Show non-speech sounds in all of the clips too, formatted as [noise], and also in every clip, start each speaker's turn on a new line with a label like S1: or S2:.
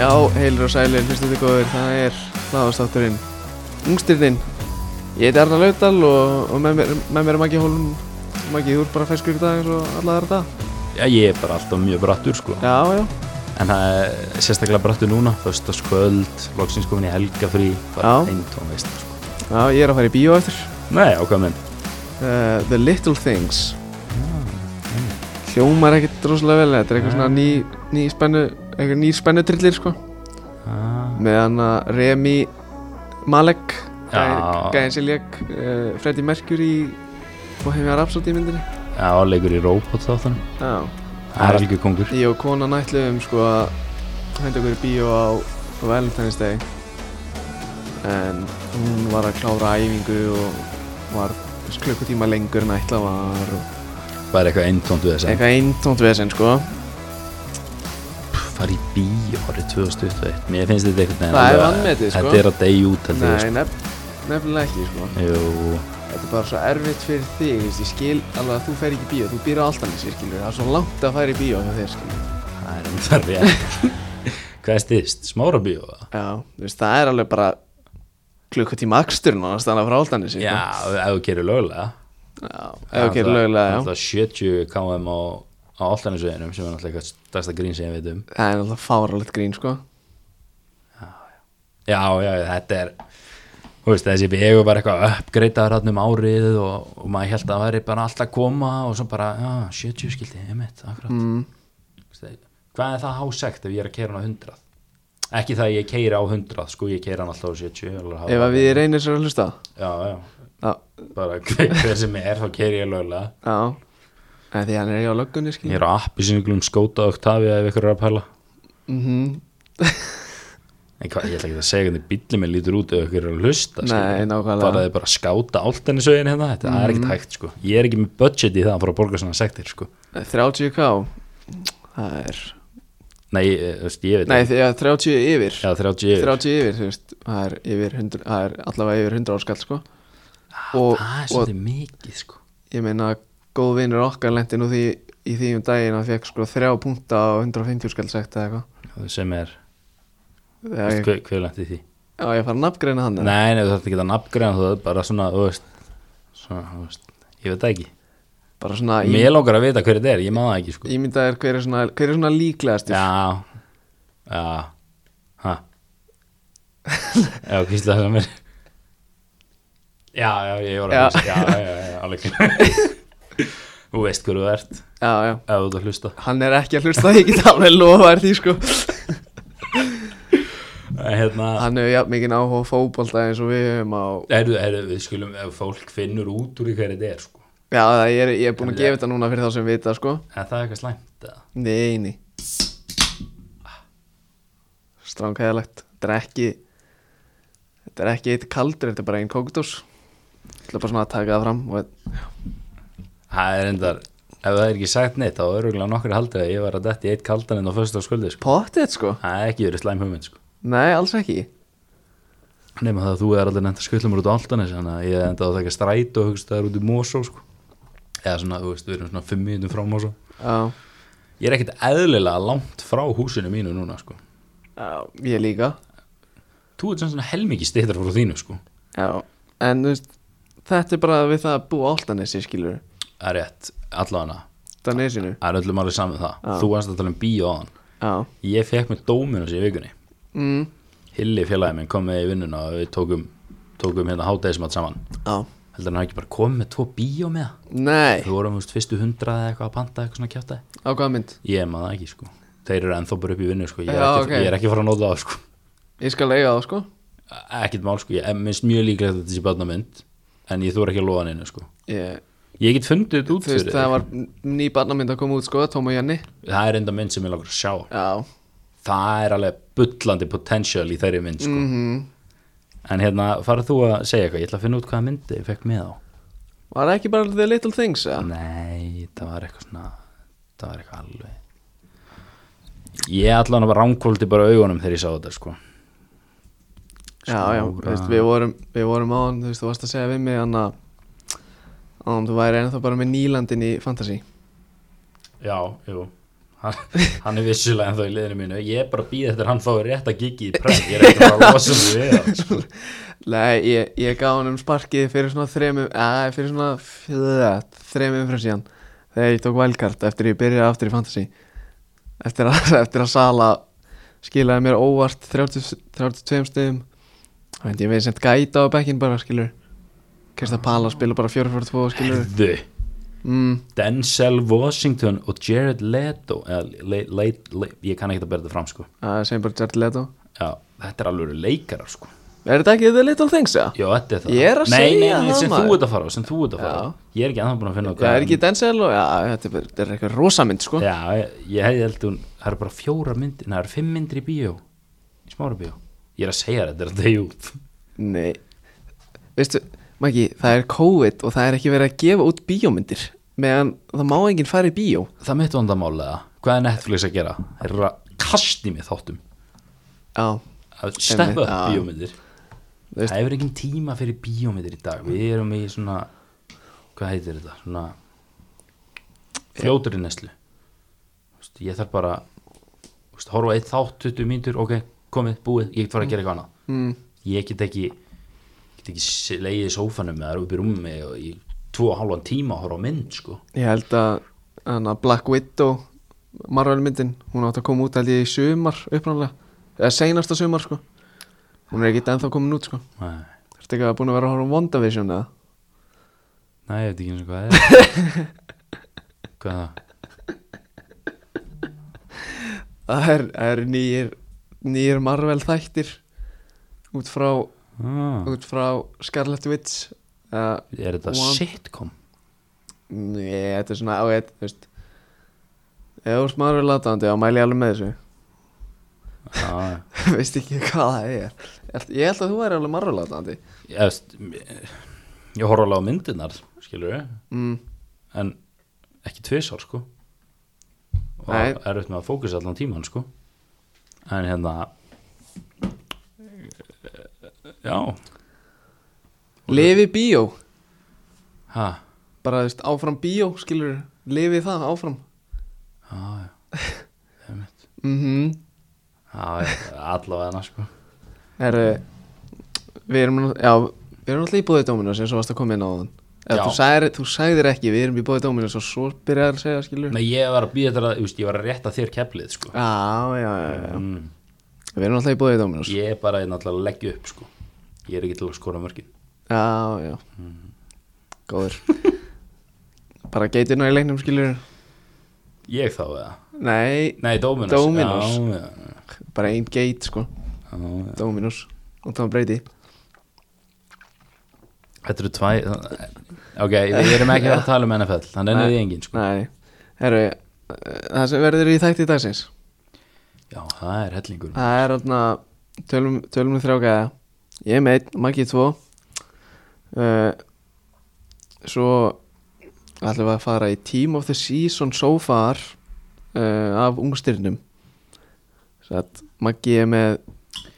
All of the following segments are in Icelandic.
S1: Já, heilir og sælir, hlustuðu góður, það er hláðastátturinn Ungstyrnin Ég heiti Arnar Laudal og, og með, mér, með mér er Maggi Hólm Maggi, þú ert bara ferskur í dag eins og alla aðra dag
S2: Já, ég er bara alltaf mjög brattur sko
S1: Já, já,
S2: En það er sérstaklega brattur núna Föstaskvöld, loksins komin í helgafrí Bara
S1: Já.
S2: einn tónveist sko
S1: já, ég er að fara í bíó eftir
S2: Nei, ákvað minn
S1: uh, The Little Things Hljómar ekkert rosalega vel, þetta er eitthvað svona ný, ný spennu, eitthvað nýr spennu trillir sko
S2: ah.
S1: Með hann að Remi Malek
S2: Já.
S1: Gæðin sem lék uh, Freddie Mercury og hefði að rapsóti í myndinni
S2: Já, leikur í robot þáttanum
S1: Já
S2: Það er algjör kongur
S1: Ég og konan ætluðum sko að henda okkur í bíó á Valentine's Day en hún var að klára æfingu og var klukkutíma lengur en ætla var og
S2: Bara eitthvað einn tónd við þess að
S1: eitthvað eintónt vesen sko
S2: fara í bíó árið 2021 Mér finnst þetta eitthvað
S1: Það er vanmetið, sko.
S2: Þetta er að degi út held ég
S1: Nei, nef nefnilega ekki sko
S2: sko Jú,
S1: Þetta er bara svo erfitt fyrir þig, þú veist, ég skil alveg að þú fer ekki í bíó, þú býr á Altanis, ég skilur, það er svo langt að fara í bíó hjá þér, skilur
S2: það er um þar við
S1: [laughs]
S2: Hvað er styrst? Smára bíó? eða?
S1: Já, þú veist, það er alveg bara klukkutíma aksturinn á að stanna frá Altanis,
S2: Já, ef þú kerir lögulega
S1: Já, ef ok, lögulega, já
S2: Það er 70 km á, á alltafnisveginum sem er náttúrulega eitthvað stærsta grín sem ég veit um
S1: Það er alltaf fáralegt grín sko
S2: Já, já, þetta er þú veist, þessi vegu var eitthvað uppgreitaður hann um árið og, og maður held að það væri bara alltaf að koma og svo bara, já, 70 skildi, emitt, akkurat mm. Hvað er það hásegt ef ég er að keira hann á 100? Ekki það að ég keira á 100, sko, ég keira hann alltaf á 70 alveg hár-
S1: Ef að við reynir sér að hlusta
S2: Já, já,
S1: Já,
S2: bara [laughs] hver, hver sem er, þá keiri ég lögulega
S1: já En Því hann er í á löggunni skil
S2: Ég er á appi sem ykkur um skóta Octavia ef ykkur er að pæla
S1: Mhm.
S2: En hvað, ég ætla ekki að segja hvernig bíllinn minn lítur út ef ykkur er að hlusta
S1: Nei,
S2: skilurðu.
S1: nákvæmlega. Mhm.
S2: Bara þið bara skáta allt henni sögin hérna Þetta það er ekkert hægt sko Ég er ekki með budget í það að fara að borga svona sektir sko
S1: 30k Það er
S2: Nei, ég, þú veist, ég veit
S1: Nei,
S2: ekki.
S1: því að 30 yfir
S2: Já, 30 yfir
S1: 30 yfir, þú veist Það er, yfir 100, það er allavega yfir 100 áskall sko og-
S2: Ah, Það er
S1: og-
S2: svolítið mikið sko
S1: Ég meina góð vinnur okkar lendi nú því í því um daginn að fekk sko 3 punta á 150 skall sagt eða
S2: Sem er,
S1: eitthvað
S2: veist,
S1: Já, ég,
S2: hver, hver lent í því
S1: já, ég fara að nafngreina hann eða?
S2: Sko- Nei, nei, þú þarf ekki að nafngreina þú Bara svona, þú veist Svona, þú veist, ég veit það ekki
S1: Bara svona í,
S2: Mér lókar að vita hver þetta er, ég maður það ekki sko
S1: ímyndaðir hver er svona, hver er svona líklegast
S2: Já, já, hæ Já, kýsla það mér Já, já, ég voru
S1: Já.
S2: að hlusta Já, já, já, alveg klart. Þú veist hver þú ert ef
S1: já, já
S2: þú ert að hlusta
S1: Hann er ekki að hlusta, ég get alveg lofa þér því sko
S2: Nei, Hérna,
S1: Hann hefur jafn mikið áhuga á fótbolta eins og við höfum á
S2: heyrðu, heyrðu, við skulum ef fólk finnur út úr í hver þetta er sko
S1: Já, það ég er, ég er búin að gefa þetta núna fyrir þá sem vita sko
S2: En það er eitthvað slæmt eða?
S1: Nei, nei Stránkæðalegt Þetta er ekki Þetta er ekki eitt kaldur, þetta er bara einn kókutós Ég ætla bara svona að taka það fram og,
S2: Það er endar, ef það er ekki sagt neitt þá er öruglega nokkur haldið að ég var að detti eitt kaldan en á föstu á skuldi sko
S1: Pottið sko
S2: Það er ekki verið slæm hugmynd sko
S1: Nei, alls ekki
S2: Nefna það að þú er allir nefnt að skullum út á Altanes þannig að ég er enda að taka stræt og hugst það er út í Mosó sko. eða svona, þú veist, við erum svona fimm mínutum frá Mosó
S1: Já,
S2: ég er ekkert eðlilega langt frá húsinu mínu núna sko.
S1: já ég líka
S2: þú ert sem svona helmingi stýttar frá þínu sko.
S1: Já, en þú veist Þetta er bara við það að búa áltanessi skilur
S2: það er rétt, allavega
S1: Það nesinu
S2: það er öllum alveg saman það,
S1: Já.
S2: þú varst að tala um bíó á hann
S1: Já
S2: ég fekk með dóminus í vikunni
S1: mm.
S2: Hilli félagi minn kom með í vinnuna og við tókum, tókum hérna hátæðismat saman
S1: Já
S2: heldur hann hafi ekki bara komið með tvo bíó með það
S1: Nei,
S2: þú vorum þú veist, fyrstu hundrað eða eitthvað að panta eitthvað svona kjátaði
S1: á hvaða mynd?
S2: Ég maður það ekki sko Þeir eru ennþá bara upp í vinnu sko Ég er,
S1: Já,
S2: ekki,
S1: ok.
S2: ég er ekki fara að nota það sko
S1: Ég skal eiga það sko
S2: Ekkert mál sko, ég er minnst mjög líklegt að þetta sé barnamynd En ég þóra ekki að lofa neina sko
S1: ég,
S2: Ég get fundið þetta út
S1: Þú veist
S2: fyrir það,
S1: það var ný barnamynd að koma út sko Tom og Jenny
S2: það er enda mynd sem ég langar að sjá
S1: Já,
S2: Það er alveg bullandi potential í þeirri mynd sko
S1: mm
S2: En hérna, farað þú að segja eitthvað Ég ætla að finna út hvaða myndi ég fekk með á
S1: var það ekki bara The Little Things eða?
S2: Nei, það var eitthvað svona Það var eitthvað alveg Ég allan að bara ránkóldi bara augunum þegar ég sá þetta sko
S1: Já, Sko, já,
S2: Stóra.
S1: veist, við vorum, við vorum á hann Þú veist, þú varst að segja við mig hann að Án, þú væri ennþá bara með nýlandin í Fantasy
S2: Já, jú hann, hann er vissulega ennþá í liðinu mínu ég er bara að býða eftir að hann fái rétt að gigi í præð ég er ekki bara að losa mig við hann sko.
S1: Nei, ég, ég gaf hann um sparkið fyrir svona þremum, að fyrir svona fjöða, þremum fyrir síðan þegar ég tók valkart eftir ég byrjaði aftur í fantasy eftir að, [laughs] eftir að Sala skilaði mér óvart 30, 32 stegum þá veit ég veið sent gæta á bekkinn bara skilur Krista Pala spila bara 4-4-2 skilur
S2: Herðu,
S1: mm,
S2: Denzel Washington og Jared Leto eða, le, le, le, ég kann ekki að bera þetta fram sko.
S1: að segja bara Jared Leto
S2: Já, þetta er alveg leikarar sko.
S1: Er þetta ekki The Little Things eða?
S2: Já, þetta er það
S1: Ég er að
S2: nei, nei,
S1: segja
S2: nei,
S1: það,
S2: sem
S1: maður.
S2: þú ert að fara á, sem þú ert að fara á. Ég er ekki andan búin að finna
S1: Já, er ekki Denzel og já, þetta er, bara- þetta er eitthvað rosamynd sko
S2: Já, ég, ég hefði held hún Það eru bara fjóra myndir, neða, það eru fimm myndir í bíó Í smára bíó Ég er að segja þér, þetta er að deyja út
S1: Nei Veistu, Maggi, það er COVID og það er ekki verið að gefa út bíómyndir meðan það má enginn fara í bíó
S2: Það mitt vandamálega, hvað er Netflix að gera? Það eru að kasti mig þáttum
S1: Já,
S2: Að Steppa upp
S1: já.
S2: bíómyndir
S1: Þú veist-
S2: Það hefur engin tíma fyrir bíómyndir í dag Við erum í svona Hvað heitir þetta? Svona Fljóturinn neslu Ég þarf bara þú veist, Horfa á eitt þátt, 20 mínútur, ok, komið, búið Ég get fara að gera eitthvað annað
S1: mm,
S2: ég get ekki get ekki leiðið í sófanum eða upp í rúmi og í tvo og halvan tíma að horfa á mynd sko
S1: ég held að hana, Black Widow Marvel myndin, hún átt að koma út held ég í sumar uppræðanlega, eða seinasta sumar sko hún er ekki ennþá komin út sko
S2: nei,
S1: Þetta ekki að búin að vera að horfa á WandaVision eða
S2: nei ég veit ekki eins og hvað það er
S1: [laughs]
S2: hvað er það?
S1: Það er, það er nýjir, nýjir Marvel þættir út frá,
S2: Ah,
S1: út frá Scarlet Witch eða
S2: er þetta
S1: One-
S2: sitcom?
S1: Nei, þetta er svona ágætt, þú veist Ef þú ert maður látandi, þá mæli ég alveg með þessu [laughs]
S2: Ah,
S1: Veist ekki hvað það er Ég- Ég held að þú væri alveg maður látandi
S2: ég, veist, ég horfa alveg á myndirnar skilur við
S1: mm.
S2: en ekki tvisar sko og
S1: Nei.
S2: er auðvitað með að fókusa allan tíman sko en hérna já
S1: Lifi bíó,
S2: hæ
S1: bara þú veist, áfram bíó, skilur Lifi það, áfram
S2: já já
S1: [laughs] mm
S2: Mhm.
S1: -hmm.
S2: Já, já, allavega hana sko
S1: Herru, eh, við erum nú- Já, við erum alltaf í bóði Dominos eins og varst að koma inn á þann
S2: Já.
S1: Þú sagðir, þú sagðir ekki, við erum í bóði Dominos og svo byrjar að segja, skilur
S2: Nei, ég var að býja þetta, þú veist, ég var að rétta þér keflið sko
S1: Já, já, já, já
S2: mm,
S1: Við erum alltaf í bóði Dominos
S2: Ég er bara náttúrulega að leggja upp sko Ég er ekki til að skora mörgin
S1: Já, já Góður Bara geitir nú í leiknum skilur
S2: Ég þá eða
S1: Nei,
S2: Nei, Dominus
S1: Dominos.
S2: Já, já,
S1: bara einn geit sko
S2: já, já.
S1: Dominus og Tom Brady
S2: Þetta eru tvæ Ok, við erum ekki að fara að tala um NFL Þannig ennum
S1: Nei.
S2: við engin sko
S1: Nei, herru eh, Það sem verður í þætti dagsins
S2: Já, það er hellingur
S1: Það er þarna tölum, tölum við þrjáka Ég er með einn, Maggi tvo uh, Svo ætlum við að fara í Team of the Season so far uh, af ungstyrnum Satt, Maggi er með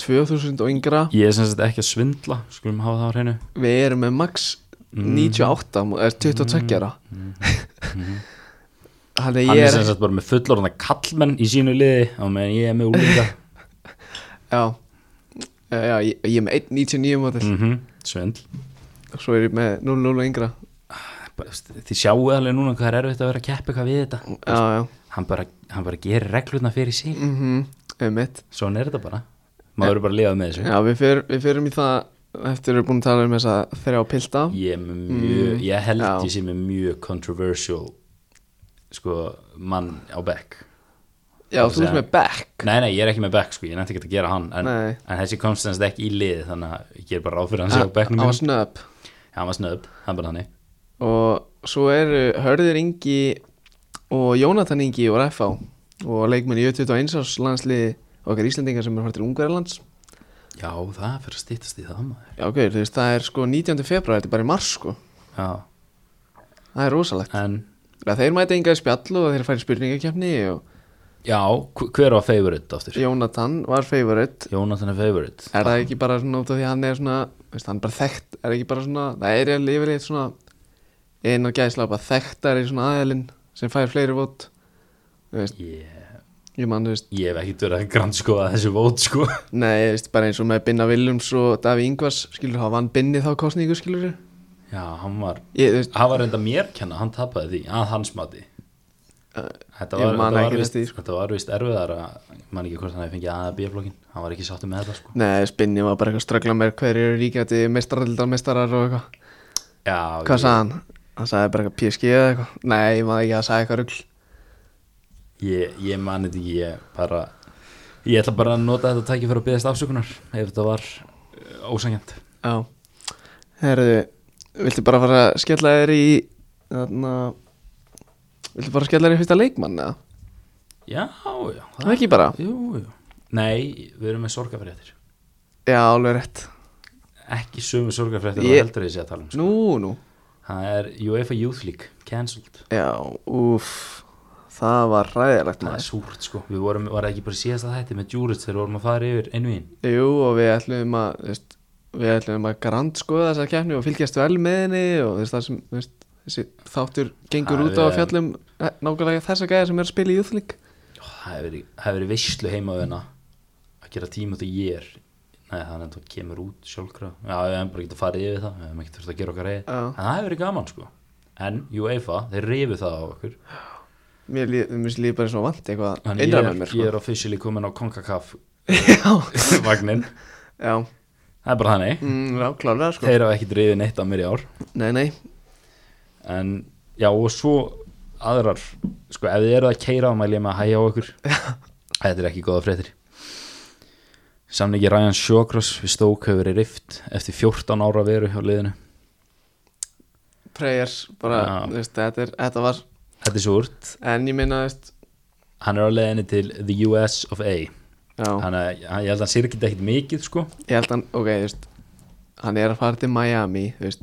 S1: 2000 og yngra
S2: Ég er sem sagt ekki að svindla Skulum hafa það á hreinu
S1: Við erum með max
S2: Mhm.
S1: 98 mm. er 22 ára Þannig
S2: Mhm. Hann
S1: ég
S2: er
S1: er
S2: sem sagt bara með fullorðna kallmenn í sínu liði Og meðan ég er með úlinga
S1: já, já, já, ég, ég er með 1.99 mótil
S2: mm Svindl
S1: og svo er ég með 0.0 og yngra
S2: bara, þú veist, þið sjáu alveg núna hvað er erfitt að vera að keppa eitthvað við þetta
S1: Já, já,
S2: hann bara, hann bara gerir reglurna fyrir sig
S1: mhm, mm um mitt
S2: svona er þetta bara maður verður bara að lifa með þessu
S1: Já, við, fyr, við fyrum í það eftir við erum búin að tala um þessa þrjá pilta
S2: ég, er með mjög, ég held
S1: Mm. Já.
S2: ég sé með mjög controversial sko, mann á Beck
S1: Já, þú ert með back
S2: nei, nei, ég er ekki með Beck, sko, ég nefndi ekki að gera hann en,
S1: Nei.
S2: en þessi komst semst ekki í liði þannig að ég ger bara ráð fyrir hann sé á
S1: Á
S2: Becknum
S1: á
S2: mínum.
S1: snöp
S2: hann var snöð, hann bara þannig
S1: Og svo eru Hörður Ingi og Jónatan Ingi og FH og leikmenn í 21 árs landsliði okkar Íslendingar sem er hortir Ungverðarlands
S2: já, það fyrir að stýttast í það maður
S1: Já, ok, þú veist, það er sko 19. februar, þetta er bara í mars sko
S2: já,
S1: Það er rosalegt
S2: en
S1: ja, Þeir mæta enga í spjall og þeir færi spurningakefni og
S2: já, hv- hver var favorite áttur?
S1: Jónatan var favorite
S2: Jónatan er favorite
S1: Er það ekki bara svona út af því að hann er svona veist, hann er bara þekkt, er ekki bara svona það er alveg yfirleitt svona inn og gæðslega bara þekktar í svona aðeilinn sem fær fleiri vót Þú veist,
S2: ég,
S1: ég man, þú veist,
S2: ég hef ekkert verið að grandskoða þessu vót sko
S1: nei, þú veist, bara eins og með Binna Viljums og Daví Ingvars, skilur, hann vann Binni þá kostningu, skilur,
S2: já, hann var
S1: ég, þú veist,
S2: hann var reynda mér kenna, hann tapaði því að hans mati
S1: eh,
S2: þetta
S1: ég
S2: var,
S1: man
S2: þetta var,
S1: ekki
S2: vist,
S1: við stíð, sko.
S2: þetta var vist erfiðar að man ekki hvort hann hefði fengið aða B-flokkin hann var ekki sáttu með þetta sko
S1: nei, þú veist, Binni var bara eitthvað að ströggla með hverju eru ríkjandi mestaraldar, mestarar og eitthvað,
S2: já,
S1: hvað sagði hann? Hann sagði bara eitthvað PSG eða eitthvað, nei, ég man ekki að sagði eitthvað rugl,
S2: Ég, ég man þetta ekki, ég bara Ég ætla bara að nota þetta tæki fyrir að byggðast afsökunar ef þetta var uh, ósangjant
S1: já, herðu, viltu bara fara að skella þér í, þarna, viltu bara skella þér í fyrsta leikmann, eða?
S2: Já, já
S1: Það ekki bara?
S2: Jú, jú Nei, við erum með sorgafréttir
S1: Já, alveg rétt.
S2: Ekki sömu sorgafréttir
S1: Ég-
S2: og heldur þessi að tala um sko.
S1: Nú, nú.
S2: Það er UEFA Youth League, cancelled
S1: Já, úff, það var ræðilegt
S2: Það er
S1: maður.
S2: súrt sko, við vorum, var það ekki bara síðast að þetta með Júrits þegar við vorum að fara yfir einu ín
S1: Jú, og við ætlum að, þú veist, við ætlum að grand skoða þessa keppni og fylgjast vel með henni og þú veist, það sem, þú veist, þessi þáttur gengur
S2: Það
S1: út á að
S2: er-
S1: fjallum eh, nákvæmlega þessa gæða sem er að spila í Júþlík.
S2: Það hefur verið- það hefur verið veislu heima við hana að gera tíma til ég er Nei, það er enda kemur út sjálfkrafa Já, við hefum bara getið að fara yfir það Við hefum ekki þurft að gera okkar reyð
S1: Já.
S2: En það hefur verið gaman sko En UEFA, þeir reyfu það á okkur
S1: Mér líf, mér líf bara svo vant eitthvað
S2: Þannig ég
S1: innra
S2: er,
S1: með mér,
S2: ég
S1: sko.
S2: er officially komin á Konkakaf
S1: [laughs] Já,
S2: vagnin
S1: já,
S2: Það er bara þannig
S1: mm, já, klárlega, sko.
S2: Þeir hafa ekki reyfið neitt af mér í ár
S1: Nei, nei,
S2: En já, og svo aðrar Sko, ef þið eru að keira þá mæli ég með að hæja á okkur Þetta er ekki góða fréttir Samningi Ryan Shawcross við Stoke hefur verið rift eftir 14 ára veru hjá liðinu
S1: prayers, bara,
S2: Já.
S1: þú veist, þetta, er, þetta var,
S2: Þetta er svo úrt
S1: en ég minna, þú veist,
S2: Hann er á leiðinni til the US of A
S1: já,
S2: Hann er, hann- ég held að hann sirkit ekkit mikið sko
S1: ég held hann, ok, þú veist, hann er að fara til Miami, þú veist,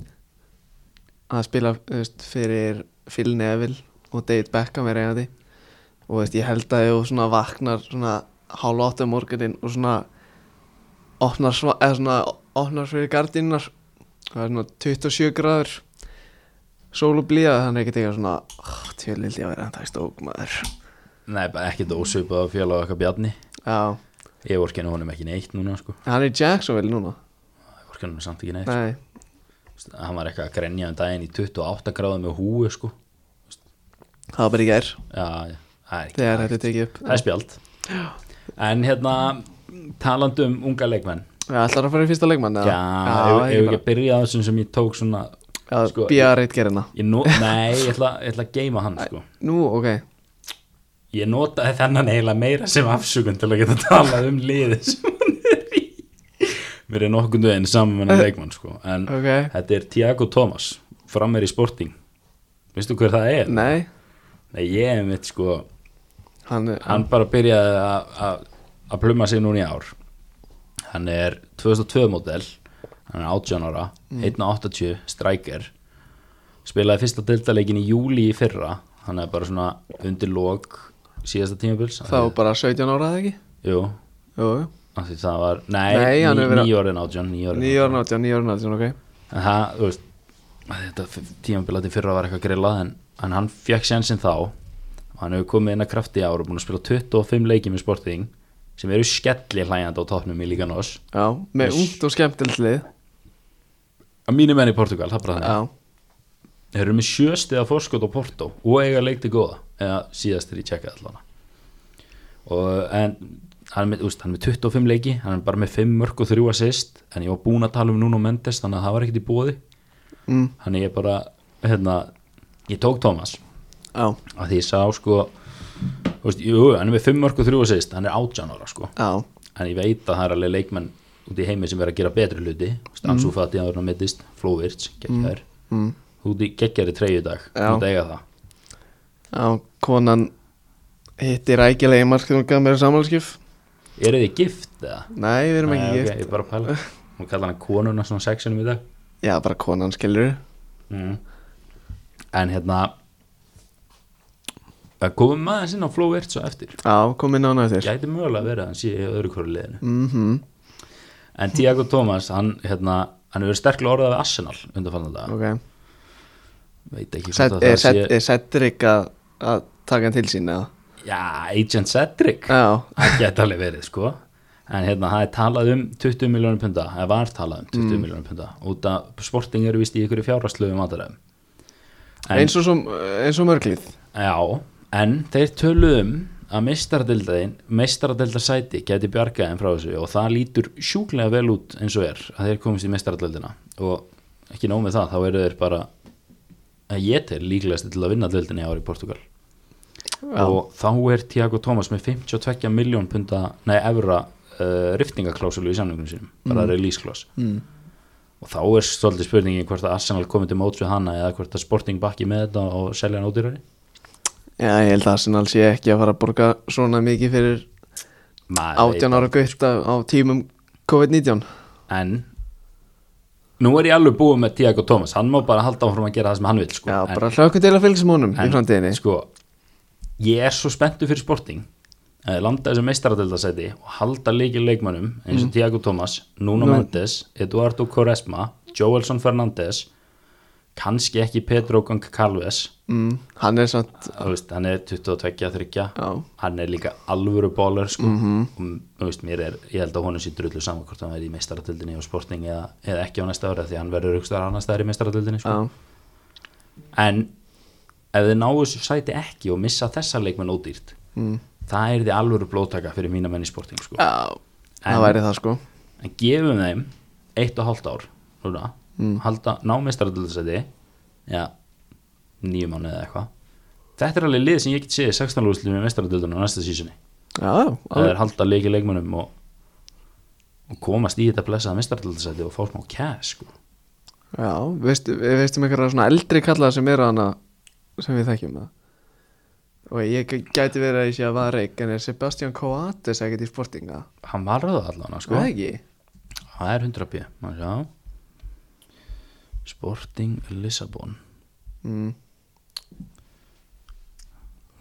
S1: að spila þú veist, fyrir Phil Neville og David Beckham er eigandi og þú veist, ég held að þú svona vaknar svona hálf áttu morgunin og svona opnar, sva, eða svona opnar fyrir gardinnar það er svona 27 gráður sól og blíða þannig ekki teka svona oh, tjölildi að vera þetta stók maður
S2: Nei, bara ekkit ósveipað á félag okkar Bjarni
S1: já,
S2: Ég vorki henni honum ekki neitt núna sko
S1: hann er í Jacksonville núna
S2: Ég vorki henni samt ekki neitt
S1: nei,
S2: sko. Hann var eitthvað að grenja um daginn í 28 gráðum með húi sko
S1: það var bara í gær
S2: Já, já, það er ekki
S1: þegar þetta er tekið upp
S2: Það er spjald En hérna, talandi um unga leikmenn
S1: Já, ætlar að fara í fyrsta leikmann
S2: Já,
S1: eða?
S2: ef
S1: já,
S2: ef
S1: ég
S2: ekki að byrja á þessum sem ég tók svona
S1: bara
S2: sko,
S1: BR1 gerina
S2: ég no, Nei, ég ætla, ég ætla að geima hann sko
S1: Nú, ok
S2: Ég notaði þennan eiginlega meira sem afsökun til að geta talað um liðið sem hann er í Mér er nokkuð veginn saman með hann leikmann sko En
S1: Ok,
S2: þetta er Tiago Thomas, frammeir í Sporting Veistu hver það er?
S1: nei
S2: Nei, ég hef mitt sko
S1: Hann, er-
S2: Hann bara byrjaði að- að að pluma sig núna í ár Hann er 2002 model Hann er 18 ára
S1: Mm.
S2: 1.80 striker Spilaði fyrsta deltaleikin í júli í fyrra Hann er bara svona undir lók síðasta tímabils
S1: þá bara 17 ára eða ekki
S2: Jú,
S1: Jú, jú
S2: af því það var
S1: Nei,
S2: Nei,
S1: hann
S2: ní,
S1: hefur verið-
S2: nýjórinn átján Nýjórinn
S1: 9 ára 18, 9 ára 18, ok
S2: En það, þú veist að Þetta tímabilati fyrra var eitthvað grillað en, en hann fekk sjansinn þá og hann hefur komið inn að krafti í ár og búin að spila 25 leiki með Sporting sem eru skellir hlægjandi á topnum í Lígan Ós
S1: Já, með
S2: Yes.
S1: ungt og skemmtilegt lið
S2: að mínu menn í Portugal, það er bara
S1: Já,
S2: það þeir eru með sjöstiða fórskot á Porto og eiga leikti góða eða síðastir í tjekka allan og en hann er, með, úst, hann er með 25 leiki hann er bara með 5 mörg og 3 assist en ég var búin að tala um Nuno Mendes þannig að það var ekkert í bóði
S1: mm,
S2: hann er bara, hérna ég tók Thomas
S1: já,
S2: að því ég sá sko þú veist, jú, hann er með 5 mörg og 3 assist hann er 18 ára sko
S1: já
S2: en ég veit að það er alveg leikmenn út í heimi sem er að gera betri hluti Stansú mm. Fati áður en að mittist, Flo Virts geggjar,
S1: mm,
S2: út í geggjar í treyju í dag þú
S1: Já.
S2: mátt eiga það
S1: Já, konan hitti rækilega í markið og gaf mér samanlskif
S2: eru þið gift eða?
S1: Nei, við erum ekki
S2: Nei, ok,
S1: gift
S2: ég er bara að pæla hún kallar hann konuna svona sexinum í dag
S1: Já, bara konan skilur
S2: mm. en hérna að komum maður inn á Flo Virts og eftir
S1: Já, kom inn á hana eftir
S2: gæti mögulega verið að hann sé í öðru hverju liðinu
S1: Mhm,
S2: en Tiago Thomas, hann hérna hann hefur verið sterklega orðað við Arsenal undanfallna dag,
S1: ok
S2: veit ekki hvort
S1: Sætt-
S2: að það
S1: eh. Er Cedric að að taka hann til sín eða?
S2: já, Agent Cedric
S1: Já,
S2: það geta alveg verið sko en hérna það er talað um 20 miljónum punda eða var talað um 20 mm. miljónum punda út að sporting eru vist í ykkur fjárhastlöfum aðræðum
S1: eins og, som, eins og mörglið
S2: Já, en þeir töluðu um að meistaradildaðin, meistaradildasæti geti bjargaðin frá þessu og það lítur sjúklega vel út eins og er að þeir komist í meistaradildina og ekki nóg með það, þá eru þeir bara að ég til líklegast til að vinna dildinni ári í Portugal og þá er Tiago Thomas með 52 miljón punta, nei, evra uh, riftingaklásulu í samlingum sínum bara release clause
S1: mm.
S2: og þá er svolítið spurningin hvort að Arsenal komið til móts við hana eða hvort að Sporting bakki með þetta og selja hann ódýrari
S1: Já, ég held að Arsenal sé ekki að fara að borga svona mikið fyrir
S2: Maður veit
S1: 18 ára gautt á, á tímum COVID-19
S2: en nú er ég alveg búið með Tiago Thomas hann má bara halda áfram að gera það sem hann vil sko.
S1: Já, bara hlökkum til að fylgja sem honum í
S2: en,
S1: framtíðinni
S2: en sko ég er svo spenntu fyrir sporting að landa þessu meistaradeldasæti og halda líki leikmönnum eins
S1: Mhm.
S2: og Tiago Thomas Nuno
S1: Nú-
S2: Mendes, Eduardo Quaresma Joelson Fernandes kannski ekki Pedro Gang Calves
S1: mm, Hann er samt
S2: Þú veist, hann er 22-3
S1: Já. Mhm.
S2: hann er líka alvöru bólar sko. og þú veist, mér er, ég held að honum sér drullu saman hvort hann verði í meistaratöldinni og sporting eða, eða ekki á næsta ára því að hann verður aukstaðar annars staðar í meistaratöldinni
S1: Já,
S2: sko. en ef þið náu þessu sæti ekki og missa þessa leikmenn ódýrt mm. það er því alvöru blótaka fyrir mína menn í sporting sko.
S1: já
S2: En-
S1: það væri það sko
S2: en gefum þeim eitt og hálft ár núna, halda, ná meistaratöldasæti já, nýjum mánu eða eitthvað þetta er alveg lið sem ég get séð í 16 lúslið með meistaratöldunum næsta sísunni
S1: Já, já,
S2: það
S1: alveg.
S2: er halda leiki leikmönnum og, og komast í þetta blessaða mistaraldarsæti og fá smá cash sko.
S1: já veistu, við veistum einhverja svona eldri kalla sem eru hana sem við þekkjum það og ég gæti verið að ég sé að vara reik en er Sebastian Coates ekkert í sportinga
S2: hann var röða
S1: sko?
S2: allan sko.
S1: Það ekki?
S2: það er 100 p Má sjá. Sporting Lissabon
S1: Mm.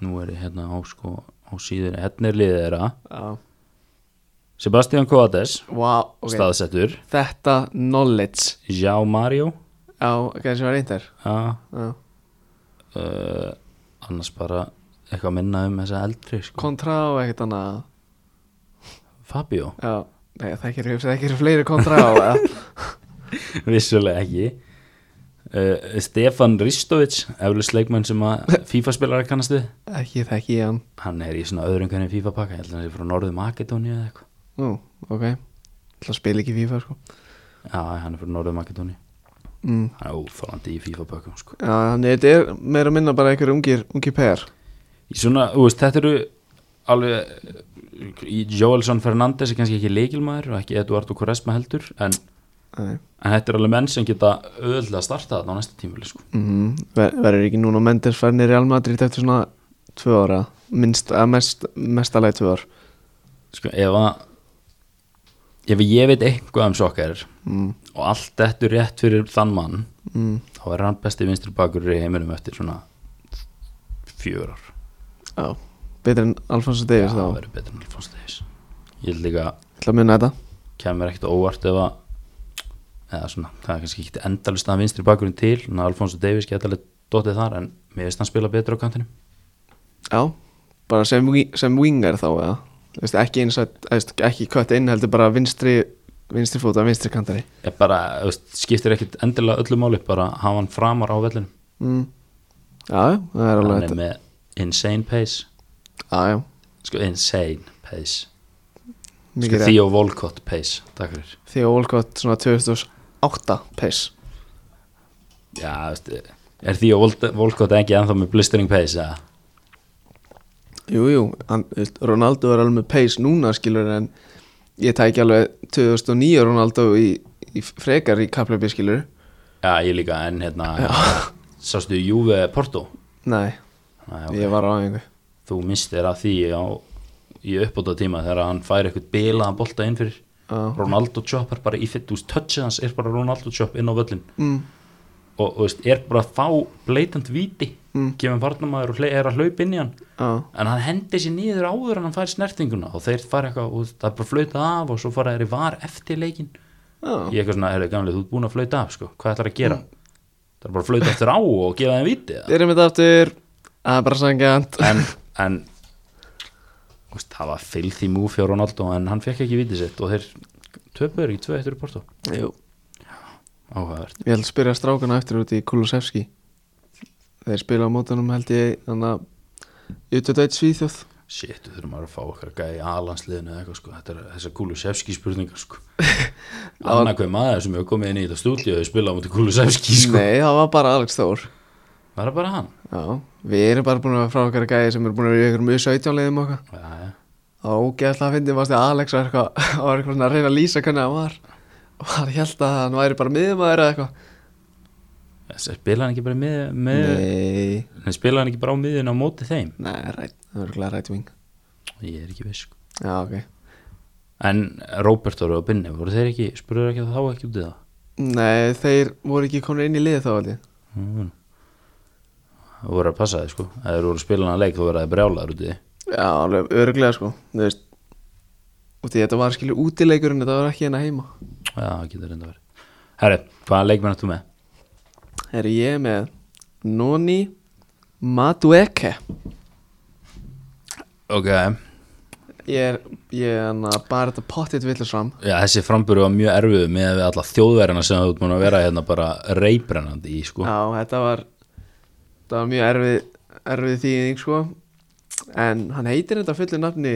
S2: nú er ég hérna á, sko, á síður hérna er liðið þeirra
S1: Já,
S2: Sebastian Coates
S1: wow, ok
S2: staðsettur,
S1: Þetta knowledge
S2: Já Mario
S1: Já, kannski var einn þær
S2: ja,
S1: Já.
S2: uh, annars bara eitthvað minna um þessa eldri sko.
S1: Kontra og ekkert annað
S2: Fabio [laughs]
S1: Já, nei, það ekki eru, það ekki eru fleiri kontra á eða?
S2: vissulega ekki uh, Stefan Ristovic eflust leikmann sem að FIFA spilar kannast við
S1: Ekki þekki ég hann
S2: hann er í svona öðrum hvernig FIFA pakka ég held að hann sé frá Norðu Makedóni eða eitthvað
S1: Nú, ok Það spila ekki FIFA sko
S2: já, hann er frá Norðu Makedóni
S1: mm.
S2: hann er óþólandi í FIFA pakkum sko.
S1: Já, þannig þetta er meira að minna bara einhver ungir, ungir per
S2: í svona, þú veist, þetta eru alveg uh, í Joelson Fernandes er kannski ekki leikilmaður og ekki Eduardo Quaresma heldur en,
S1: Nei.
S2: en þetta eru alveg menn sem geta öðvöldlega að starta þetta á næsta tímuli sko.
S1: mm. Ver, Verður ekki núna Mendes færnir í Almadrid eftir svona tvö ára Minnst, að mest, mestalagi tvö ár
S2: sko, ef að ef ég veit eitthvað um sokkar
S1: mm.
S2: og allt þetta er rétt fyrir þann mann
S1: Mm.
S2: þá er hann besti vinstri bakur í heiminum eftir svona fjögur ár
S1: Já, betur en Alfonso Davies
S2: það
S1: þá
S2: verður betur en Alfons Davies ég held líka
S1: Það að muna þetta
S2: kemur ekkert á óvart ef að eða svona, það er kannski ekki endalust að vinstri bakurinn til, en Alfonso Davies geta alveg dottið þar, en mér veist hann spila betur á kantinum
S1: Já, bara sem, wi- sem wingar þá eða Þú veist, ekki eins að, þú veist, ekki kött inn heldur bara vinstri, vinstri fóta, vinstri kantari
S2: ég bara, þú veist, skiptir ekkert endilega öllu máli, bara hafa hann framar á vellinum
S1: mm. Já, já, það er alveg
S2: hann er
S1: þetta
S2: með insane pace
S1: Já, já,
S2: sko, insane pace sko,
S1: mikið því
S2: Theo Volcott pace, takk fyrir
S1: Því og Olcott svona 2008 pace
S2: Já, veist, er því að Volkot ekki ennþá með blistering pace eða?
S1: Jú, jú, hann, þú veist, Ronaldo er alveg með pace núna skilur en ég tæki alveg 2009 Ronaldo í, í frekar í kaplöfi skilur
S2: Já, ég líka en hérna Sástu Juve Porto
S1: Nei,
S2: Næ,
S1: ég var á einhver
S2: Þú mistir að því á, í uppbóta tíma þegar hann fær eitthvað bilaðan bolta inn fyrir
S1: Já,
S2: Ronaldo Chop er bara í fitt úr touchið hans er bara Ronaldo Chop inn á völlin
S1: mm,
S2: og þú veist, er bara að fá bleitant viti
S1: Mm.
S2: kemur varnamaður og hle- er að hlaupa inn í hann
S1: já,
S2: en hann hendi sér nýður áður en hann fær snertinguna og þeir fara eitthvað og það er bara flauta af og svo fara þeir í var eftir leikin
S1: já Mm.
S2: ég eitthvað svona, er það gamlega, þú ert búin að flauta af sko. hvað ætlar að gera? Það er bara að flauta eftir á og gefa þeim viti eða?
S1: Erum þetta aftur, það er bara sangjant
S2: en, en þú veist, það var filthy move fjá Ronaldo en hann fekk ekki vitið sitt og þeir töpuður ekki tvö eittur í Porto
S1: Jú.
S2: áhugavert
S1: Ég held að spyrja strákana eftir út í Kulusevski Þeir spila á mótunum held ég Þannig að Utudætt Svíþjóð
S2: shit, við þurfum að fá okkar gæði alansliðinu eða eitthvað sko, þetta er þessar Kulusevski spurningar
S1: [laughs]
S2: sko annar hver maður sem hefur komið inn í þetta stúdíu og spilað á múti Kulusevski sko
S1: Nei, það var bara Alex Þór
S2: var það bara hann?
S1: Já, við erum bara búin að vera frá okkar gæði sem er búin að vera í ykkur mjög 17 leiðum okkar
S2: Já, já.
S1: Það var ógeðslega að fyndi varst að Alex var eitthvað og var eitthvað svona að reyna að lýsa hvernig hann var og hann held að hann væri bara miðumæður eða eitthvað
S2: Þessi, spila hann ekki bara mið, mið
S1: Nei,
S2: Nei, spila hann ekki bara á miðin á móti þeim
S1: nei, rætt, það er glæð rætt ving
S2: ég er ekki viss sko.
S1: Já, ok
S2: en Róbertor og Binni, voru þeir ekki spurður ekki þá ekki út í það
S1: Nei, þeir voru ekki komin inn í liðið þá held ég
S2: Mm. Það voru að passa þig sko Ef þeir voru að spila hann að leik þú verður að brjálaður út í því
S1: Já, alveg örglega sko Þú veist Og því þetta var skilur útileikurinn Þetta var ekki hérna heima
S2: Já, það getur reynda verið Herri, hvaða leikmenn ertu með?
S1: Er ég með Noni Madueke
S2: Ok,
S1: Ég er, ég er hann að bara þetta pottit villast fram
S2: já þessi framburu var mjög erfið með við alla þjóðverðina sem þú ert múin að vera hérna bara reybrennandi í sko
S1: Já, þetta var Þetta var mjög erfið, erfið þýðing sko En hann heitir þetta fullu nafni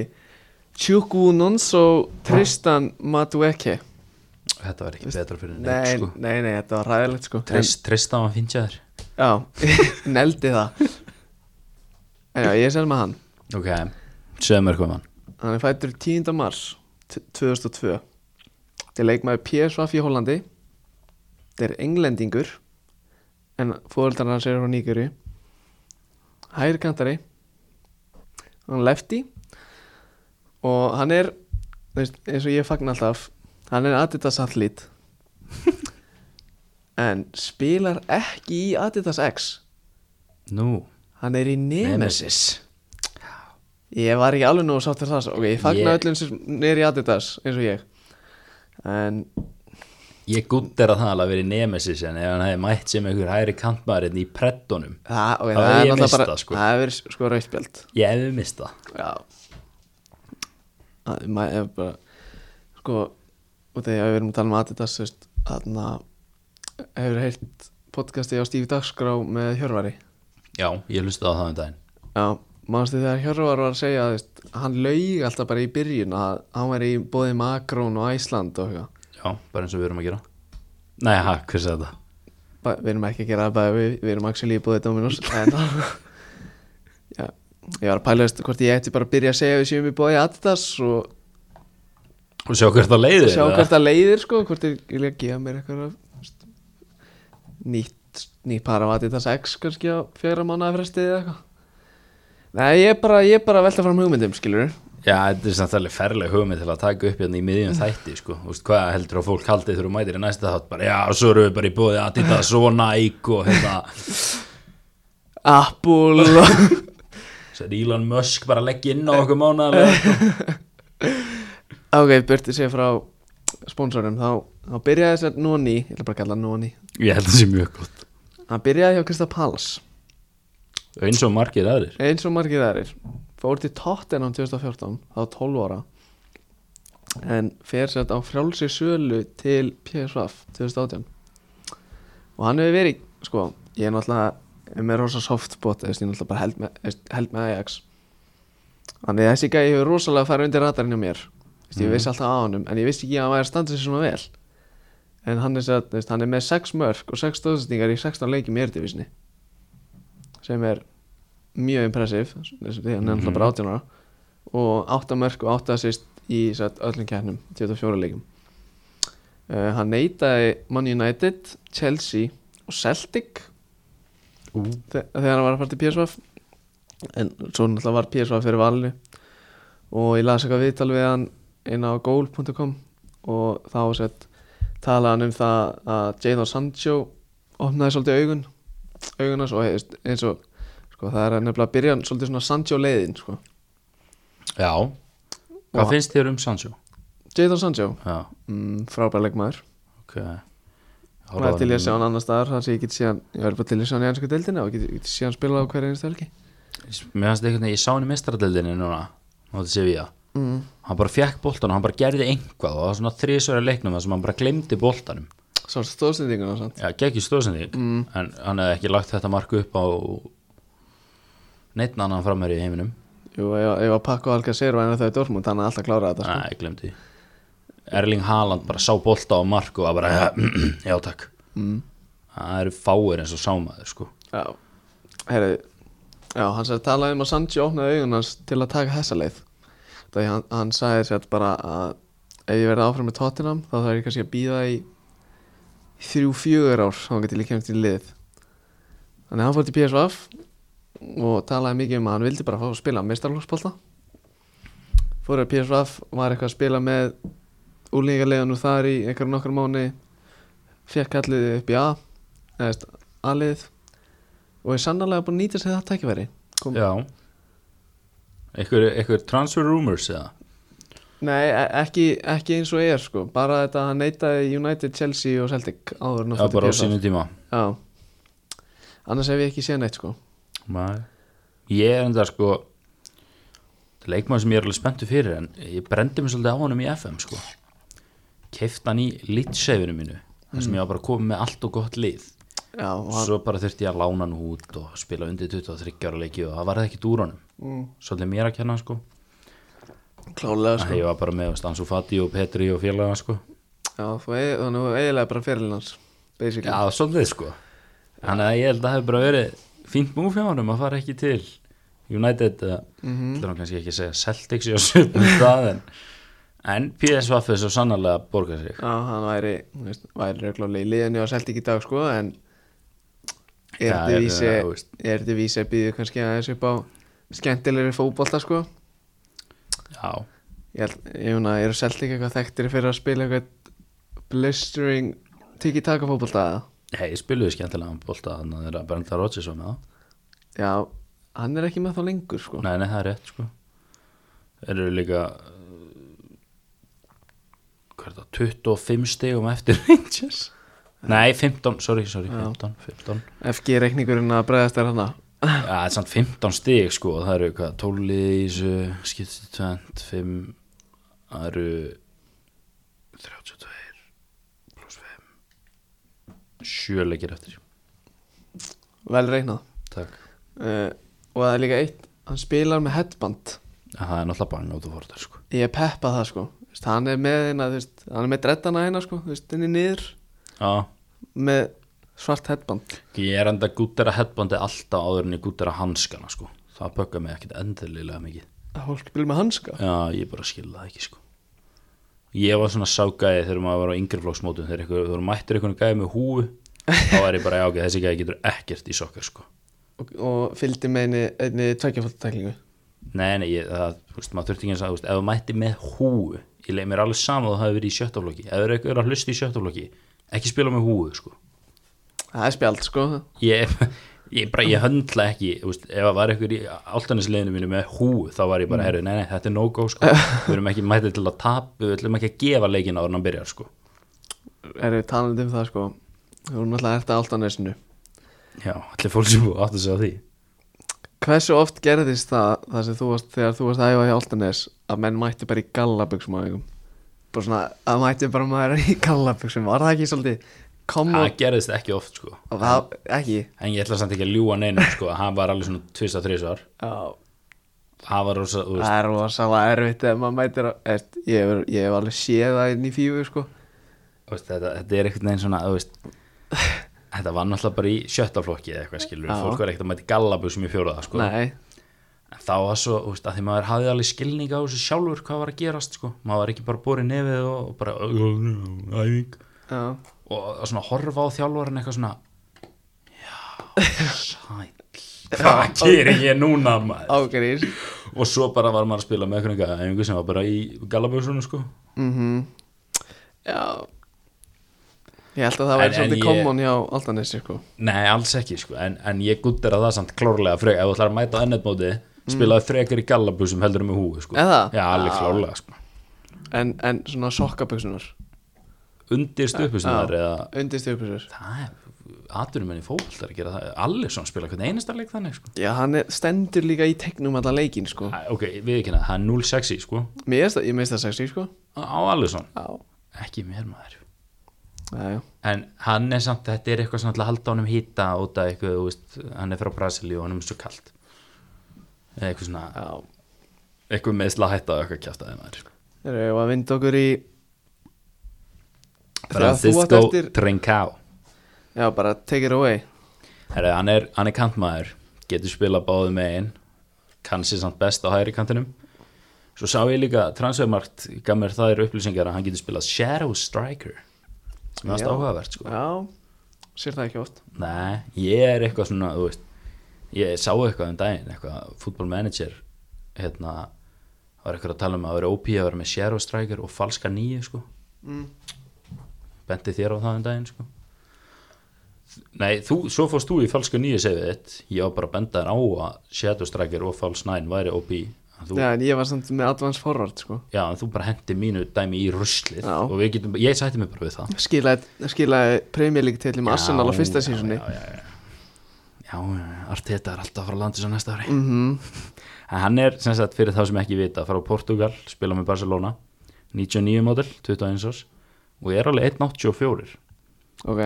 S1: Chukwu Nonso Tristan Madueke
S2: Þetta var ekki betra fyrir neitt
S1: Nei,
S2: sko
S1: nei, nei, þetta var ræðilegt sko En-
S2: Trist, Tristan var fínt hjá þér
S1: Já, [laughs] neldi það En já, ég er sér með hann
S2: Ok, segðu mér um hvað mann
S1: Hann er fættur 10. mars t- 2002 Þetta er leikmaður PSVF í Hollandi Þetta er englendingur En fóreldrar hans eru frá Nígeri Hægri kantari Hann er lefti Og hann er þú veist, eins og ég fagna alltaf Hann er Adidas athlít En spilar ekki í Adidas X
S2: Nú,
S1: Hann er í Nemesis
S2: Nemesis
S1: Ég var ekki alveg nógu sátt fyrir það Ok, ég fagna
S2: Ég-
S1: öllum sem er í Adidas eins og ég En
S2: Ég gúttir að það alveg að vera í Nemesis en ef hann hefði mætt sem einhver hæri kantmaðurinn í prettunum
S1: það, okay,
S2: Það
S1: það,
S2: hef
S1: er
S2: ég
S1: náttúrulega
S2: misst
S1: bara
S2: það, sko.
S1: Það hefur verið sko rauðspjöld
S2: Ég hefði mistað
S1: Já Það ma- ef bara Sko, og þegar við erum að tala um Adidas þú veist, Þannig að Hefur heilt podcasti á Stífi Dagskrá með Hjörvari
S2: Já, ég hlustaði á það um daginn
S1: Já, manstu þegar Hjörvar var að segja þú veist, Hann laug alltaf bara í byrjun að hann var í bóði Makrón og Æsland og eitthvað
S2: Já, bara eins og við erum að gera Nei, ha, hvers er þetta?
S1: Ba- við erum ekki að gera það bara við, við erum actually í búið Dominos en já, ég var að pæla veist, hvort ég ætti bara að byrja að segja að við séum í búið Adidas og
S2: Og sjá hvert það leiðir
S1: sjá
S2: eða?
S1: hvert það leiðir sko, hvort ég vilja að gefa mér eitthvað veist, nýtt nýtt par af Adidas X kannski á fjögra mánuða frestið eða eitthvað Nei, ég er bara, ég er bara að velta fram hugmyndum, skilur
S2: Já, þetta er samt alveg ferleg hugmynd til að taka upp hérna í miðjum þætti, sko Þú veist, hvað heldur að fólk haldið þegar þú mætir í næsta þátt bara, já, svo erum við bara í bóði Adidas og Nike og hérna
S1: Apple og...
S2: Svo er Elon Musk bara að leggja inn á okkur sko. mánaðlega
S1: Ok, burtið sér frá sponsorum, þá, þá byrjaði þess að Noni, ég ætla bara að kalla hann Noni
S2: Ég held það sé mjög gott
S1: Hann byrjaði hjá Krista Palace
S2: Eins og margir aðrir
S1: eins og margir aðrir fór til Tottenham 2014 þá 12 ára en fer sett á frjálsi sölu til PSVF 2018 og hann hefur verið sko, ég er náttúrulega með rosa softbot, ég er náttúrulega bara held með, held með Ajax þannig að þessi gæði hefur rosalega farið undir ratarinn hjá mér Vist, ég vissi alltaf á honum, en ég vissi ekki að hann væri að standa sér svona vel en hann er, satt, veist, hann er með 6 mörg og 6 stóðsendingar í 16 leikjum í erdivísni sem er mjög impressiv því hann er náttúrulega bara 18 ára og 8 mörg og 8 assist í satt, öllum kernum, 24 leikum uh, hann neytaði Man United, Chelsea og Celtic
S2: Ú.
S1: þe þegar hann var að fara til PSV en svo náttúrulega var PSV fyrir valinu og ég las eitthvað viðtal við hann inn á goal.com og þá sett talaði hann um það að Jadon Sancho opnaði svolítið augun augunas og eins- eins og sko, það er að nefnilega að byrja hann svolítið svona Sancho leiðin sko.
S2: Já,
S1: Já.
S2: hvað finnst þér um Sancho?
S1: Jadon Sancho,
S2: Já,
S1: mm, frábærleikmaður
S2: ok Ég
S1: Það er til ég að sjá hann hérna. annar staðar þannig að ég get síðan, ég verður bara til ég að sjá hann í ennsku deildina og get, get síðan spila á hverja einstu helgi
S2: Mér fannst einhvern veginn, ég sá hann í mestradeldinni núna mótið Sevilla
S1: mm.
S2: hann bara fekk boltanum, hann bara gerði einhvað og það var svona þrísverja leiknum þar sem hann bara glemdi boltanum
S1: Svo stóðsendinguna og svona
S2: Já, geggjur stóðsending mm. en hann hefði ekki lagt þetta mark upp á neitt annan framherri í heiminum
S1: Jú, ef ef að pakka og alga sér var ennþá í Dortmund þannig að alltaf klára þetta
S2: Nei, ég glemdi Erling Haaland bara sá bolta á mark og var bara, ja, já [clears throat] takk
S1: Mm.
S2: það eru fáir eins og sámaður sko
S1: Já, herri Já, hann sagði talaði um að Sanji opnaði augun hans til að taka þessa leið Það hann, hann sagði sér bara að ef ég verði áfram með Tottenham þá þarf ég kannski að býða í þrjú, fjögur ár þá geti líka kemst í lið Þannig að hann fór til PSV og talaði mikið um að hann vildi bara fá að spila mestarlóksbolta Fór að PSV var eitthvað að spila með úlíkalegunum þar í einhverjum nokkur mánu fekk allir upp í A eða veist, A-lið og er sannarlega búin að nýta sér það tækifæri Kom.
S2: Já Ekkur, ekkur transfer rumors eða
S1: Nei, e- ekki, ekki eins og er sko bara þetta að hann neitaði United, Chelsea og Celtic áður en hann
S2: Já,
S1: fór til
S2: bara á
S1: PSV.
S2: sínu tíma
S1: Já, annars hef ég ekki séð neitt sko
S2: Nei. Ég er enda sko leikmann sem ég er alveg spenntu fyrir en ég brendi mig svolítið á honum í FM sko kefti hann í litsefinu mínu þar sem ég var bara komið með allt og gott lið
S1: Já, Mm. og hann,
S2: svo bara þurfti ég að lána hann út og spila undir 23 ára leiki og það var ekki úr honum
S1: mm,
S2: svolítið mér að kenna sko
S1: klálega
S2: Æ,
S1: sko
S2: ég var bara með Stansu Fati og Petri og félaga sko
S1: Já, þú eigi, þannig að eiginlega bara fyrirlinn hans basically
S2: Já, svolítið sko Þannig að ég held að það hefur bara verið fínt múf hjá honum að fara ekki til United eða mm -hmm. hann kannski ekki að segja Celtics í á [laughs] söpum stað en, en PSV er svo sannarlega að borga sig
S1: Já, hann væri, þú veist, væri reglulega í liðinu og Celtic í dag sko en er
S2: Já,
S1: þetta
S2: er-
S1: vísi
S2: þú veist.
S1: er þetta vísi að býðu kannski aðeins upp á skemmtilegri fótbolta sko
S2: Já,
S1: Ég held, ég meina, eru Celtic eitthvað þekktir fyrir að spila eitthvað blistering tiki-taka fótbolta eða?
S2: hei, spiluðu skemmtilega bólta þannig að þeirra Brenda Rodgers var með það
S1: Já, hann er ekki með þá lengur, sko.
S2: Nei, nei, það er rétt sko Þeir eru líka uh, hvað er það, 25 stegum eftir [laughs] Rangers Nei, 15, sorry, sorry, 15, 15
S1: FG-reikningurinn að bregðast er hana.
S2: Já, það er samt 15 stig sko það eru hvað, 12 liði í þessu skipti 25 það eru 32 pluss 5 7 leikir eftir
S1: Vel reiknað.
S2: Takk
S1: Uh, og það er líka eitt, hann spilar með headband.
S2: Já, Það er náttúrulega bang át og fórtar sko
S1: Ég peppa það, sko. Þú Veist, hann er með hérna, þú veist, hann er með dreddana hérna, sko, þú veist, henni niður
S2: Já,
S1: með svart headband.
S2: ég er enda gúttera headbandi alltaf áður en ég gúttera hanskana sko það böggar mig ekkit endurlega mikið
S1: Það fólk spilur með hanska.
S2: Já, ég bara skilði það ekki sko Ég var svona ságæði þegar maður var á yngri flokksmótum þegar einhver- þegar maður mættur einhvern gæði með húfu þá var ég bara, já ok, þessi gæði getur ekkert í sokkar sko
S1: Og, og fylgdi með einni, einni tvekkjafaldatæklingu.
S2: Nei, nei, ég, það, þú veist, maður þurfti ekki eins að, þú veist, ef þú mætti með húu, ég leið mér alveg saman að þú hafi verið í sjöttaflokki, ef þú eru eitthvað að hlusta í sjöttaflokki, ekki spila með húu, sko.
S1: Það er spjald, sko.
S2: Ég, [laughs] ég bara, ég höndla ekki, þú veist, ef það var eitthvað í áltanisleginu mínu með húu, þá var ég bara, herru, nei, nei, þetta er no-go, sko, við erum ekki mættið til að tapa, við ætlum ekki að gefa leikin áður en hann byrjar, sko.
S1: Erum við talandi um það, sko. Þú erum alltaf eftir altanesinu.
S2: Já, allir fólk sem búið átt að segja því.
S1: Hversu oft gerðist það, það sem þú varst, þegar þú varst að æfa hjá Altanes að menn mætti bara í gallaböksum á einhverjum bara svona, að mætti bara maður í gallaböksum, var það ekki svolítið koma
S2: Það gerðist ekki oft, sko.
S1: og það, ekki
S2: En ég ætla samt ekki að ljúga neinum, sko, hann var alveg svona tvist að þrísvar.
S1: það
S2: Það var rosa, þú veist,
S1: er rosalega erfitt ef maður mætir á, eftir, ég, hef, ég hef alveg séð það inn í fífu sko
S2: Þú veist, þetta, þetta er einhvern veginn svona þú veist, þetta var náttúrulega bara í sjötta flokki eða eitthvað skilur,
S1: Já.
S2: fólk var ekkert að mæti gallabusum í fjóraða sko.
S1: nei,
S2: en þá var svo, þú veist, að því maður hafði alveg skilning á þessu sjálfur hvað var að gerast sko. maður var ekki bara borið nefið og, og bara æfing
S1: já,
S2: og að svona horfa á þjálfaran eitthvað svona já,
S1: [laughs]
S2: sæll hvað gerir ég núna maður
S1: ágrís
S2: og svo bara var maður að spila með einhvern veginn sem var bara í gallabusunum sko.
S1: mhm já ég held að það
S2: En-
S1: væri
S2: en ég-
S1: svolítið common hjá Altanes sko
S2: Nei, alls ekki sko, en, en ég guttir að það samt klárlega frek, ef þú ætlar að mæta á ennetmóti spilaði frekar í gallabúsum heldur um í húi sko.
S1: Eða?
S2: Já, alveg klárlega sko.
S1: en, en svona sokkaböksunar
S2: Undir stupusnar eða
S1: undir stjöfböksur
S2: það er aðurum enn í fókvöld er að gera það Allison spila hvernig einasta leik þannig sko.
S1: Já, hann er, stendur líka í tegnum allan leikinn sko.
S2: Æ, ok, við ekki hana, það er 0-6 í sko
S1: Mér finnst það- Ég minnst það sexy sko.
S2: á Allison,
S1: Já,
S2: ekki mér maður
S1: já, já.
S2: en hann er samt, þetta er eitthvað svona til að halda honum hýta út af eitthvað, þú veist, hann er frá Brasilíu og hann er svo kalt Eða eitthvað svona,
S1: já.
S2: eitthvað meðsla hætta og eitthvað kjátt aðeins maður
S1: Erum við að vinda okkur í Þegar þú átt
S2: Francisco
S1: eftir-
S2: Trincao
S1: Já, bara take it away
S2: Herra, hann er, hann er kantmaður getur spila báðu megin kannski samt best á hægri kantinum svo sá ég líka transfermarkt gaf mér þær upplýsingar að hann getur spilað Shadow Striker sem er
S1: Já.
S2: alltaf áhugavert sko
S1: Já, sér það ekki oft
S2: Nei, ég er eitthvað svona, þú veist ég sá eitthvað um daginn, eitthvað fútbolmanager, hérna var eitthvað að tala um að vera OP að vera með Shadow Striker og falska nýju sko
S1: mm.
S2: bendi þér á það um daginn sko. Nei, þú, svo fórst þú í falska nýju segið þitt, ég var bara að benda þér á að Shadow Striker og False 9 væri OP En þú,
S1: Já, en ég var samt með advance forward sko.
S2: já, en þú bara hendi mínu dæmi í ruslið
S1: Já.
S2: og við getum, ég sætti mig bara við það
S1: Skilaði, skilaði Premier League til um Arsenal á fyrsta
S2: Já,
S1: sísunni
S2: Já, já, já, já, já Arteta er alltaf að fara að landa svo næsta ári
S1: mm
S2: En Hann er, sem sagt, fyrir þá sem ekki vita, fara á Portugal, spila með Barcelona 99 model, 21 árs og er alveg 1.84
S1: Ok,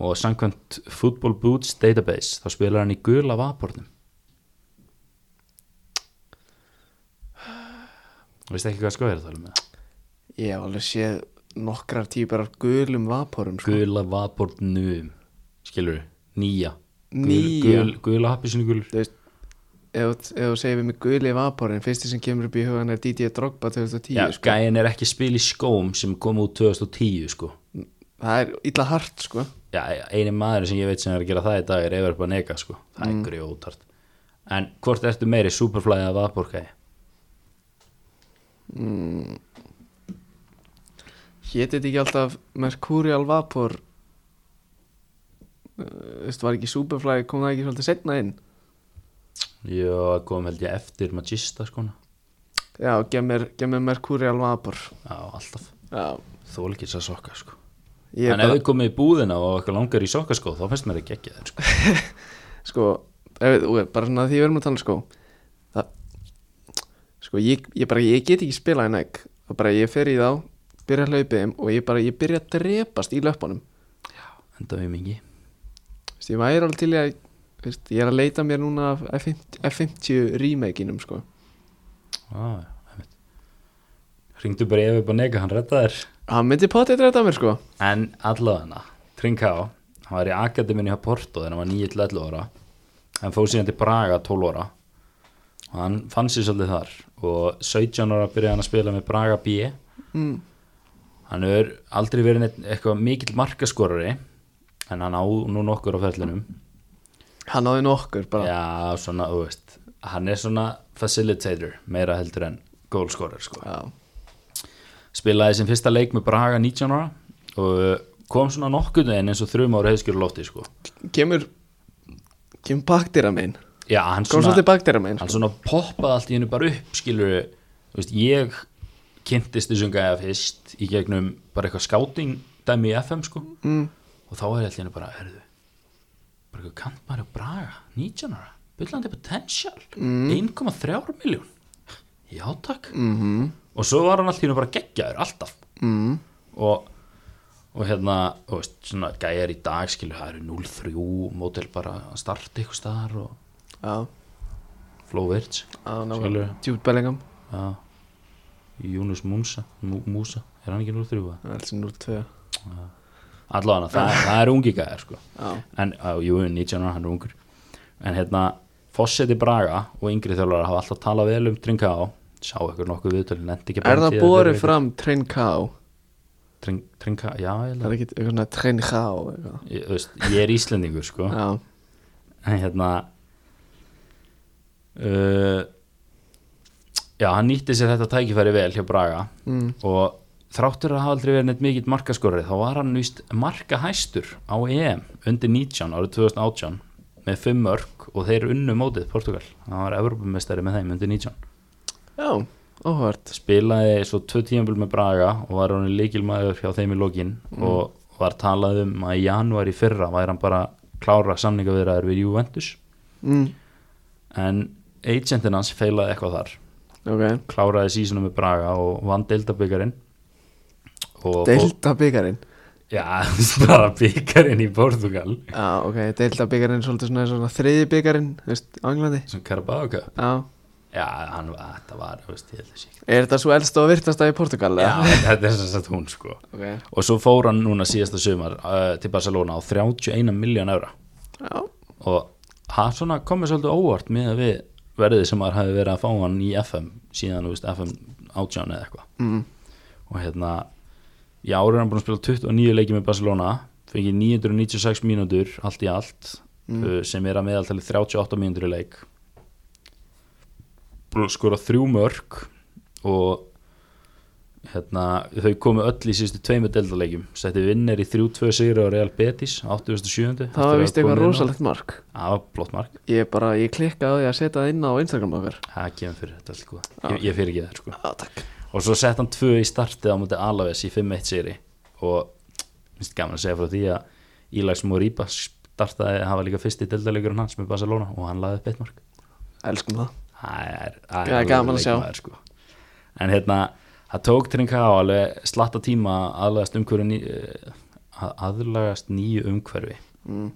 S2: og samkvæmt Football Boots Database þá spilar hann í gula vapornum Veistu ekki hvað sko er að tala með
S1: ég hef alveg séð nokkrar típar af gulum vaporum sko.
S2: Gula vapornum skilur við, nýja Gul-
S1: Nýja
S2: gul, Gula happisinu gulur
S1: Þú veist, ef þú- ef þú segir við mig guli vaporin fyrsti sem kemur upp í hugan er DJ Drogba 2010
S2: Já,
S1: sko.
S2: gæin er ekki að spila í skóm sem kom út 2010 sko
S1: Það er illa hart sko.
S2: Já, eini maður sem ég veit sem er að gera það í dag er Evar Banega sko, það
S1: Mm.
S2: er grjótart En hvort ertu meiri Superfly eða Vaporgæi?
S1: Hétið þetta ekki alltaf Mercurial Vapor Uh, Þú veist, var ekki Superfly kom það ekki svolítið setna inn
S2: Jó, kom held ég eftir Magista sko
S1: Já, gef mér, gef mér Mercurial Vapor
S2: Já, alltaf
S1: Já,
S2: Þól ekki þess að sokka sko
S1: ég
S2: En ef
S1: bara,
S2: þau komið í búðina og okkur langar í sokkaskóð þá finnst mér ekki ekki þeir sko
S1: sko ef, þú veist, bara svona því við erum að tala sko það, sko, ég, ég bara ég get ekki spilað en egg og bara ég fer í þá, byrja að hlaupa þeim og ég bara, ég byrja að drepast í löpunum
S2: Enda við mingi
S1: veist, ég væri alveg til í að þú veist, ég er að leita mér núna af F50, F50 remake-inum sko
S2: ah, Ringdu bara Evar Banega, hann redda þér
S1: hann myndi potið dreita mér sko
S2: En allavegna, Trinká hann var í Akademíunni á Porto þegar hann var 9-11 ára hann fóð síðan til Braga 12 ára og hann fann sér svolítið þar og 17 ára byrjaði hann að spila með Braga B
S1: mm.
S2: hann er aldrei verið neitt, eitthvað mikill markaskorari en hann á nú nokkur á ferlinum
S1: hann áði nokkur bara
S2: já, svona, þú veist hann er svona facilitator meira heldur en goalscorer sko
S1: Já.
S2: spilaði sem fyrsta leik með Braga 19 ára og eh, kom svona nokkur en eins og þrjum ára heiðskjöru lótti sko
S1: kemur kemur baktýra minn
S2: Já, hann
S1: kom
S2: svona,
S1: svolítið baktýra minn
S2: hann svona poppaði allt í hennu bara upp, skilur veist, ég kynntist þessum gæja fyrst í gegnum bara eitthvað skáting dæmi í FM sko
S1: mm.
S2: og þá er allt í hennu bara, herðu bara eitthvað kantmæri og braga, 19 ára byllandi potential, 1,3 miljón, já takk
S1: Mm
S2: og svo var hann allt í hennu bara geggjaður, alltaf
S1: mm.
S2: og, og hérna og veist, svona gæjar í dag skilur það eru 0-3 mótel bara að starta eitthvað staðar og
S1: Já,
S2: flow virts
S1: já,
S2: Skilurðu?
S1: nákvæmlega Jude Bellingham,
S2: Já Júnus Múnsa Mú, Músa, er hann ekki 03?
S1: það er alls 0-2
S2: Allavega, það, það er ungi gæðar sko
S1: Já,
S2: En, á, jú, 19 ára, hann er ungur En hérna, Fosseti Braga og yngri þjólar hafa alltaf talað vel um Trinká Sá eitthvað nokkuð viðtölu, nefndi ekki
S1: er það borið fram Trinká?
S2: Trinká, já,
S1: Það
S2: ég held
S1: er
S2: að
S1: ekki eitthvað svona Trinká eitthvað.
S2: Ég, þú veist, ég er Íslendingur sko
S1: Já,
S2: en hérna uh, já, hann nýtti sér þetta tækifæri vel hjá Braga
S1: Mm.
S2: og þráttur að hafa aldrei verið neitt mikill markaskorrið þá var hann víst markahæstur á EM undir 19 árið 2018 með 5 mörg og þeir unnu mótið Portugal, hann var Evropamestari með þeim undir 19
S1: já, óhvert
S2: spilaði svo tvö tímabil með Braga og var hann líkilmaður hjá þeim í lokin og var talað um að í janúar í fyrra væri hann bara klára samningaviðraður við Juventus
S1: mm.
S2: en agentin hans feilaði eitthvað þar
S1: ok,
S2: kláraði sísunum með Braga og vann deildabyggarinn og, og
S1: delta byggarinn
S2: já, [laughs] bara byggarinn í Portugal
S1: já, ok, delta byggarinn er svolítið svona, svona þriði byggarinn, þú veist, á Englandi
S2: sem Carabao Cup
S1: já,
S2: já, hann var, þetta var, þú veist, ég held þessi ekki
S1: er þetta svo elsta og virtasta í Portugal
S2: já,
S1: eða?
S2: þetta er sem sagt hún sko
S1: ok,
S2: og svo fór hann núna síðasta sumar uh, til Barcelona á 31 miljón eura
S1: já,
S2: og hann svona komið svolítið óvart með að við verðið sem maður hafi verið að fá hann í FM síðan, þú veist, FM átján eða eitthvað
S1: mm.
S2: og hérna í ári er hann búin að spila 29 leiki með Barcelona fengið 996 mínútur allt í allt
S1: Mm.
S2: uh, sem er að meðaltali 38 mínútur í leik búin að skora þrjú mörg og hérna, þau komu öll í síðustu tveimur deildaleikjum sætti vinnir í 3-2 sigra á Real Betis 87.
S1: það var vist eitthvað rosalegt mark
S2: Það var blótt mark,
S1: ég bara, ég klikkaði á því að setja það inn á Instagram okkar
S2: það kemur fyrir þetta allt góð ég, ég fyrir ekki það sko
S1: já, takk
S2: og svo sett hann tvö í startið á mútið Alaves í 5-1 seri og minnst gaman að segja frá því að Ílags Moríba startaði hann var líka fyrsti deildalegurinn hans með Barcelona og hann laði upp eitt mark
S1: elskum það
S2: það er,
S1: Það er gaman að sjá.
S2: leikmaður, sko. en hérna, það tók Trinka á alveg slatta tíma að aðlagast umhverfi ný, eh, að aðlagast nýju umhverfi
S1: mm.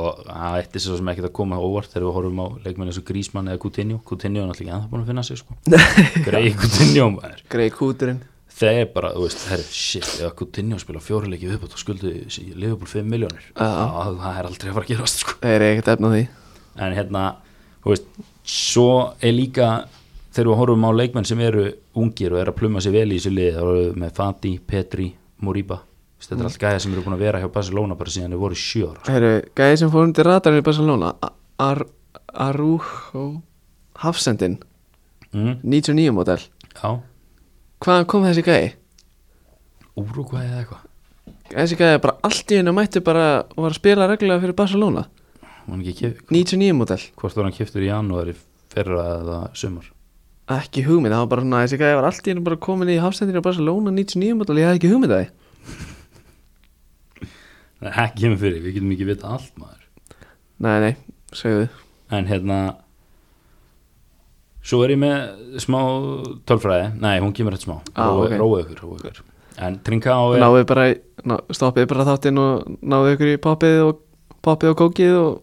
S2: og það ætti svo sem ekki að koma á óvart þegar við horfum á leikmenni eins og Grísmann eða Coutinho Coutinho er náttúrulega ekki ennþá búin að finna
S1: [laughs]
S2: sig sko. greið Coutinho maður
S1: greið kúturinn
S2: þeir bara, þú veist, herri, shit ef Coutinho spila fjóruleiki viðbútt og skuldu Liverpool 5 miljónir
S1: Já.
S2: það er aldrei að fara að gerast sko.
S1: þeir eru ekkert efna því
S2: en hérna, þú veist, svo er líka þegar við horfum á leikmenn sem eru ungir og eru að pluma sér vel í þessu liði þá eru við með Fati, Petri, Moriba Þú veist, þetta er allt gæði sem eru búin að vera hjá Barcelona bara síðan þau voru sjö ára sko.
S1: þeir eru gæði sem fór undir radarinn í Barcelona A- Ar Arujo Hafsendin
S2: mm,
S1: 99 model
S2: já,
S1: hvaðan kom þessi gæði?
S2: Úrugvæði eða eitthvað
S1: þessi gæði bara allt í hennu mætti bara og var að spila reglulega fyrir Barcelona
S2: Hún er ekki kef-
S1: 99 model
S2: hvort var hann kiftur í janúari fyrra eða sumar
S1: ekki hugmynd, það var bara svona þessi gæði var allt í hennu bara komin í Hafsendin í Barcelona 99 model, ég hafði ekki hugmynd að því
S2: það er ekki hefum fyrir, við getum ekki vita allt maður
S1: nei, nei, segðu
S2: en hérna svo er ég með smá tölfræði, nei hún kemur rétt smá
S1: Ah,
S2: Rói-
S1: ok.
S2: róið ykkur, róið ykkur en Trinká er,
S1: náðu bara, í- ná, stoppið bara þáttinn og náðu ykkur í poppið og poppið og kókið og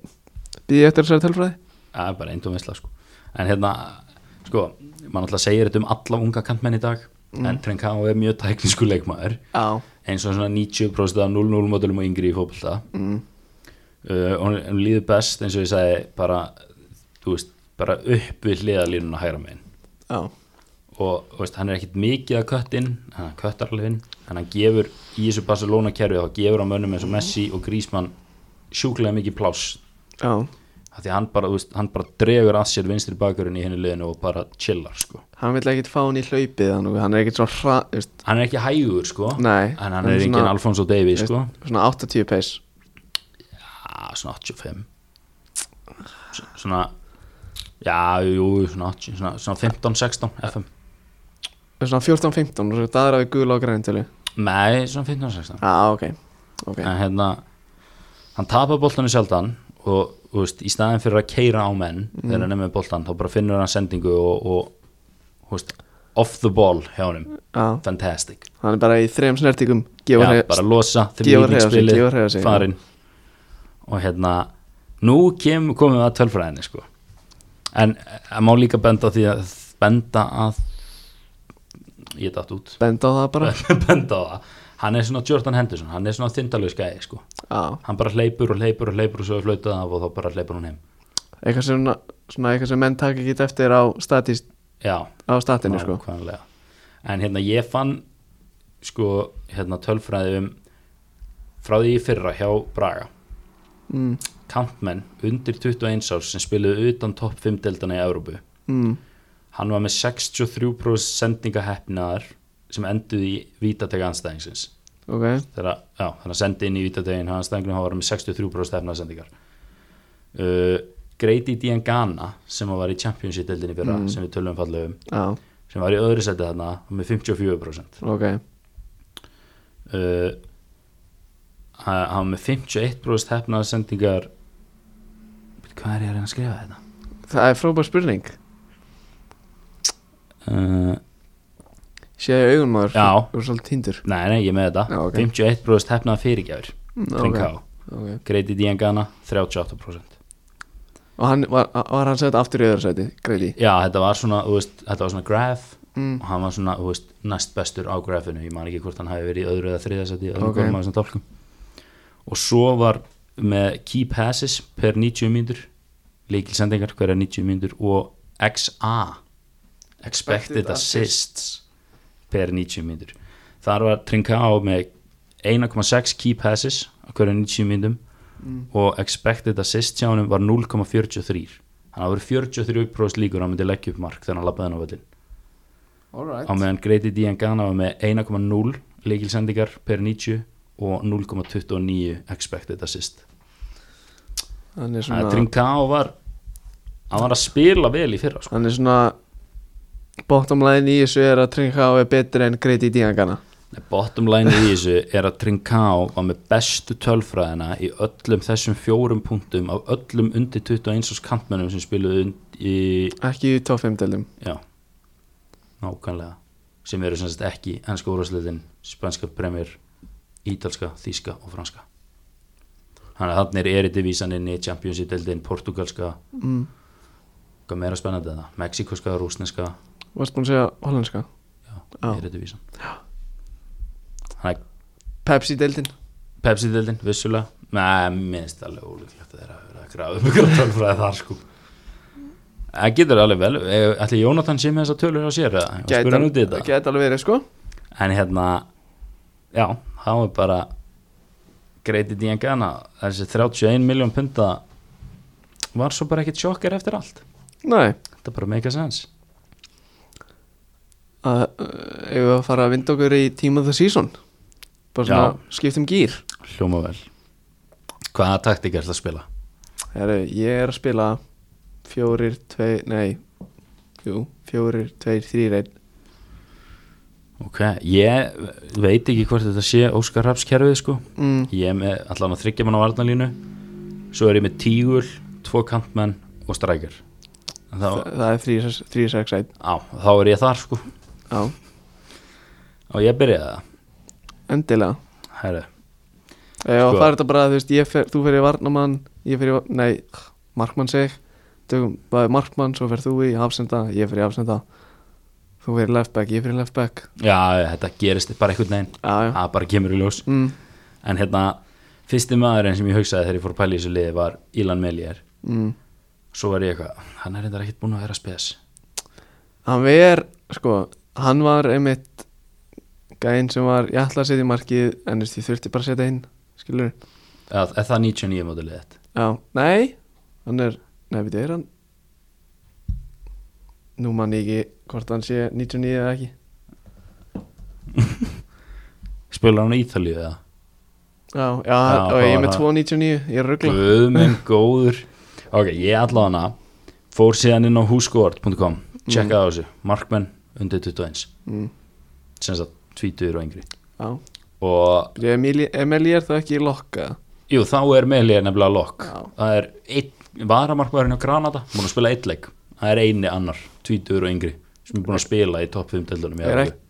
S1: býði eftir þessari tölfræði
S2: að, bara einn tómisla sko. en hérna, sko mann alltaf segir þetta um alla unga kantmenn í dag en Trinká er mjög tæknisku leikmaður
S1: já,
S2: eins og svona 90% af 0-0 módulum og yngri í fótbolta
S1: mm.
S2: uh, og hún- hún líður best eins og ég sagði bara, þú veist, bara upp við hliðalínuna hægra megin
S1: já.
S2: og þú veist, hann er ekkit mikið að köttin hann köttar alveg inn en hann gefur í þessu Barcelona kerfi þá gefur hann mönnum eins og Messi og Griezmann sjúklega mikið pláss
S1: Já,
S2: af því að hann bara, þú veist, hann bara dregur að sér vinstri bakurinn í henni liðinu og bara chillar sko.
S1: hann vil ekkert fá hann í hlaupið hann, hann er ekkert svo hra, þú veist,
S2: hann er ekki hægur sko,
S1: Nei,
S2: en hann
S1: hann er
S2: er
S1: svona-
S2: engin Alfonso Davies sko.
S1: svona 80 peis
S2: já, svona 85 S- svona já, jú, svona 80 svona, svona 15-16 FM
S1: svona 14-15 og svo það er að við gula á grænintölu
S2: nei, svona
S1: Já,
S2: 15-16
S1: ah, ok, ok
S2: en hérna hann tapar boltanum sjaldan og þú veist, í staðin fyrir að keira á menn þegar hann er með boltan þá bara finnur hann sendingu og, og þú veist, off the ball hjá honum
S1: Já,
S2: fantastic
S1: hann er bara í þrejum snertingum
S2: Já,
S1: gefur
S2: bara losa,
S1: Gefa hreyfa sig,
S2: þrívíkingspilið,
S1: gefa hreyfa sig, já.
S2: farin og hérna nú kem, komum við að tölfræðinni sko. en að má líka benda á því að benda að ég datt út [laughs]
S1: benda á það bara
S2: benda á það hann er svona Jordan Henderson, hann er svona þyndalög skæði sko.
S1: Já,
S2: hann bara hleypur og hleypur og hleypur og svo er flautað af og þá bara hleypur hún heim
S1: eitthvað sem, svona, eitthvað sem menn taka ekki eftir á, statist,
S2: já,
S1: á statinu sko
S2: nákvæmlega en hérna ég fann sko hérna tölfræði um frá því í fyrra hjá Braga
S1: mm,
S2: kantmenn undir 21 árs sem spiluðu utan topp 5 deildana í Európu
S1: mm,
S2: hann var með 63% sendingaheppnaðar sem enduði í vítatega anstæðingsins
S1: Ok,
S2: þegar að, já, þannig að sendi inn í vítategin hann stenginu hann var með 63% efnaðsendingar uh, Grady Diangana sem var í Championship deildinni fyrra
S1: Mm.
S2: sem við tölum um, fallegum
S1: já,
S2: sem var í öðru seti þarna með 54%
S1: ok
S2: uh, hann hann var með 51% hefnaða sendingar hvað er ég að reyna að skrifa þetta?
S1: Það er frábær spurning
S2: Uh,
S1: Sér ég augun maður
S2: Já.
S1: Þú er svolítið tindur
S2: nei, nei, ég er með þetta
S1: Já, ok.
S2: 51% hefnaða fyrirgjafir Trinká,
S1: okay. Okay.
S2: Greiti Díangana 38%
S1: Og hann var, var hann sett aftur í öðra sæti Greili
S2: Já, þetta var svona, þú veist, þetta var svona graf
S1: mm.
S2: og hann var svona, þú veist, næst bestur á grafinu ég man ekki hvort hann hafi verið í öðru eða þriðasæti
S1: Ok.
S2: okay. og, og svo var með key passes per 90 mínútur leikilsendingar hverja 90 mínútur og XA expected
S1: Expected
S2: assists per 90 mínútur þar var Trinká með 1,6 key passes á hverja 90 mínútum
S1: Mm.
S2: og expected assist hjá hann var 0,43 hann hafði verið 43% líkur að hann myndi leggja upp mark þegar hann labbaði hann á völlin á
S1: Alright
S2: meðan Grady Diangana var með 1,0 leikilsendingar per 90 og 0,29 expected assist
S1: Hann er
S2: þannig að
S1: svona
S2: Trincao var hann var að spila vel í fyrra sko.
S1: Hann er svona Bottom line í þessu er að Trinká er betur en Greili Díangana
S2: Nei, bottom line í þessu er að Trincao var með bestu tölfræðina í öllum þessum fjórum punktum af öllum undir 21 árs kantmennum sem spiluðu und- í
S1: Ekki í top 5 delum
S2: já, nákvæmlega sem eru sem sagt ekki ennska úrvarsleitin spænska premjör, ítalska þíska og franska þannig að þannig er eritivísaninni championship-deldin, portugalska
S1: mm.
S2: hvað meira spennandi en það, mexikoska, rúsneska
S1: Varst búin að segja hollenska
S2: já,
S1: Já.
S2: eritivísan þannig að
S1: Pepsi deltin
S2: Pepsi-deldin, vissulega Nei, minnst alveg ólíklegt að þeirra hafa verið að grafa um ykkur tölfræði þar sko Það getur alveg vel eh, Ætli Jónatan sé með þessa tölur á sér eða? Ég var að spyrja hann út í þetta.
S1: Gæt alveg verið sko
S2: en hérna já, það var bara greitið í en gana þessi 31 miljón punta var svo bara ekkit sjokkar eftir allt
S1: Nei
S2: þetta bara make a sense
S1: að uh, ef við að fara að vinda okkur í Team of the Season bara svona skiptum gýr
S2: hljóma vel hvaða taktik er það að spila?
S1: Heru, ég er að spila fjórir, tveir, nei jú, fjórir, tveir, þrýr, einn
S2: ok, ég veit ekki hvort þetta sé Óskar Raps kerfið sko
S1: mm,
S2: ég er með allan að þryggja mann á varnalínu svo er ég með tígul, tvo kantmenn og strækjar þá,
S1: það, það er þrýr, sex- þrýr, sex, einn
S2: á, þá er ég þar sko
S1: já,
S2: og ég byrjaði það
S1: endilega
S2: Heru.
S1: Já,
S2: Sko.
S1: það er þetta bara, þú veist, ég fer, þú fer í varnamann ég fer í, var- nei, markmann seg tökum bara markmann, svo fer þú í hafsenda, ég fer í hafsenda þú fer í left back, ég fer í left back
S2: já, þetta gerist bara einhvern veginn
S1: já, já,
S2: það bara kemur í ljós
S1: mm,
S2: en hérna, fyrsti maðurinn sem ég hugsaði þegar ég fór að pæla í þessu liði var Ilan Melier
S1: mm.
S2: svo var ég eitthvað, hann er reyndar ekkert búin að vera spes
S1: Hann ver, sko, hann var einmitt gæinn sem var, ég ætla að setja í markið en þú veist, ég þurfti bara að setja inn, skilur
S2: eða eða það 99 mótilið þetta
S1: Já, nei, hann er, nei, við er hann Nú mann ég ekki hvort hann sé 99 eða ekki
S2: spilar hann á Ítalíu eða?
S1: Já, já,
S2: Já,
S1: og ég
S2: það
S1: er
S2: var
S1: með
S2: það.
S1: 299, ég er ruggla
S2: Guð minn góður ok, ég allavega hana fór síðan inn á húsgóðart.com checkaði á þessu, markmenn undir 21
S1: mm,
S2: sem sagt, tvítur og yngri
S1: Já,
S2: og
S1: Byrja, Emil- Emil ég er það ekki í lokka
S2: jú, þá er Melier nefnilega lokk
S1: Já.
S2: það er einn varamarkmaðurinn á Granada búin að spila eitt leik, það er eini annar tvítur og yngri sem er búin að spila í topp 5 deildunum í
S1: Er
S2: Evrópu.
S1: ekki-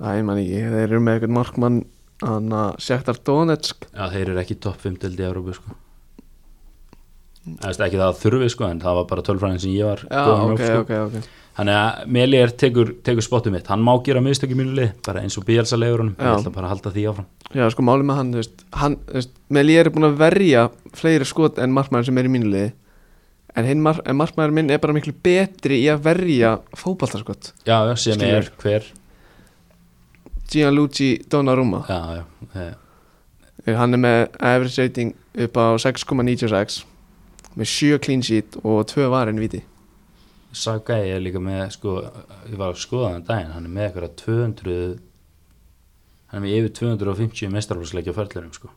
S1: Æ, ég man ekki, þeir eru með eitthvað markmann hann að Sjæktar Donetsk
S2: Já, þeir eru ekki topp 5 delt í Európu sko. Það veist ekki það að þurfi sko, en það var bara tölfræðin sem ég var
S1: Mm. Já,
S2: góður
S1: ok,
S2: með, sko.
S1: ok, ok
S2: Þannig að Meli er tekur, tekur spottið mitt Hann má gera mistökið mínu lið, bara eins og Bielsa leiður honum
S1: Já.
S2: Ég ætla bara að halda því áfram
S1: Já, sko málið með hann, þú veist, hann, þú veist Meli er búin að verja fleiri skot en markmaður sem er í mínu liði en, hinn mar en markmaður minn er bara miklu betri í að verja fótballtarskot
S2: Já, já, sem
S1: Skilur.
S2: er hver
S1: Gianluigi Donnarumma
S2: Já, já, eh,
S1: hann er með average rating upp á 6,96 með 7 clean sheet og 2 varin viti
S2: Saga er líka með sko, Ég var að skoða þann daginn Hann er með eitthvað 200 Hann er með yfir 250 mestarflóksleikja ferðlurum sko.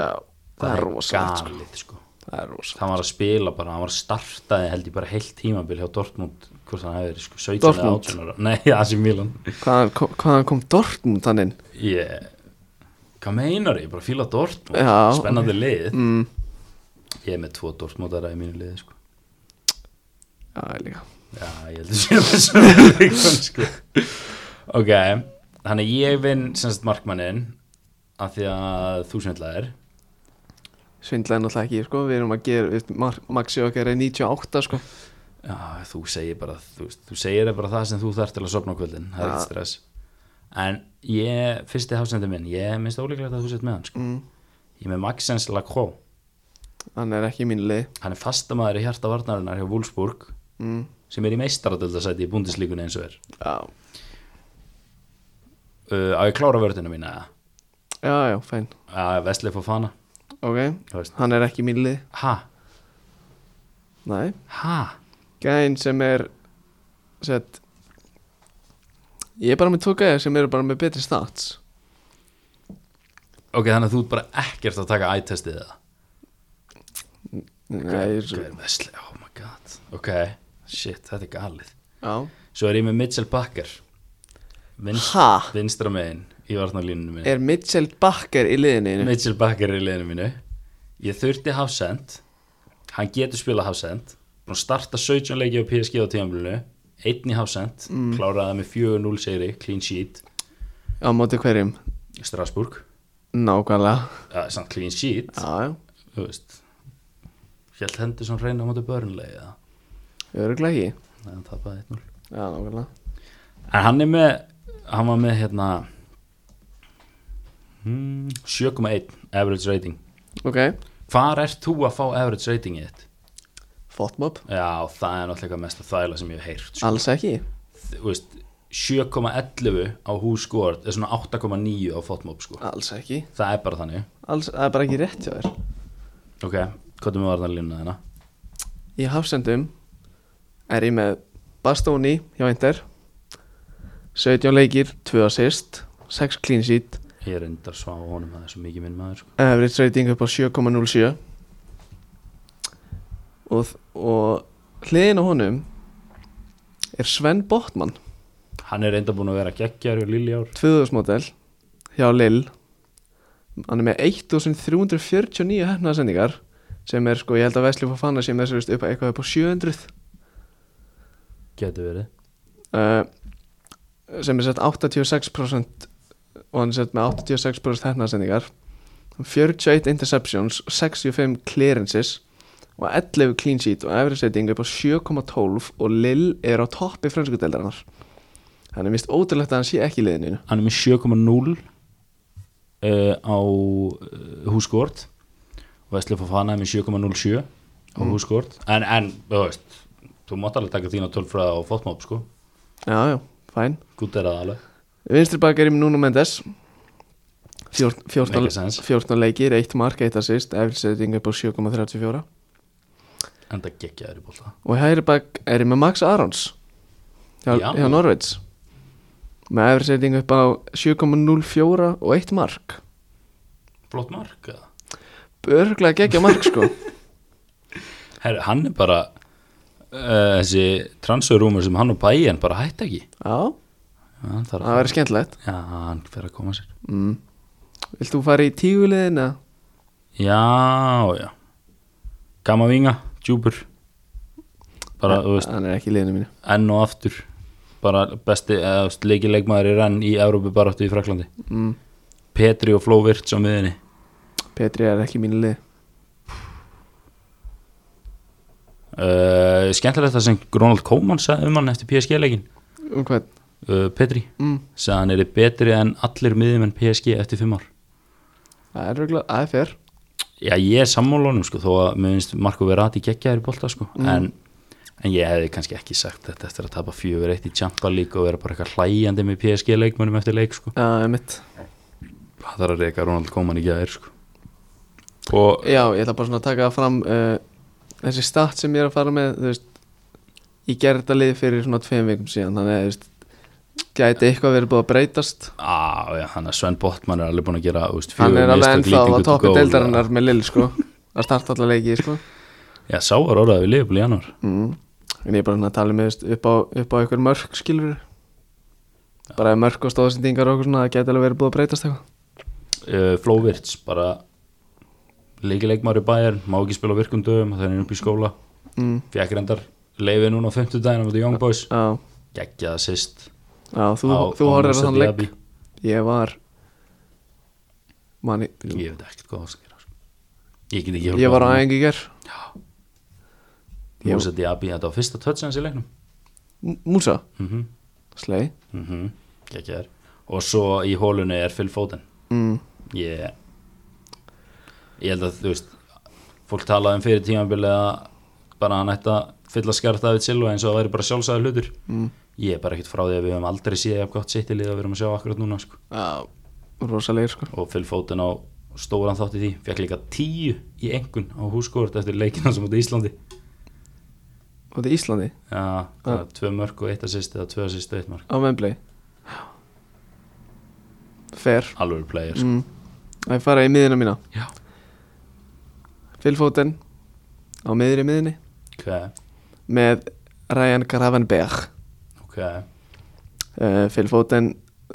S1: Já, það er rosalegt sko.
S2: galið, sko.
S1: það er rosalegt
S2: hann var að spila bara, hann var að startaði held ég bara heilt tímabil hjá Dortmund hvort hann hefði verið sko
S1: Dortmund?
S2: 17 [laughs] eða 18 ára nei, AC Milan
S1: hvaðan, kom- hvaðan kom Dortmund hann inn?
S2: ég, hvað meinar ég, bara fíla Dortmund
S1: Já.
S2: spennandi lið,
S1: mm,
S2: ég er með tvo Dortmundara í mínu liði sko.
S1: já, ég líka
S2: já, ég heldur sér með svona leikmann sko. ok, þannig að ég vinn sem sagt markmannin af því að þú svindlaðir
S1: svindla er náttúrulega ekki, sko, við erum að gera við, mar, maxi okkar er 98, sko
S2: já, þú segir bara þú, veist, þú segir bara það sem þú þarf til að sopna á kvöldin það er
S1: Já.
S2: ekkert stress en ég, fyrsti hásendur minn, ég minnst ólíklegt að þú sett með hann sko.
S1: mm,
S2: ég er með Maxens Lacroix
S1: hann er ekki í mínu lið
S2: hann er fastamæður í hjarta varnarinnar hjá Wolfsburg
S1: mm,
S2: sem er í meistaradöldasæti í búndislíkunni eins og er
S1: já,
S2: uh, á ég að klára vörðina mína
S1: já, já, fæn
S2: að Vesli Fofana
S1: ok,
S2: þú veist.
S1: hann er ekki í mínu lið
S2: ha,
S1: nei,
S2: ha,
S1: gæinn sem er sett ég er bara með tvo gæjar sem eru bara með betri stats
S2: ok þannig að þú ert bara ekkert að taka ættestið það
S1: nei,
S2: Hver
S1: svo,
S2: er Vesli, oh my god ok, shit, þetta er galið
S1: já
S2: svo er ég með Mitchell Bakker Vinst,
S1: Ha?
S2: vinstra megin í varnarlínunum minni
S1: er Mitchell Bakker í liðinu einu?
S2: Mitchell Bakker er í liðinu mínu ég þurfti hafsend hann getur spilað hafsend hann starta 17 leiki á PSG á tíðanbílunu einn í hafsend, kláraði það með 4-0 segri, clean sheet
S1: á móti hverjum
S2: Strasbourg,
S1: nákvæmlega
S2: uh, samt clean sheet
S1: já, já,
S2: þú veist Hjælt hendur sem reyna á móti börnlegi en
S1: öruglega ekki
S2: hann tapaði 1-0
S1: já, nákvæmlega
S2: en hann er með hann var með hérna hmm, 7,1 average rating
S1: ok,
S2: hvar ert þú að fá average ratingið þitt?
S1: fotmob,
S2: Já, það er náttúrulega mest að þæla sem ég hef heyrt sko.
S1: alls ekki
S2: Þú veist, 7,11 á húskort er svona 8,9 á fotmob sko.
S1: alls ekki,
S2: það er bara þannig
S1: alls, það er bara ekki rétt hjá þér
S2: ok, hvað er með varnarlínuna þarna?
S1: í hafsendum er ég með Bastóni hjá Inder 17 leikir, 2 assist 6 clean sheet
S2: ég er endar svá honum að það er svo mikið minn maður sko.
S1: average rating upp á 7,07 og, og hliðin á honum er Sven Botman
S2: hann er endar búin að vera geggjar og liljár
S1: 2000 model hjá Lill hann er með 1349 hefnaðsendingar sem er sko, ég held að Vesli fór fanna sem er sérst upp að eitthvað upp á 700
S2: getur verið
S1: uh, sem er sett 86% og hann er sett með 86% hefnaðsendingar 41 interceptions 65 clearances og 11 clean sheet og average setting upp á 7,12 og Lill er á toppi franskudeldarinnar hann er vist ótrúlegt að hann sé ekki í liðinu
S2: hann er með 7,0 uh, eh, á uh, húskort og Vesli Fofana er með 7,07 á húskort en, en, þú veist, þú mátt alveg taka þína tölfræða á fotmob sko,
S1: já, já, fæn
S2: gútt er það alveg
S1: Vinstri bak er ég með Nuno Mendes Fjór- 14,
S2: Make sense.
S1: 14 leikir, 1 mark, 1 assist Eflisetting upp á 7,34
S2: en það geggja þér í bólta
S1: Og hægri bak er ég með Max Arons Hjá,
S2: Já.
S1: hjá Norveits Með eflisetting upp á 7,04 og 1 mark
S2: flott mark eða?
S1: Örgulega geggja mark
S2: [laughs]
S1: sko
S2: Herri, hann er bara uh, þessi transferrúmur sem hann og bæinn bara hætti ekki
S1: Já,
S2: Já, hann þarf
S1: það
S2: að,
S1: verður skemmtilegt
S2: já, hann fer að koma sér
S1: mm. Vilt þú fara í tíguliðina?
S2: já, já gama vinga, djúpur bara, þú veist,
S1: Hann er ekki í liðinu mínu
S2: enn og aftur bara besti, eh, eða leikilegmaður í renn í Európu bara áttu í Fraklandi
S1: mm.
S2: Petri og Fló Virts á miðinni
S1: Petri er ekki í mínu lið
S2: uh, skemmtilegt það sem Ronald Koeman sagði um hann eftir PSG-leikin
S1: Um hvað?
S2: uh, Petri,
S1: Mm.
S2: sagði hann er betri en allir miðjumenn PSG eftir fimm ár
S1: Það er örgulega, það er fyrr
S2: Já, ég er sammálunum sko, þó að mér finnst Marko Verratti geggjaður í bolta sko, en, en ég hefði kannski ekki sagt þetta eftir að tapa fjögur eitt í Champa League og vera bara eitthvað hlæjandi með PSG-leikmönnum eftir leik sko.
S1: Já, emitt
S2: Það þarf að reyka Ronald Koeman í gæðir sko. Og,
S1: Já, ég ætla bara svona að taka það fram uh, þessi stat sem ég er að fara með þú veist, ég gerði þetta lið fyrir svona tveim vikum síðan þannig að þú veist, gæti eitthvað verið búið að breytast
S2: á, já, hann að Sven Botman er alveg búin að gera úst,
S1: hann er alveg ennþá á
S2: lýtingu til
S1: toppi
S2: góla.
S1: deildarinnar með Lill sko, að starta alla leiki sko.
S2: Já, sá var orðað við Liverpool í januar.
S1: mm. en ég er bara svona að tala með þú veist, upp á, upp á einhver mörk skilur bara ef mörk og stóðsendingar og okkur svona, það gæti alveg verið búið að breytast eitthvað
S2: uh, Flo Virts bara leikileikmaður í bæjar má ekki spila á virkum dögum, það er upp í skóla
S1: mm,
S2: fekk reyndar leiði núna á 50 daginn á móti Young Boys,
S1: á,
S2: geggjað assist
S1: á, þú,
S2: á,
S1: þú
S2: á
S1: horfður að
S2: Musa
S1: þann legg
S2: Diaby.
S1: ég var manni,
S2: ég veit ekkert hvað það skal gera sko. ég get ekki
S1: ég var á æfingu í ger Ég-
S2: Musa Diaby, þetta var fyrsta touch hans í leiknum
S1: Músa,
S2: mhm mm
S1: slei
S2: mhm, geggjaður og svo í hólunni er Phil Foden
S1: mm,
S2: ég ég held að þú veist fólk talaði um fyrir tímabilið að bara hann ætti að fylla skarta við Silva eins og það væri bara sjálfsæði hlutur
S1: mm,
S2: ég er bara ekkert frá því að við höfum aldrei séð jafn gott sitt í liða við erum að sjá akkurat núna sko.
S1: á, rosalegir sko
S2: og Phil Foden á stóran þátt í því fekk líka tíu í engun á húskort eftir leikina sem út í Íslandi
S1: og þetta er Íslandi,
S2: ja, ja. tvö mörg og eitt assist eða tvö assist og eitt mörg
S1: á Wembley fer
S2: alveg player sko.
S1: mm, að fara í miðina mína
S2: Já.
S1: Fylfóten á miðri miðinni
S2: ok,
S1: með Ryan Gravenberg
S2: ok
S1: uh, Phil Foden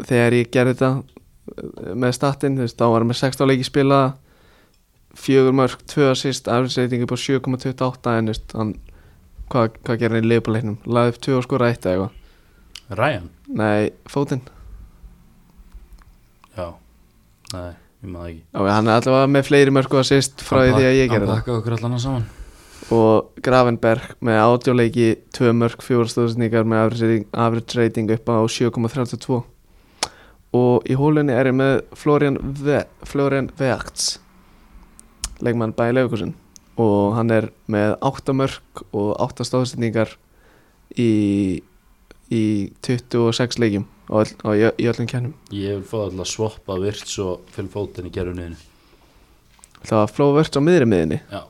S1: þegar ég gerði þetta eh, með statinn, þú veist, þá var hann með 16 leiki spila fjögur mörg, tvö assist afsreitingi på 7,28 en þú veist, hann hvað, hvað gerir hann í leifuleiknum, laði upp tvö og skora eitt eða eitthvað,
S2: Ryan,
S1: nei, Foden
S2: já nei, ég maður ekki
S1: ok, hann er allavega með fleiri mörg og assist frá því að ég gerði
S2: það
S1: þetta
S2: hann pakkaði okkur allan að saman
S1: og Gravenberg með átjóleiki tvö mörg, fjórarstóðsningar með average rating- average rating upp á 7,32 og í hólunni er ég með Florian, Ve Florian Verts leikmann bæði leikusin og hann er með 8 mörg og 8 stóðsningar í, í 26 leikjum og, öll, og í, í öllum kennum
S2: Ég vil fá alltaf að swappa virts og fyll fótinn í gerðunniðinu
S1: það var Fló Verts á miðri miðinni
S2: Já,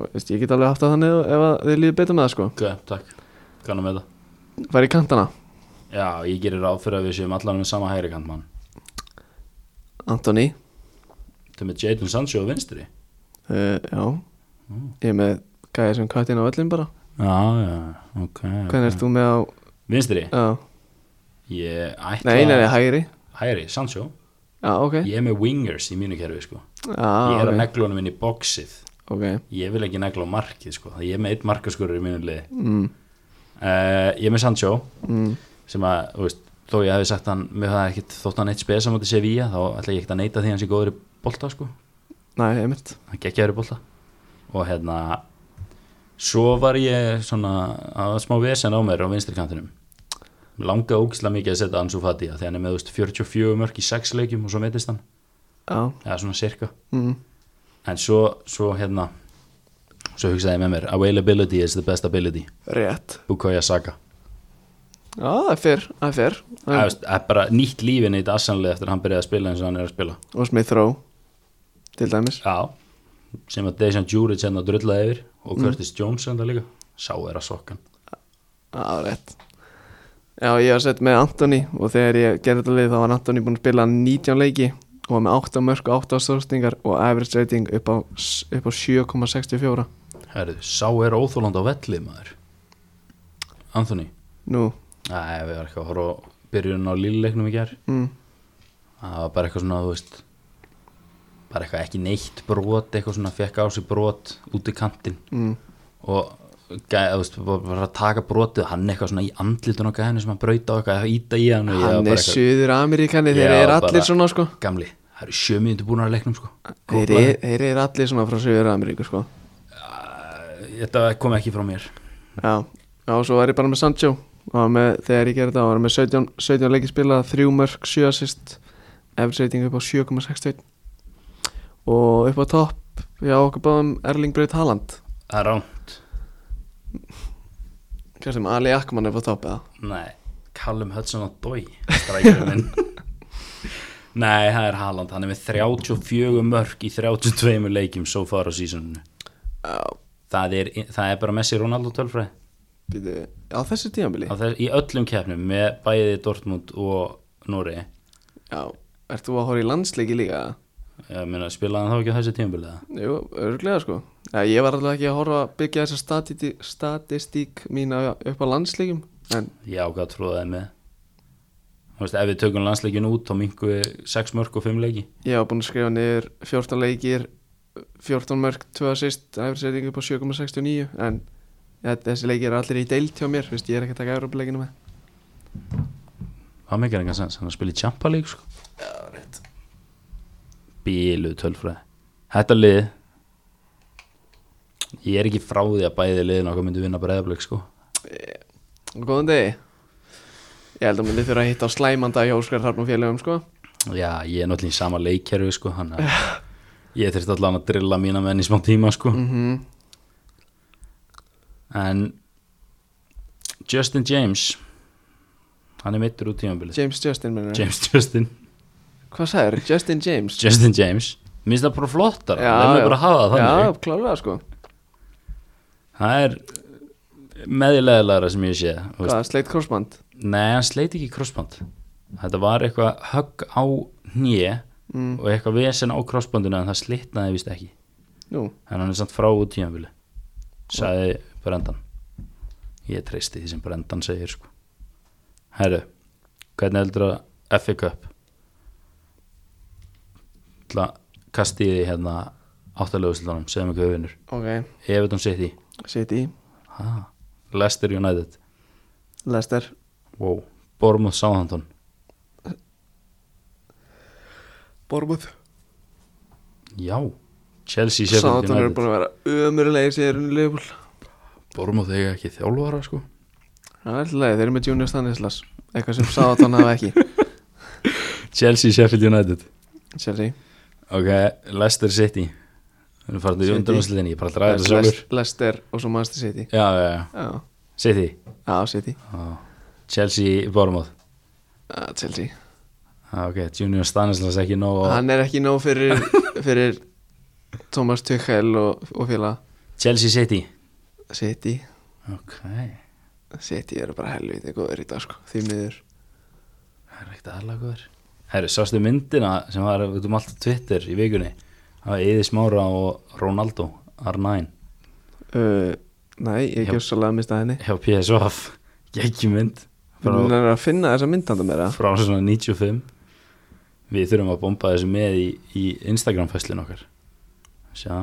S1: og veist, ég get alveg haft það þannig ef að þið líður betur með það sko
S2: ok, takk Kannan með það
S1: var í kantana
S2: Já, ég gerir ráð fyrir að við séum allan með sama hægri kant mann
S1: Antoni
S2: Þetta með Jadon Sancho á vinstri
S1: Uh, já,
S2: Mm.
S1: ég er með gæði sem kattinn á öllum bara
S2: Já, já, ok
S1: Hvernig ert þú með á,
S2: Vinstri?
S1: á
S2: Ég ætla
S1: Nei, nei, nei, hægri
S2: Hægri, Sancho
S1: Já, ok
S2: Ég er með wingers í mínu kerfi, sko
S1: Já,
S2: Ég er að
S1: Ah, ok,
S2: negla honum inn í boxið
S1: ok
S2: Ég vil ekki negla á markið, sko Það ég er með eitt markaskurur í mínu liði
S1: mm,
S2: uh, Ég er með Sancho
S1: mm,
S2: sem að, þú veist, þó ég hefði sagt hann með það ekkit, þótt hann eitt spesa mútið Sevilla þá ætla ég ekkit að neita því að hann sé góður í bolta sko,
S1: Nei, einmitt
S2: hann geggjaður í bolta og hérna svo var ég svona að smá vesen á mér á vinstri kantinum Mig langaði ógislega mikið að setja Ansu Fati af því hann er með, þú veist, 44 mörg í 6 leikjum og svo meitist hann,
S1: Já,
S2: eða svona cirka
S1: mm,
S2: en svo, svo hérna svo hugsaði ég með mér, availability is the best ability
S1: rétt
S2: Bukoya Saka
S1: Já, það er fyrr, það er fyrr
S2: Það þú veist, það er bara nýtt lífin eitt assanlega eftir að hann byrjaði að spila eins og hann er að spila
S1: Og Smith Rowe Til dæmis
S2: Já, sem að Dejan Djuric hérna drullaði yfir og Curtis Jones enda líka, sá er að sokkan
S1: Já, rétt Já, ég var sett með Antoni og þegar ég gerði þetta lið þá var Antoni búinn að spila 19 leiki og var með 8 mörg og 8 stórstningar og average rating upp á, s- upp á 7,64
S2: Herðu, sá er óþóland á vellið maður Anthony
S1: Nú,
S2: Nei, við varum ekki að horfa á byrjun á lílleiknum í gær
S1: mm,
S2: Það var bara eitthvað svona, þú veist bara eitthvað ekki neitt brot eitthvað svona, fekk á sig brot út í kantinn
S1: mm,
S2: og gæ, þú veist, bara bara að taka brotið hann eitthvað svona í andlitun á gæðinu sem hann braut á eitthvað að íta í hann og ég var
S1: Hann
S2: bara
S1: er
S2: eitthvað-
S1: suður Ameríkani, þeir
S2: Já,
S1: eru
S2: bara-
S1: allir svona sko
S2: gamli, það eru sjö mínútur búin að leiknum sko.
S1: Þeir
S2: Góð
S1: eru- þeir eru allir svona frá suður Ameríku sko
S2: blað. Þetta kom ekki frá mér
S1: Já, já og svo var ég bara með Sancho og með, þegar ég gerði það var ég með 17, 17 leikið spila, 3 mörg, 7 assist efriðsreiting upp á 7,61 og upp á topp já okkur báðum Erling Braut Haaland
S2: Það er ránt
S1: Hvað sem Ali Akman upp á topp eða
S2: Nei, Callum Hudson og Dói Strækjuminn Nei, það er Haaland Hann er með 34 mörg í 32 leikjum Svo far á sísuninu
S1: Já,
S2: það er, það er bara Messi Ronaldo tölfræð
S1: býtu, á þessu tíðanbili
S2: Á þess- Í öllum keppnum með bæði Dortmund og Nóri
S1: Já, ert þú að horfa í landsleiki líka? eða?
S2: Spilaði hann þá ekki á þessu tímabiliða
S1: Jú, örglega sko já, Ég var alveg ekki að horfa að byggja þessa statiti- statistík mína upp á landsleikum en
S2: Já, hvað trúðaði með þú veist, ef við tökum landsleikin út þá minkum við 6 mörg og 5 leiki
S1: Ég var búin að skrifa niður 14 leikir 14 mörg, 2 assist æfrisetting upp á 7,69 en ja, þessi leikir er allir í deild hjá mér veist, ég er ekki að taka Európa-leikina með
S2: það mikið er engan sens, hann spilir Champa leik sko. bílu tölfræði þetta lið ég er ekki frá því að bæði liðin okkar myndi vinna breyðablik sko.
S1: og góðan degi Ég held að myndi þurfa að hitta á slæmanda hjá Óskar Hrafn og félögum sko
S2: já, ég er náttúrulega í sama leikkerfi sko, hann að ég þurfti allan að drilla mína menn í smá tíma sko.
S1: mm
S2: en Justin James hann er mittur út tímabilið
S1: James Justin mennur
S2: James Justin
S1: Hvað sagður? Justin James?
S2: Justin James Mér finnst það bara flottar
S1: Já,
S2: Það
S1: já.
S2: er bara að hafa það
S1: Já,
S2: þannig
S1: klálega sko
S2: Það er meðilegilegra sem ég sé þú veist.
S1: Hvað, sleitt korsband?
S2: Nei, hann sleit ekki crossband Þetta var eitthvað högg á hnje
S1: Mm.
S2: og eitthvað vesen á crossbandinu en það slitnaði vist ekki
S1: Nú,
S2: en hann er samt frá út tímanvili sagði Brendan Ég treysti því sem Brendan segir sko. Herru, hvernig heldur að FA Cup Ætla kastið í hérna áttalöguslunum, segjum ekki auðvinnur
S1: ok
S2: Everton City
S1: City,
S2: ha, Leicester United
S1: Leicester
S2: wow. Bournemouth Southampton
S1: Bormuth
S2: Já, Chelsea Sheffield
S1: Sáðan eru
S2: United
S1: búin að vera ömurulegir síðan Leifúl
S2: Bournemouth eiga ekki þjálfara sko
S1: Það er alltaf leið, þeir eru með Junior Stanislas Eitthvað sem Sáðan hafa ekki
S2: Chelsea Sheffield United
S1: Chelsea
S2: Ok, Leicester City Við erum farin til
S1: City.
S2: undanúsliðinni, ég bara að ræða það sjálfur
S1: Leicester Leicester og svo Manchester City
S2: Já, já, já,
S1: Já,
S2: City
S1: já City
S2: Já. Chelsea Bournemouth
S1: Já, Chelsea
S2: Já, Ok, Junior Stanislas ekki nóg og...
S1: Hann er ekki nóg fyrir, fyrir Thomas Tuchel og, og félag
S2: Chelsea City
S1: City
S2: Ok, það
S1: City eru bara helviti góður í dag sko Því miður
S2: er ekkert aðlega góður Herru, sástu myndina sem var út um allt á Twitter í vikunni Það var Eði Smára og Ronaldo R9
S1: uh, Nei, ég
S2: Já.
S1: gjör svolítið að mista henni
S2: hjá [laughs] PSVF ekki mynd frá,
S1: Hún er að finna þessa myndanda meira
S2: frá svona 95 við þurfum að bomba þessu með í, í Instagram fæslin okkar sjá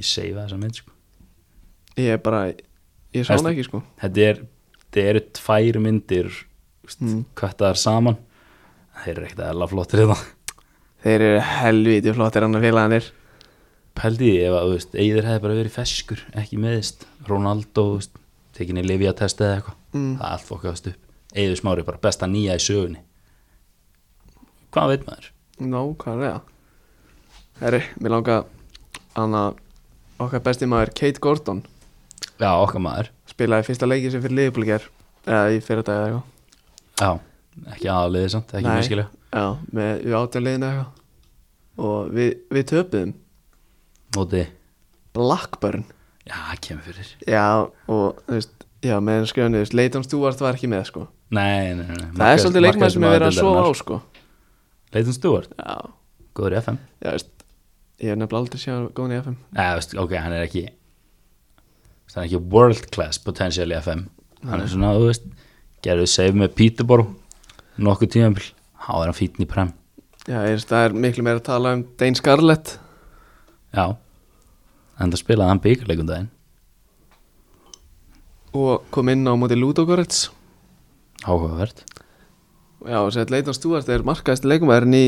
S2: ég seifa þessa mynd sko.
S1: Ég er bara, ég sá
S2: Veistu-
S1: hana ekki sko
S2: þetta, er, þetta eru tvær myndir mm.
S1: Mm.
S2: kvættaðar saman þeir eru ekkert eða flottir hérna. þetta
S1: Þeir eru helviti flottir annar félaganir
S2: pældi því ef að þú veist, Eyður hefði bara verið feskur ekki meðist, Ronaldo þú veist, tekinni Livia testið eða eitthvað
S1: Mm.
S2: það er allt fokkaðast upp Eyður Smári bara besta nýja í sögunni hvað veit maður?
S1: Nó, hvað er það? Herri, mér langa Anna, okkar besti maður Kate Gordon
S2: Já, okkar maður
S1: spilaði fyrsta leikið sem fyrir liðbúlgar eða í fyrir dag eða eitthvað
S2: Já, ekki aðaliðið samt, ekki
S1: Nei.
S2: miskilega
S1: Já, með við átján liðin eða eitthvað og við, við töpuðum
S2: Móti,
S1: Blackburn
S2: já, kemur fyrir
S1: Já, og þú veist Já, meðan skrifinu, þú veist, Leighton Stewart var ekki með sko
S2: Nei, nei, nei, nei.
S1: Það er svolítið leikmæð sem er verið að sofa á sko
S2: Leitum Stewart,
S1: Já,
S2: góður í FM
S1: já, þú veist Ég hef nefnilega aldrei séð hann góðan í FM
S2: Nei, veist, ok, hann er ekki veist, Hann er ekki world class potential í FM Hann er svona, þú veist Gerðu save með Peterborough Nokkuð tímabil, þá er hann fítn í prem
S1: Já, ég veist, það er miklu meira að tala um Dane Scarlett
S2: Já, en það spilaði hann byggarleikum daginn
S1: og kom inn á móti Ludogorets
S2: Áhugavert
S1: Já, og sér að Leighton Stewart er markaðist leikumæðurinn í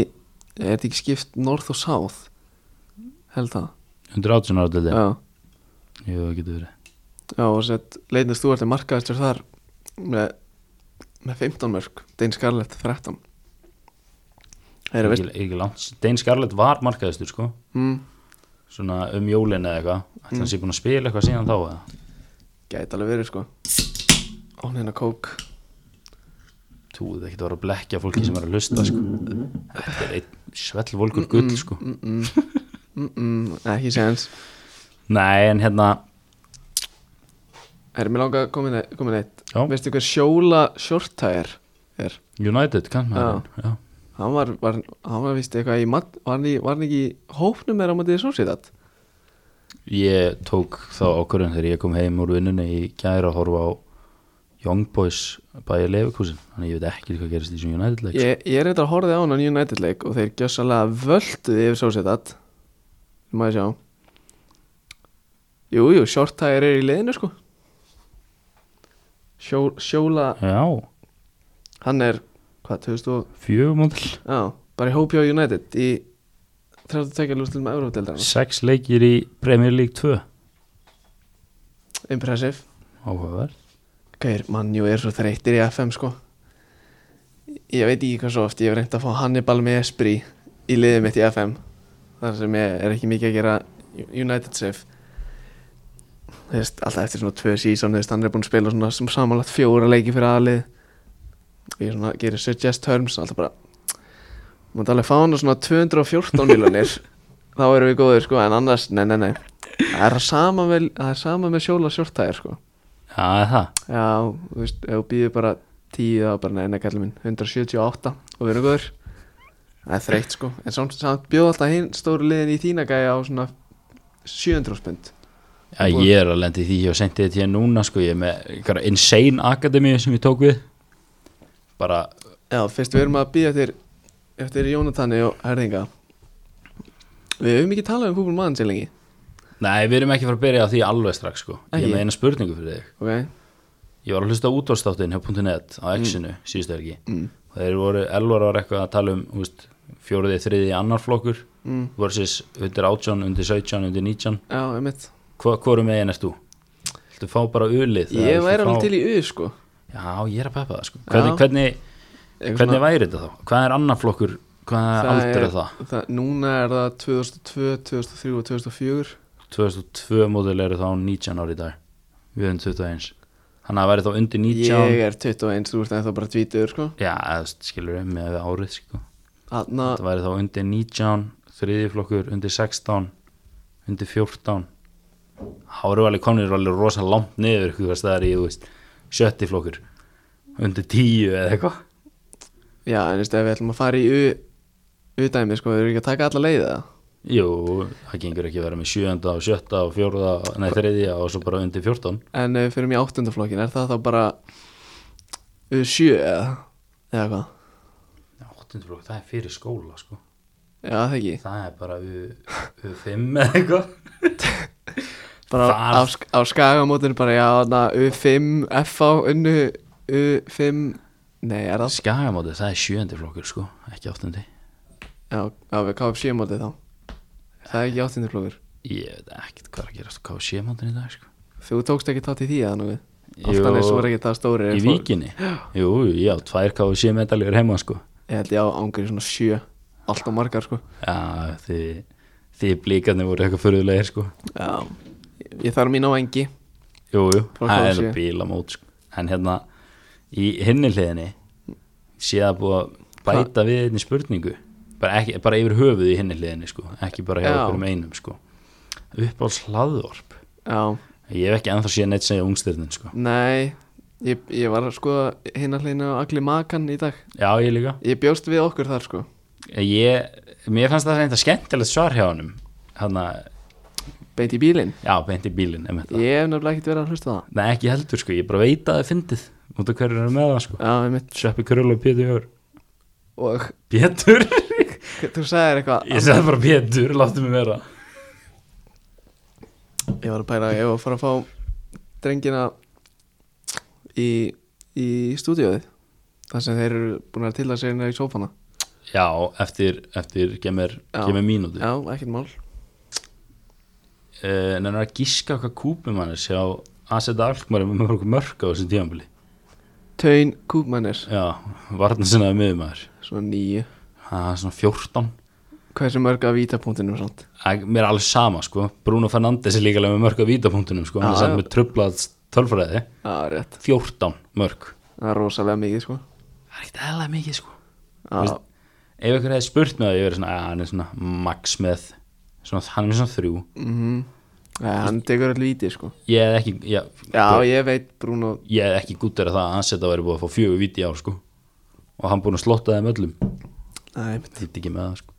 S1: Er þetta ekki skipt North og South? Held það
S2: 118 ára til þetta,
S1: Já,
S2: jú, það getur verið
S1: já og sér að Leighton Stewart er markaðistur þar með, með 15 mörg Dane Scarlett 13 Þeir eru
S2: Ekki,
S1: veist
S2: ekki langt Dein Scarlett var markaðistur, sko
S1: mm,
S2: svona um jólinu eða eitthvað ætla hann sé búin að spila eitthvað síðan þá eða
S1: Gæti alveg verið sko Án hérna kók
S2: túðið ekkert að vera að blekja fólki sem er að hlusta sko. þetta er einn svellvolgur gull sko.
S1: mm -mm. Mm -mm, Ekki séðans
S2: nei en hérna
S1: Herri, mér langa komin, komin eitt
S2: Já.
S1: Veistu hver sjóla shorttire er?
S2: United kann maður já.
S1: Hann var, var, hann var vist eitthvað í mat, var, hann í, var hann ekki í hópnum meira á mótið Sociedad?
S2: ég tók þá okkurinn þegar ég kom heim úr vinnunni í gæra að horfa á Young Boys bæja Leverkusen þannig ég veit ekki hvað gerist í þessum United leik sko.
S1: Ég, ég er eitthvað að horfið á hann á United leik og þeir gjössalega völduði yfir Sociedad Maður sjá Jú, jú, short tire er í liðinu sko Sjó, Sjóla,
S2: Já,
S1: hann er hvað, 2000 og,
S2: fjögumóndal
S1: já, bara í hópi á United í 32 lústilum Európa-deildar
S2: Sex leikir í Premier League 2
S1: Impressive
S2: Áhugaverð
S1: Gauðir, mannjú er svo þreytir í FM sko Ég veit ekki hvað svo oft Ég hef reynd að fá Hannibal með Espri í liðið mitt í FM þar sem ég er ekki mikið að gera United safe Þú veist, alltaf eftir svona tvö sísón þú veist, hann er búin að spila svona sem samanlagt fjóra leiki fyrir aðlið og ég svona gerir suggest terms alltaf bara maður alveg fá hann á svona 214 miljonir þá erum við góðir sko en annars, nei, nei, nei það er sama með, það er sama með sjóla sjórtæðir sko
S2: Já, er það
S1: Já, þú veist, ef þú býður bara 10 þá bara neina kallið minn 178 og við erum góður Það er þreytt sko, en samt, samt bjóð alltaf hinn stóru liðin í þína gæja á svona 700 spund
S2: Já, ég er að lenda í því og sendi þetta hér núna sko, ég er með einhverja Insane Academy sem ég tók við bara,
S1: Já, fyrst við erum að býða eftir eftir Jónatani og Herðinga Við höfum ekki talað um fútbol mann sér lengi
S2: nei, við erum ekki fara að byrja á því alveg strax sko, ég
S1: Ekki?
S2: er með eina spurningu fyrir þig
S1: Ok,
S2: Ég var að hlusta á útvarstáttin hjá.net
S1: Mm.
S2: á X-inu síðustu helgi og þeir voru, Elvar var eitthvað að tala um úst, fjóruði, þriði, annar flokkur
S1: Mm.
S2: versus undir 18, undir 17, undir 19
S1: já, einmitt
S2: Hva, hvorum megin erst þú? Viltu fá bara ulið? eða
S1: Ég
S2: viltu
S1: væri alveg
S2: fá-
S1: til í U sko
S2: Já, ég er að peppa það sko
S1: Já.
S2: Hvernig, hvernig,
S1: Eitthvað
S2: hvernig væri þetta þá? Hvað er annar flokkur? Hvað er aldur er það?
S1: það? Núna er það 2002, 2003 og 2004
S2: 2002 módel eru þá 19 ári í dag Við erum 21 Þannig að væri þá undir 19
S1: Ég er 21, þú ert ennþá bara 20 sko
S2: Já, eða, skilur við með árið sko
S1: Þarna,
S2: Það væri þá undir 19 Þriði flokkur, undir 16 Undir 14 Þá eru alveg komnir alveg rosa langt niður Hvað staðar í, þú veist, sjötti flokkur Undir 10 eða eitthvað
S1: Já, en veist, ef við ætlum að fara í U- U-dæmi, sko, við erum ekki að taka alla leiða
S2: Jú, það gengur ekki að vera með sjönda og sjötta og fjórða, nei þriðja og svo bara undir fjórtán.
S1: En ef við fyrir í áttundaflokkin, er það þá bara U7 eða, eða hvað?
S2: Já, áttundflokk, það er fyrir skóla sko.
S1: Já, það ekki
S2: Það er bara U- U5 eða eitthvað.
S1: Bara
S2: Það-
S1: á, sk- á skagamótinu bara, já, na, U5, FH, unnu, U5 Nei, er það?
S2: Skagamóti, það er sjöndi flokkur sko, ekki áttundi.
S1: Já, já við káum sjömótið þá Það er ekki áttundaflokkur
S2: Ég veit ekkert hvað er að gerast á KSJ-mótin í dag sko.
S1: Þú tókst ekki tátt í því eða nú
S2: Jú,
S1: Aftan er svo ekki það stóri
S2: Í vikinni? Jú, já, tvær KSJ-medaljur heima sko.
S1: Ég held ég á ángur í svona sjö Allt og margar, sko
S2: Já, því, því blíkarnir voru eitthvað fyrirlegir sko.
S1: Já Ég, ég þarf mín á engi
S2: Jú, jú,
S1: Frá
S2: það er
S1: KFC.
S2: bílamót sko. En hérna, í hinni hliðinni sé það búið að bæta við einni spurningu bara, ekki, bara yfir höfuð í hinni hliðinni sko. ekki bara hjá
S1: Já.
S2: okkur um einum sko. uppáls hlaðvarp
S1: Já
S2: ég hef ekki ennþá séð neitt segja ungstirnin sko.
S1: Nei, ég, ég var að skoða hinn að hliðinu á Agli Makan í dag
S2: já, ég líka
S1: Ég bjóst við okkur þar sko
S2: ég, mér fannst það reynda skemmtilegt svar hjá honum hérna,
S1: Beint í bílinn
S2: já, beint í bílinn einmitt það.
S1: Ég hef nefnilega ekkert verið að hlusta á það
S2: nei, ekki heldur, sko. ég bara veit að það er fyndið út af hverju eru með það sko.
S1: Já, einmitt
S2: Sveppi Krull og Pétur Jör
S1: Og [laughs]
S2: Pétur?
S1: þú sagðir eitthvað
S2: [laughs] ég sagði bara Pétur, láttu mig vera
S1: Ég var að pæla að ég var að fara að fá drengina í, í stúdíóið Þar sem þeir eru búin að tilla sig hérna í sófana
S2: Já, eftir, eftir gemur,
S1: Já.
S2: gemur mínúti uh,
S1: Já, ekkert mál
S2: Eh, En hann er að gíska hvað kúpum hann er sjá að setja alkmari með mörg mörg á þessum tíðanbili
S1: Taun Kúpmannir,
S2: Já, varna sinnaði miðumæður
S1: svona nýju
S2: Það er svona 14
S1: Hversu mörg af vítapunktinum samt?
S2: Æ, Mér er alls sama sko Bruno Fernandes er líka alveg með mörg á vítapunktunum sko Hann
S1: Já,
S2: er samt
S1: já.
S2: með trublað tölfræði
S1: Já, rétt
S2: 14 mörg
S1: Það er rosalega mikið sko
S2: Það er ekkert eðla mikið sko
S1: Já,
S2: Veist- Ef ykkur hefði spurt með það, ég verið svona að hann er svona max með svona, Hann er með svona þrjú
S1: mhm Nei, hann tekur allir víti sko
S2: Ég hef ekki, ég,
S1: Já, ég veit Bruno
S2: ég hef ekki gútið að það að Anseta væri búið að fá fjögur viti á sko og hann búin að slotta þeim öllum
S1: Nei, einmitt.
S2: þetta ekki með það sko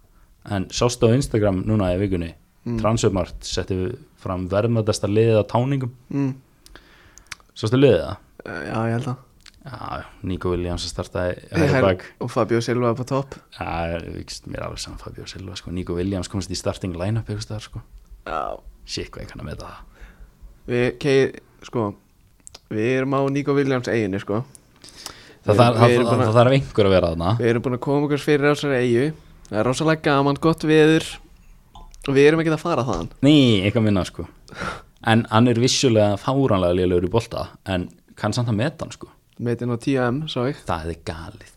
S2: en sástu á Instagram núna í vikunni mm. Transfermart setti fram verðmættasta liðið á táningum
S1: mm.
S2: sástu liðið það?
S1: já, ég held að
S2: Já, já, Nico Williams að starta
S1: Her-
S2: hægri bak
S1: og Fabio Silva upp á topp
S2: Já, vikst, mér er alveg saman Fabio Silva sko. Nico Williams komst í starting line-up eitthvað staðar, sko.
S1: já.
S2: Shit, hvað ég kann að meta það
S1: við, kei, sko við erum á Nico Williams eiginu sko
S2: Það,
S1: Við-
S2: það, það,
S1: við erum
S2: það,
S1: búin að-
S2: það þarf einhver að vera þarna
S1: við erum búin að koma okkur fyrir á þessari eigu það er rosalega gaman, gott veður og við erum ekki að fara þaðan
S2: Ný, eitthvað minna sko. En hann er vissulega fáranlega lélegur í bolta En kann samt að meta hann sko.
S1: meitinn á 10M, sá ég
S2: Það er galið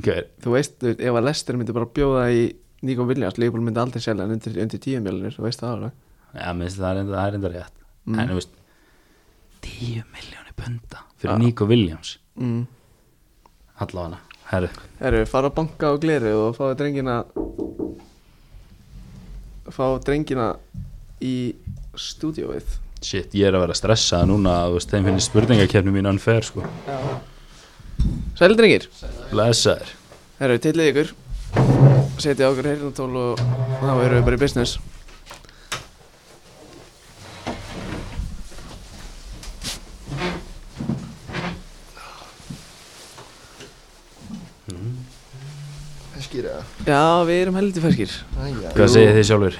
S2: Hver,
S1: þú veist, þú veist, ef að Lester myndi bara bjóða í Nico Williams, Leopold myndi aldrei selja hann undir, undir 10 miljonir, þú veist það alveg
S2: Já, minnst, það er enda, það er enda rétt
S1: Mm.
S2: En þú veist 10 miljónir punda fyrir Nico Williams
S1: mm.
S2: Allavega, herru
S1: Herru, fara að banka á gleru og fá drengina fá drengina í stúdíóið
S2: Shit, ég er að vera stressað núna þú veist, Þeim finnir spurningakefni mín unfair sko.
S1: Sæli drengir,
S2: Blessaður
S1: herru, tillið ykkur setja á okkur heyrnatól og þá erum við bara í business
S3: Feskir eða?
S1: Já, við erum heldur ferskir
S3: Æja,
S2: Hvað segir þið sjálfur?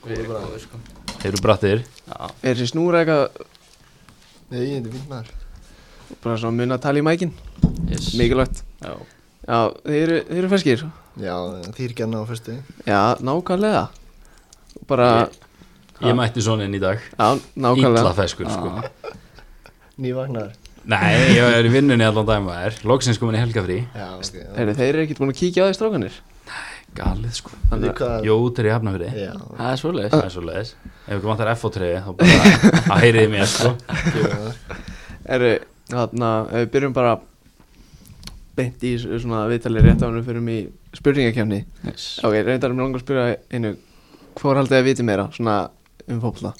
S3: góður bara sko.
S2: Þeir eru brattir
S1: Er þessi snúra eitthvað
S3: Nei, þetta er fint maður
S1: bara svona mun að tala í mækin?
S2: yes.
S1: Mikilvægt
S2: Já.
S1: Já, þeir eru, þeir eru ferskir
S3: Já, þýrgjarna á fyrstu
S1: Já, nákvæmlega Bara,
S2: Ég mætti svona inn í dag
S1: já, nákvæmlega
S2: Ítla feskur sko.
S3: Nývagnar
S2: Nei, ég er í vinnunni allan dæma er Loksins komin í helgafrí
S3: Já, ok já.
S1: Heyrðu, þeir eru ekkert búin að kíkja á því strákanir
S2: Galið sko
S3: Veitu hvað-
S2: Jóður í hafnafri
S3: Já,
S4: Það er svolítið
S2: Það er svo leiðis Ef ykkur vantar FO3 þá bara að heyriði mér sko
S3: gefur það
S1: Heyrðu, þarna, ef við byrjum bara beint í s- svona viðtalið rétt á hann fyrir mig í spurningakefni
S2: yes.
S1: Ok, reyndar um langar að spyrja einu Hvor haldið þið að viti meira, svona um fótbolta?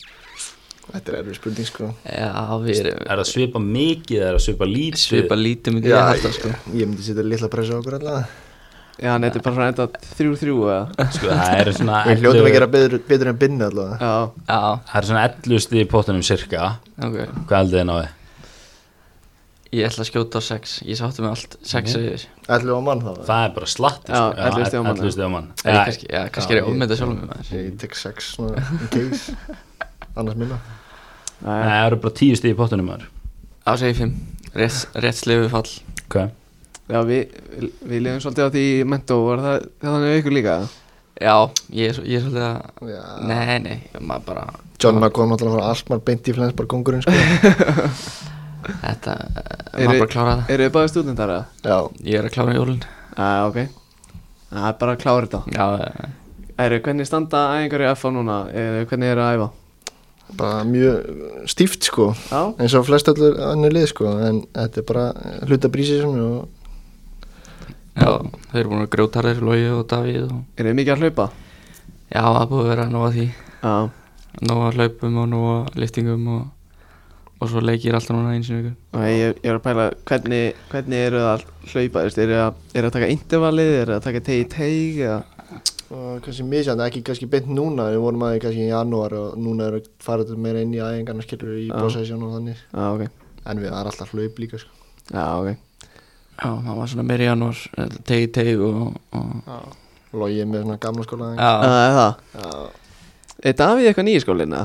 S3: Þetta er erfið spurning sko
S4: Já, við erum
S2: Er það svipa mikið eða er það svipa lítið
S4: svipa lítið myndi ég halda sko
S3: ég, ég myndi setja litla pressu á okkur allavega
S1: Já, en þetta er bara svona enda þrjú-þrjú eða
S4: [laughs]
S2: Sko það er svona
S3: Við hljótum að
S2: 11
S3: gera betur, betur en binni allavega
S1: Já,
S4: Já,
S2: Það er svona 11 stig í pottunum cirka
S4: ok
S2: Hvað heldur þið náði?
S4: Ég ætla að skjóta á sex Ég sáttu með allt sex yfir
S3: Ætlum við á mann þá eða?
S2: Það er bara slatti
S1: Já, 11 stig á mann.
S2: 11 stig á mann
S4: Eða
S2: Já,
S4: kannski, já, kannski er ég
S3: ég-
S4: ofmynda sjálfum með maður
S3: Ég tek sex svona in
S4: [laughs]
S3: case Annars minna
S2: Nei, það eru bara 10 stig í pottunum maður
S4: Á segi fimm Rétt, rétt slefufall
S2: okay.
S1: já við, við lefum svolítið á því í mentó, var það þannig að ykkur líka?
S4: Já, ég er, svo- ég er svolítið að
S3: Já.
S4: Nei, nei, maður bara
S3: John McCone náttúrulega frá Alkmaar beint í flens bara kongurinn sko
S4: [laughs] Þetta,
S1: Eru-
S4: maður bara klára það
S1: Eru þið báðið stúdendar eða?
S3: Já,
S4: Ég er að klára jólun
S1: Já, ok Það er bara að klára þetta
S4: Já, já, já.
S1: Æru, hvernig standa æfingar í FA núna? Eh, Hvernig eru að æfa?
S3: bara mjög stíft sko
S1: Já,
S3: eins og flest allur annu lið sko en þetta er bara hluta brísið sem og
S4: já Þau eru búin að grjóta þér Lói og Davíð og...
S1: eru þið mikið að hlaupa?
S4: Já, það er búið að vera nóg að því
S1: Já,
S4: Nóg að hlaupum og nóg að liftingum og, og svo leikir alltaf núna eins og ykkur
S1: og ég, ég er að pæla hvernig, hvernig eru það að hlaupa? Þú veist, Eru það, er það að taka intervallið? Eru það að taka tegi tegi? Eða?
S3: og kannski misjandi, ekki kannski beint núna við vorum aðeins kannski í janúar og núna eru farið meira inn í aðingarna skilur í
S1: Já.
S3: prosessjón og þannig
S1: Já, ok
S3: en við erum alltaf hlaup líka sko
S1: Já, ok
S4: Já, það var svona meir í janúar, eh, tegi tegi og, og
S3: logið með svona gamla skóla aðeins
S1: Það
S4: Já,
S1: er það
S3: Já,
S1: Er Davíð eitthvað nýi skólinna?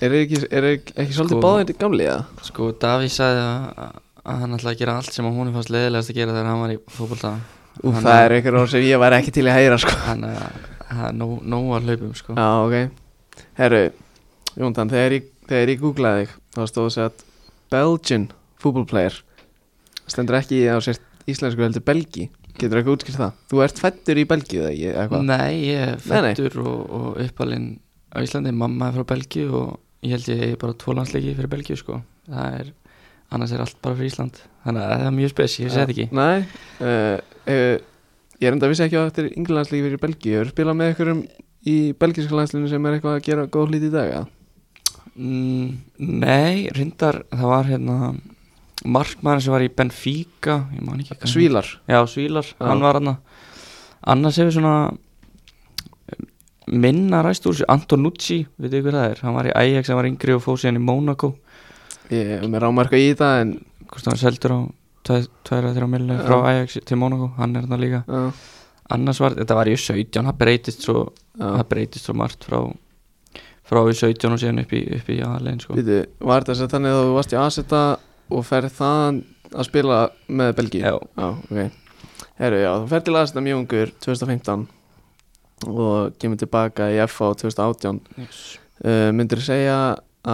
S1: Er ekki, er ekki svolítið
S4: Sko-
S1: báðið gamli eða?
S4: sko Davíð sagði að, að hann ætlaði að gera allt sem að honum fannst leiðilegast að gera þegar hann var í fótbolta
S1: Úf,
S4: Hann-
S1: það er einhver orð sem ég var ekki til að heyra sko
S4: Hann er það er nóg nóg að hlaupum sko
S1: Já, ok Herru, Jóndan, þegar ég, þegar ég googlaði þig þá stóð þess að Belgian football player stendur ekki á sér íslensku heldur Belgi Getur ekki útskýrt það? Þú ert fættur í Belgíu eða ekki, eitthvað?
S4: Nei, ég er
S1: Nei, nei.
S4: fættur og, og uppalinn á Íslandi, mamma er frá Belgíu og ég held ég eigi bara tvo landsleiki fyrir Belgíu sko Það er, annars er allt bara fyrir Ísland Þannig að það er mjög spes, ég sé þetta ekki
S1: Ah, Nei, uh, uh, ég er enda að vissi ekki á eftir ynglandsleiki fyrir Belgíu Hefur spilað með einhverjum í belgísku landslinu sem er eitthvað að gera góð hlít í dag? eða?
S4: Mm, Nei, reyndar það var hérna markmaður sem var í Benfica ég man ekki hvað hann-
S1: Svílar
S4: Já, Svílar, hann var hann annars hefur svona um, minna ræst úr sér Antonucci, veitu ykkur það er hann var í Ajax, hann var yngri og fóð síðan í Monaco
S1: ég er með rámarka í þetta en
S4: hvort hann seldur á 2-3 milli frá Ajax til Monaco, hann er þarna líka
S1: já,
S4: annars var, þetta var í 17, það breytist svo
S1: já.
S4: það breytist svo margt frá frá í 17 og síðan upp í, upp í aðlegin sko.
S1: Býtu, var þetta sem þannig að þú varst í Aseta og ferð þaðan að spila með Belgíu?
S4: Já.
S1: Já, ok. Herru, já, þú ferð til Aseta mjög ungur 2015 og kemur tilbaka í FA 2018.
S4: yes.
S1: Uh, myndur þú segja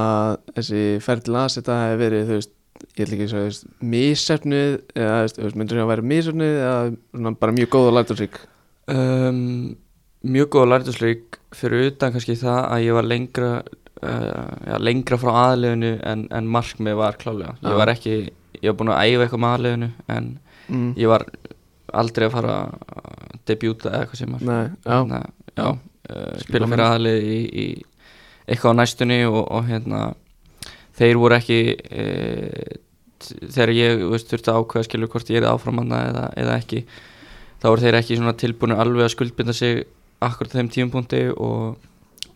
S1: að þessi ferð til Aseta hefur verið, þú veist, ég ætla ekki að segja, þú veist, missefnuð eða, þú veist, myndur þú segja að vera missefnuð eða svona bara mjög góð og lærdómsrík?
S4: um, mjög góð lærtusleik fyrir utan kannski það að ég var lengra uh, já, lengra frá aðleginu en, en markmið var klálega
S1: Já.
S4: ég var ekki, ég var búin að æfa eitthvað með aðleginu en
S1: Mm.
S4: ég var aldrei að fara að debuta eða eitthvað sem var
S1: Nei, já,
S4: hérna, já, uh, spila
S1: Skilja
S4: fyrir
S1: menn.
S4: aðlið í, í eitthvað á næstunni og, og hérna þeir voru ekki e, t- þegar ég þú veist, þurfti að ákveða skilur hvort ég er áfram hana eða, eða ekki þá voru þeir ekki svona tilbúinu alveg að skuldbinda sig akkurat á þeim tímpunkti og,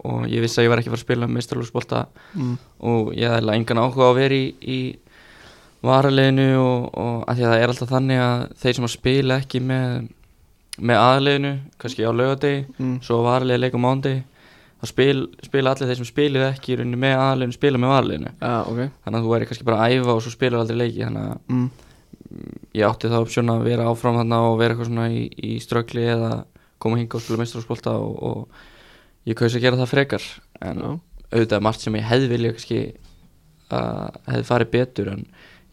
S4: og ég vissi að ég var ekki að fara að spila meistarlúsbolta
S1: mm.
S4: og ég hafði engan áhuga á að vera í, í varaliðinu og, og að því að það er alltaf þannig að þeir sem að spila ekki með, með aðaliðinu, kannski á laugadegi
S1: Mm.
S4: svo varaliði leikum ándi þá spil, spila allir þeir sem spiluðu ekki í rauninni með aðaliðinu, spila með varaliðinu
S1: já, ok.
S4: þannig að þú væri kannski bara að æfa og svo spilaðu aldrei leiki þannig að
S1: Mm.
S4: ég átti þá option að vera áfram þarna og vera eitthvað svona í, í ströggli eða koma hinga og spila meistarhúsbólta og, og ég kaus að gera það frekar en
S1: Já.
S4: auðvitað er margt sem ég hefði vilja kannski að hefði farið betur en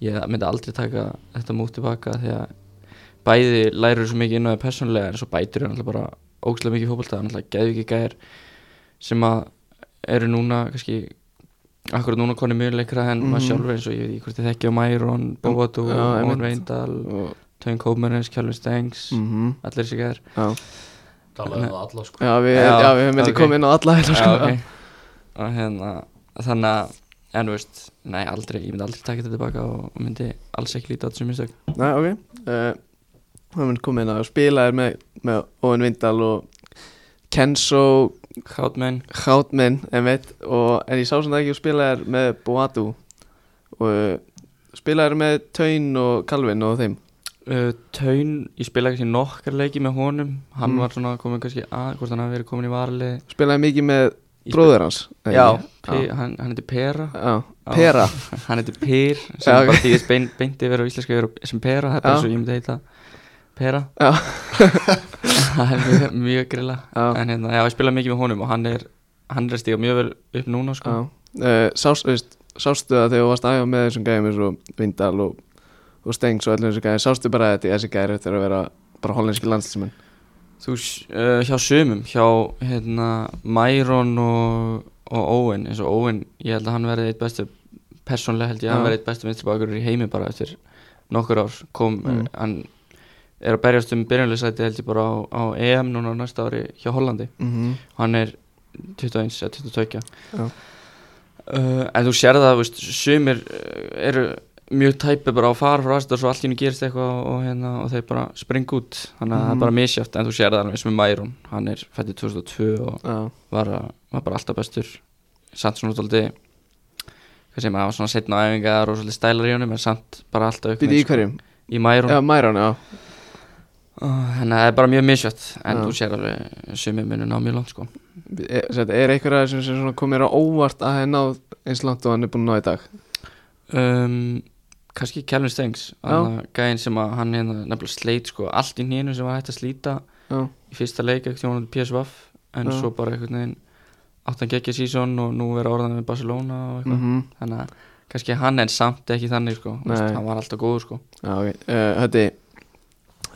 S4: ég myndi aldrei taka þetta mútt tilbaka því að bæði lærir svo mikið inn á það persónulega en svo bætur er alltaf bara ógæslega mikið fókbalta en alltaf geðu ekki gæðir sem að eru núna kannski akkur núna konið mjög leikra en maður
S1: Mhm.
S4: sjálfur eins og ég veit ekki hvort þið þekki á Mæron, Bóatú,
S1: Já, einmitt.
S4: Ón Veindal
S1: Og,
S4: Tön Kómerins, Kjálfur Stengs
S1: mm
S4: allir þessi gæðir
S1: Já.
S2: talaðu um það alla sko
S1: Já, við,
S4: Já,
S1: já, við höfum eitthvað
S4: ok.
S1: komið inn á alla hérna sko.
S4: og hérna þannig að en þú veist, nei aldrei, ég myndi aldrei taka þetta tilbaka og og myndi alls ekki líta á þessu mistök
S1: Nei, ok uh, Við höfum komið inn á spilaðir með, með Óin Vindal og Kenzo
S4: Hátmenn,
S1: Hátminn, en veit og, En ég sá sem það ekki og spilaðir með Boatu og uh, spilaðir með Taun og Kalvin og þeim
S4: uh, Tön, ég spilaði kannski nokkar leiki með honum hann
S1: Mm.
S4: var svona komið kannski að, hvort hann hafi verið komin í varli
S1: Spilaði mikið með bróður hans eða
S4: Já,
S1: ekki?
S4: P, hann, hann heiti Pera [laughs]
S1: Já, Pera
S4: hann heiti Pyr sem
S1: Já, ok.
S4: bara þýðist bein, beint yfir á íslensku yfir á- sem Pera, það er
S1: Já.
S4: bara svo ég myndi heita Pera [laughs]
S1: Já.
S4: það er mjög, mjög grilla
S1: Já.
S4: en hérna, já, ég spila mikið með honum og hann er hann er að stíga mjög vel upp núna sko.
S1: Já, uh, sást, veist, sástu það þegar þú varst aðeins með þessum gæðum eins og Vindal og, og Stengs og öllum þessum gæðum sástu bara að þetta þessi gæður þetta er að vera bara hollenski landslismenn
S4: þú, s- uh, hjá sumum hjá hérna, Myron og, og Owen eins og Owen, ég held að hann verði eitt bestu persónlega held ég að hann
S1: Já.
S4: verði eitt bestu minnstribakur í heimi bara eftir nokkur ár kom, eh,
S1: Mm.
S4: hann er að berjast um byrjunleysæti held ég bara á, á EM núna á næsta ári hjá Hollandi
S1: mm -hmm.
S4: hann er 21 eða 22
S1: Já.
S4: uh, Eh, en þú sér það, þú veist, sumir uh, eru mjög tæpi bara á fara frá aðstæða og svo allt í henni gerist eitthvað og, og, hérna, og þeir bara springa út þannig að það
S1: Mhm.
S4: er bara misjátt en þú sér það alveg eins og með Mæron hann er fættið 2002 og
S1: Já,
S4: var, að- var bara alltaf bestur samt svona útaldi hvað segir maður, það var svona setna á æfingar og svolítið stælar í honum en samt bara alltaf upp
S1: býti í hverjum
S4: í Mæron
S1: Já, Mæron, já
S4: þannig að það er bara mjög misjátt en
S1: Já.
S4: þú sér alveg sumir munu ná mjög langt sko
S1: Er, sem sagt, er einhver aðeins sem svona komir á óvart að henn náð eins langt og hann er búin að ná í dag
S4: um, kannski Kelvin Stengs þarna gæinn sem að hann hérna nefnilega sleit sko allt í hínu sem var hægt að slíta
S1: Já,
S4: í fyrsta leik ekkert hún PSV en
S1: Já.
S4: svo bara einhvern veginn áttan geggja sísón og nú vera orðan með Barcelona og eitthvað
S1: mm
S4: þannig að kannski hann en samt ekki þannig sko Þú veist,
S1: Nei.
S4: hann var alltaf góður sko
S1: já ok uh, Hötti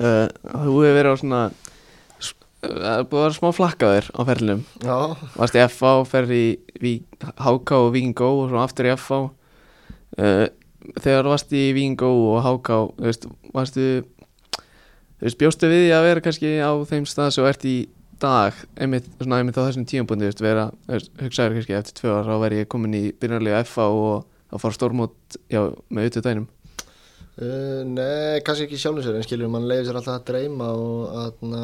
S1: uh, Þú hefur verið á svona s- Það er búið að vera smá flakkaður á ferlinum
S3: Já,
S1: Varst í FH, ferði í Vík- HK og Víkingó og svo aftur í FH uh, Þegar varst í Víkingó og HK þú veist, varstu þú veist, bjóstu við því að vera kannski á þeim stað sem þú ert í dag einmitt, svona einmitt á þessum tímabundi veist, vera, þú veist, hugsaður kannski eftir tvö ára þá væri ég komin í byrjarlega FH og að fara stórmót já, með auðvitað dænum
S3: Uh, nei, kannski ekki sjálfum sér en skilur mann leiði sér alltaf að dreyma og atna,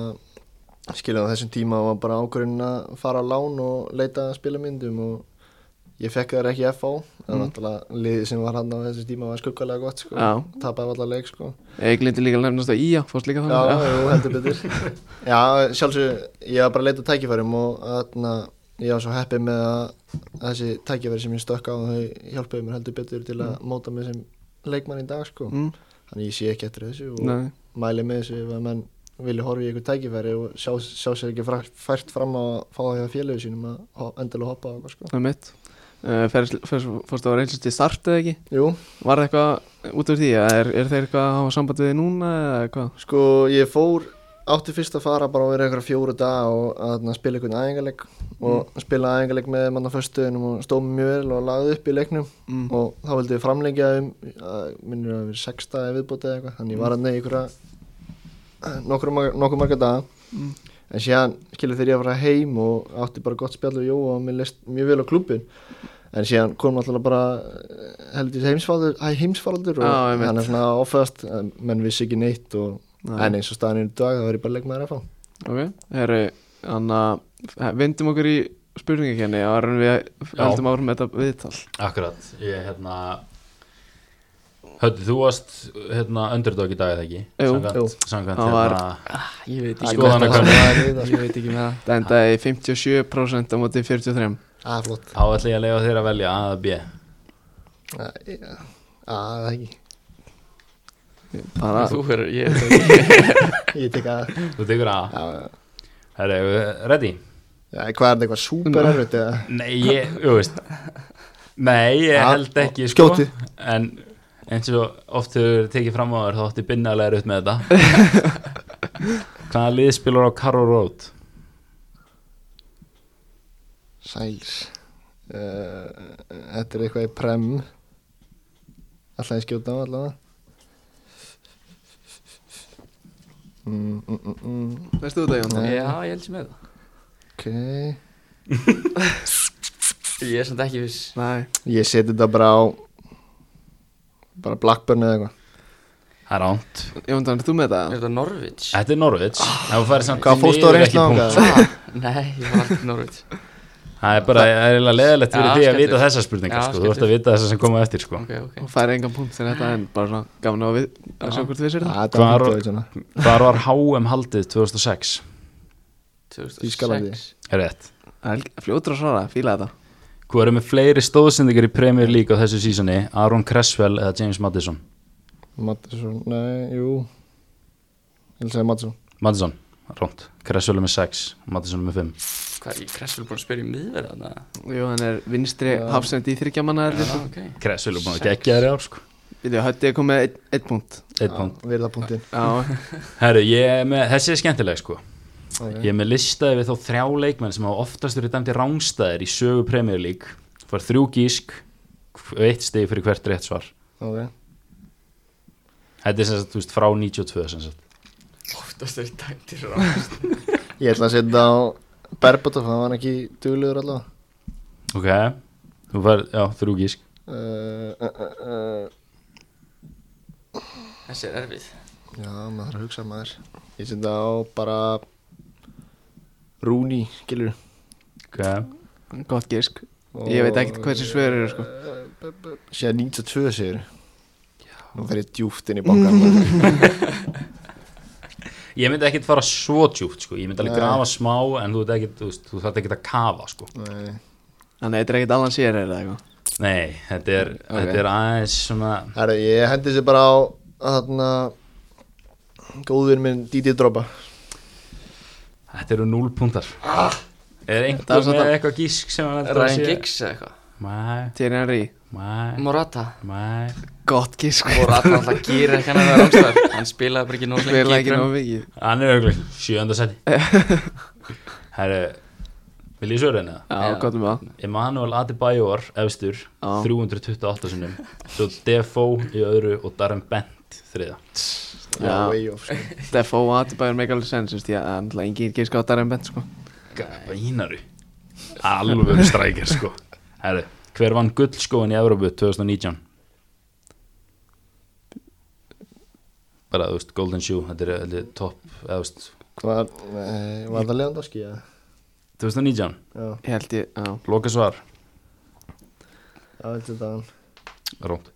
S3: skilur á þessum tíma var bara ákvörðin að fara á lán og leita að spila myndum og ég fekk þær ekki í FH en
S1: Mm.
S3: náttúrulega liðið sem var hann á þessu tíma var skuggalega gott sko,
S1: Já.
S3: tapaði allar leik sko
S1: Ég glindi líka að nefnast að Ía, fórst líka
S3: Já,
S1: þannig
S3: jú, heldur betur
S1: [laughs]
S3: Já, sjálfsög, ég var bara að leita að tækifærum og þarna, ég var svo heppið með að þessi tækifæri sem ég stökk á þau hjálpuðu mér heldur betur til að móta mig sem leikmann í dag sko
S1: Mm,
S3: Þannig ég sé ekki eftir þessu og
S1: Nei,
S3: mæli með þessu ef að menn vilja horfa í eitthvað tækifæri og sjá, sjá sér ekki fra- fært fram að fá það hjá félögu sínum að ho- endilega hoppa á eitthvað sko
S1: það er mitt uh, Fórst á reynslust í start eða ekki?
S3: Jú,
S1: Var það eitthvað út úr því? eða Er, er þeir eitthvað að hafa samband við þig núna eða hvað?
S3: sko ég fór átti fyrst að fara bara og vera einhverja fjóru dag og að spila einhvern æfingarleik og spila æfingarleik með manna föstuðinum og stóð mig mjög vel og lagði upp í leiknum
S1: Mm.
S3: og þá vildi við framlengja um að minnir að vera sex daga viðbútið eitthvað þannig
S1: Mm.
S3: ég var að neyja einhverja nokkur, nokkur marga daga
S1: Mm.
S3: en síðan skilur þegar ég var að fara heim og átti bara gott spjall og jó og mér leist mjög vel á klubin en síðan kom náttúrulega bara eh, heldur heimsfaldur, hæ, heimsfaldur og
S1: Já, einmitt.
S3: hann er svona ofast menn vissi ekki neitt og
S1: Nei.
S3: en eins og staðan er í dag þá er ég bara leikmaður að fá
S1: Ok, herru, þannig að vindum okkur í spurningakenni og erum við
S2: Já.
S1: heldum áfram með þetta viðtal
S2: Akkurat, ég hérna Höllu, þú varst hérna underdog í dag eða ekki?
S1: Jú,
S2: samkvæmt,
S3: jú.
S2: Samkvæmt
S1: Það
S2: hérna
S4: Ah, ég veit
S2: Æ,
S4: ekki
S2: Skoðan
S4: með
S2: að
S4: það.
S3: það sko. er í dag
S4: Ég veit ekki með það
S1: Það endaði í 57% á móti 43
S3: að Ah, flott
S2: Þá ætla ég að lega þér að velja A eða B
S3: að ah, það er ekki
S1: Bara,
S4: Þú er, ég veit það ekki
S3: ég tek að
S1: [laughs]
S3: já,
S2: Þú tekur A
S3: já.
S2: Herra, eigum við ready?
S3: Já, hvað er þetta eitthvað super erfitt eða
S2: Nei, ég, þú veist Nei, ég
S3: Ja,
S2: held ekki sko
S3: skjóttu.
S2: En eins og oft hefur verið tekið fram á þér þá ætti binnalega upp með þetta
S3: [laughs]
S2: Hvaða lið spilar á Karro Road?
S3: sæls uh, þetta er eitthvað í prem alltaf ég skjóta á allavega mm, mm, mm, mm.
S1: veistu þú það Jón?
S3: Nei.
S4: Já, ég held sem með
S3: ok
S4: það Ég er samt ekki viss
S1: Nei,
S3: ég seti þetta bara á bara Blackburn eða eitthvað
S2: Það er ánt
S1: Jón, þannig þú með
S4: Er
S1: það?
S4: þetta Norvits?
S2: Þetta er Norvits Það færi samt
S3: Hvað, fórstu á
S2: niður
S3: reynslu
S2: ekki
S3: þangað?
S2: punkt.
S4: Nei, ég var alltaf Norvits
S2: Það er bara, það er eiginlega leðilegt fyrir því
S4: Já,
S2: að
S4: skemmtilegt.
S2: vita þessar spurningar
S4: Já,
S2: sko. Þú ert að
S4: skemmtilegt.
S2: vita þessar sem koma eftir sko.
S4: Ok, ok
S1: Hún fær engan punkt fyrir þetta en bara svona gaman á við að sjá hvort við sér það
S3: Ah, þetta
S2: Hvar-
S3: var fínt, svona.
S2: Hvar var HM haldið 2006?
S4: 2006
S3: Þýskalandi.
S2: Er rétt
S1: Það er helg- Fljótur að svara, fíla þetta
S2: Hvað eru með fleiri stóðsendingar í Premier League á þessu sísoni? Aron Cresswell eða James Madison?
S3: Mattisson, nei, jú Ég vil segja Mattisson
S2: Madison, rámt Cresswell er með 6, Madison er með 5
S4: Hvað er ég Kressvel búin að spyrja um miðverð þarna?
S1: Jú, hann er vinstri hafsend í þryggja manna
S4: Já, ok
S2: Cresswell er búin að
S4: Sex.
S2: gegja þér ár sko.
S1: Við þau hötti ég komið eitt, eitt punkt
S2: Eitt
S3: Ah,
S2: punkt
S3: Virða punktinn
S1: Já,
S2: Herru, ég er með, þessi er skemmtileg sko.
S3: Ok.
S2: Ég er með listaði við þá þrjá leikmenn sem hafa oftast verið dæmt í rángstæðir í sögu Premier League Far þrjú gísk, eitt stig fyrir hvert rétt svar
S3: Ok
S2: Þetta er sem sagt, þú veist, frá 92 sem sagt
S4: Oftast er dæmtir ráð
S3: Ég ætla að setja það á Berbatov, hann var ekki duglegur allavega
S2: Ok, þú fær, já, þrjú gísk
S3: uh, uh, uh, uh,
S4: Þessi er erfið
S3: Já, maður þarf að hugsa maður Ég setja það á bara Rúni, gilur
S2: Ok,
S1: [laughs] gott gísk Ég veit ekkert hversu svör eru sko
S3: Sér 92 segir Nú fer ég djúft inn í bankan maður.
S2: ég myndi ekkit fara svo djúpt sko, ég myndi alveg
S3: Nei.
S2: grafa smá en þú, ert ekkit, þú, veist, þú þarf ekkit að kafa sko
S3: Nei.
S1: Þannig að þetta er ekkert allan sér eða eitthvað
S2: Nei, þetta er, þetta er aðeins svona
S3: Herra, ég hendi sér bara á Þarna Góðvinn minn Didi Dropa
S2: Þetta eru núlpuntar ah, Er
S1: Það er
S2: einhver
S1: samt
S2: með
S1: að-
S2: eitthvað gísk sem að þetta
S4: Ryan Giggs eða eitthvað
S2: Mæ,
S1: Thierry Henry,
S2: mæ,
S4: Morata
S2: mæ
S1: gott gísk sko.
S4: Morata alltaf gýr ekki hann að vera ráðstæðar Hann spilaði bara ekki nóg
S1: Spila
S4: lengi í
S1: ekki
S4: Prem-
S1: nóg mikið
S2: Hann er auðvitað sjöndarsæti Herru, vil ég svöra henni það?
S1: Já,
S4: Já.
S1: gott með það
S2: Emanuel hérna? Adebayor efstur
S1: Já.
S2: 328 sinnum svo Defoe í öðru og Darren Bent þriða
S1: Já.
S3: way off sko.
S1: Defo og Atibæður make alveg sense, þú veist, ég er náttúrulega engin gískátar en bent, sko.
S2: Bænaru alveg strækir sko Herru, hver vann gullskóin í Európu 2019 bara þú veist Golden Shoe þetta er, þetta er topp eða þú veist
S3: Hvað, nei, eh, var það Leandowski eða?
S2: 2019
S3: Já,
S1: Ég held ég, já.
S2: loka svar
S3: Já, veitir þetta hann
S2: Rómt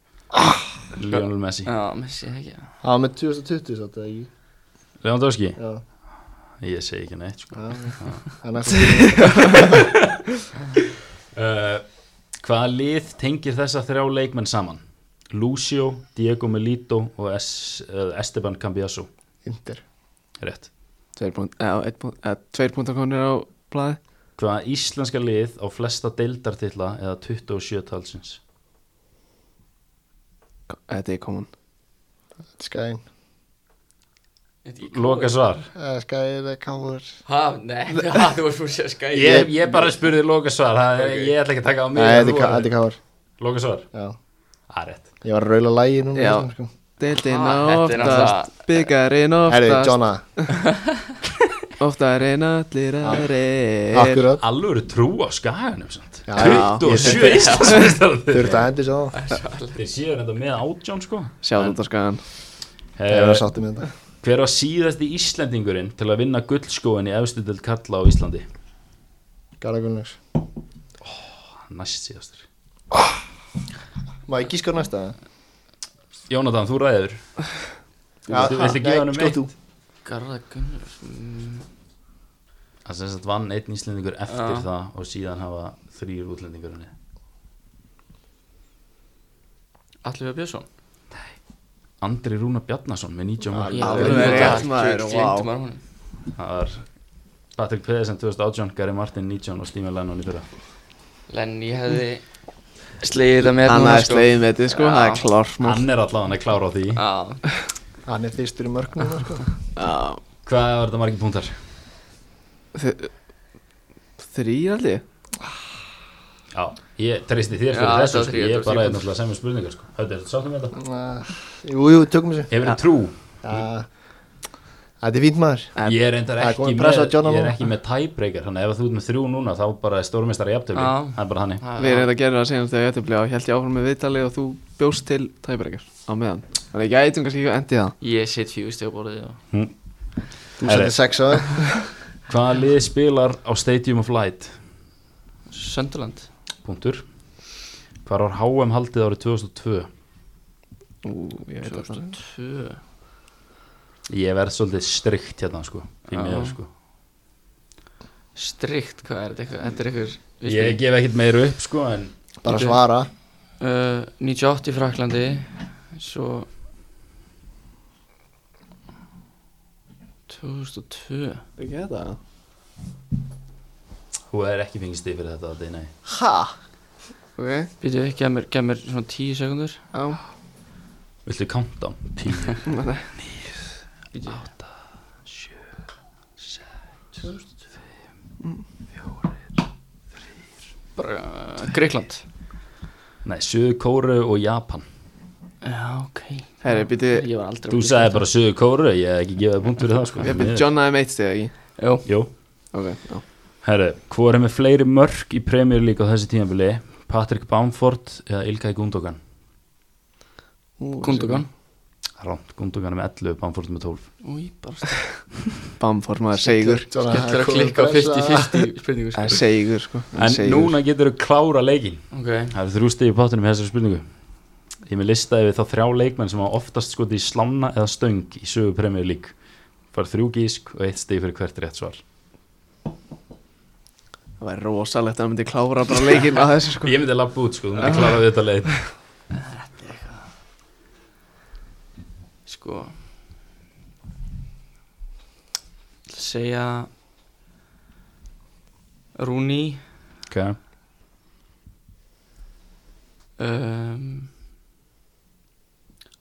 S2: Lionel Messi
S4: Já, missi það ekki
S3: Það var með 2020 satt eða ekki
S2: Lewandowski,
S3: Já,
S2: ég segi ekki neitt sko.
S3: já Það
S1: [laughs]
S3: er næstum
S2: uh, Hvaða lið tengir þessa þrjá leikmenn saman? Lucio, Diego Melito og es, uh, Esteban Cambiasso
S3: Inter
S2: Rétt
S1: Tveir punkt- eða, einn punkt- eða, Tveir punktar konir á blaði
S2: Hvaða íslenska lið á flesta deildartilla eða 27 talsins?
S1: Þetta er common
S3: Skæn
S2: Loka svar
S3: Skæn eða káur
S4: Ha, nei, [laughs] ha, þú varst fyrir sér skæði
S2: Ég, ég bara spurði loka svar það,
S4: Ok.
S2: Ég ætla ekki að taka á
S3: Nei,
S2: mig
S3: þetta er ká- þetta er káur
S2: Loka svar,
S3: Já
S2: það er rétt
S3: Ég var að raula lægi núna
S1: Já.
S3: sko.
S1: Deildin
S4: Ah, þetta er
S1: oftast Byggarinn
S3: Herri,
S1: oftast
S3: Jonna
S1: Oftar en allir aðrir
S3: Akkurat
S2: Alvöru trú á skaganum samt
S3: Já,
S1: já.
S2: 27
S3: Þú
S2: íslensmestari
S3: ert að hendi svo
S2: [laughs] Þeir séu þetta með átjón sko
S1: Sjáðu þetta skagan
S3: Ég var
S2: Eh,
S3: sátti með þetta
S2: Hver var síðasti Íslendingurinn til að vinna gullskóin í efstudöld kalla á Íslandi?
S3: Garðar Gunnlaugs
S2: Ah, Næst síðastur
S3: Má ég gíska á næsta?
S2: Jónatan, þú ræður
S3: Já,
S2: Þú viltu
S3: Ah, nei,
S2: gefa hann um
S3: skjótt
S2: eitt
S3: þú.
S4: Garða Gunnars mm,
S2: Það sem sagt vann einn Íslendingur eftir
S4: Já.
S2: það og síðan hafa þrýr útlendingur henni
S4: Allir við Björnsson
S2: Andri Rúna Bjarnason með 90 mörg
S3: Já,
S1: alveg rétt, maður, vá.
S4: maður honum
S2: Það var Patrick Pedersen 2018, Gary Martin 19 og Stími Lennon í fyrra
S4: Lenny hefði slegið þetta með
S1: Hann
S4: núna,
S1: er
S4: sko.
S1: slegið með þetta sko,
S4: Já.
S1: það er klart mál
S2: Hann er allavega að klára á því
S4: Já,
S3: Hann er fyrstur í mörg núna sko.
S1: Já,
S2: Hvað var þetta margir punktar?
S1: þ- Þrír allir
S2: Já, ég treysti þér
S4: Já,
S2: fyrir þessu
S4: þetta var
S2: sko, ég
S4: þrír,
S2: er
S4: þetta var
S2: bara
S4: þrír
S2: er náttúrulega sem við spurningar sko. Þetta er sáttum með þetta
S3: Ah, Jú, jú, tökum þessu
S2: Hefur þið trú?
S3: Já. Þetta er fínt maður
S1: En-
S2: Ég er reyndar
S3: Það er
S2: ekki
S3: komin
S2: með,
S3: pressa á Johna
S2: ég er
S3: núna.
S2: ekki með tiebreaker Þannig að ef þú ert með þrjú núna þá bara er stórmestari jafntöfli
S4: Já.
S2: Það er bara þannig
S4: já,
S1: Við
S4: já.
S1: erum þetta að gera það segjum þegar ég ættiflega og held ég áfram með viðtalið og þú bjóst til tæbreykjar á meðan Þannig að ég ætum kannski ekki að endi það
S4: Ég set fjögur steg á borðið og
S3: Þú
S2: Herri.
S3: setur sex á það
S2: Hvaða lið spilar á Stadium of Light?
S4: Sönderland
S2: Punktur Hvar var HM haldið árið 2002?
S1: Ú, ég veit þetta
S4: 2002
S2: Ég verð svolítið strikt hérna sko, því
S4: Já.
S2: miður, sko.
S4: Strikt, hvað er þetta eitthvað? Þetta er eitthvað
S2: Ég gef ekkert meira upp sko, en
S3: Bara
S4: Bíddu.
S3: svara
S4: Uh, 98 í Fraklandi Svo 2002
S1: Ekki þetta?
S2: þú er ekki fengið stig fyrir þetta Dana.
S3: Ha?
S1: Ok,
S4: Býtu, gef mér, gef mér svona 10 sekundur
S1: já
S2: Viltu countdown? 10,
S4: Býtu,
S2: 7, 6
S4: bara uh, Greikland
S2: [laughs] Nei, Suðu Kóru og Japan
S4: Já, ok
S1: Herri, býtu,
S4: Ég var aldrei
S2: Þú sagði bara Suðu Kóru, ég hef ekki gefið punkt fyrir það sko.
S1: ég býtu John A.M. 1 steg, ekki?
S4: Jó,
S2: Jú,
S1: Ok, já
S2: herru, hvað er með fleiri mörk í Premier League á þessi tímabili? Patrick Bamford eða Ilkay Gundogan?
S4: Kundogan
S2: Rámt, Gundogan er með 11, Bamford með 12
S4: Új, bara
S1: Bamford maður seigur
S4: Skellur að klikka á [laughs] 50-50 spurningu
S1: Það er
S4: sko.
S1: seigur, sko Það er
S2: En
S1: seigur.
S2: núna getur þú klára leikin
S4: Ok,
S2: Það eru þrjú stig í pottinum í þessari spurningu Ég er með lista yfir þá þrjá leikmenn sem hafa oftast skotið í slána eða stöng í sögu Premier League Far þrjú gísk og eitt stig fyrir hvert rétt svar
S1: Það væri rosalegt að hann myndi klára bara leikinn að þessu,
S2: [laughs]
S1: sko
S2: Ég myndi lappa út sko, þú myndi klára við þetta leið
S4: sko Ég ætla að segja Rúni
S2: okay.
S4: um,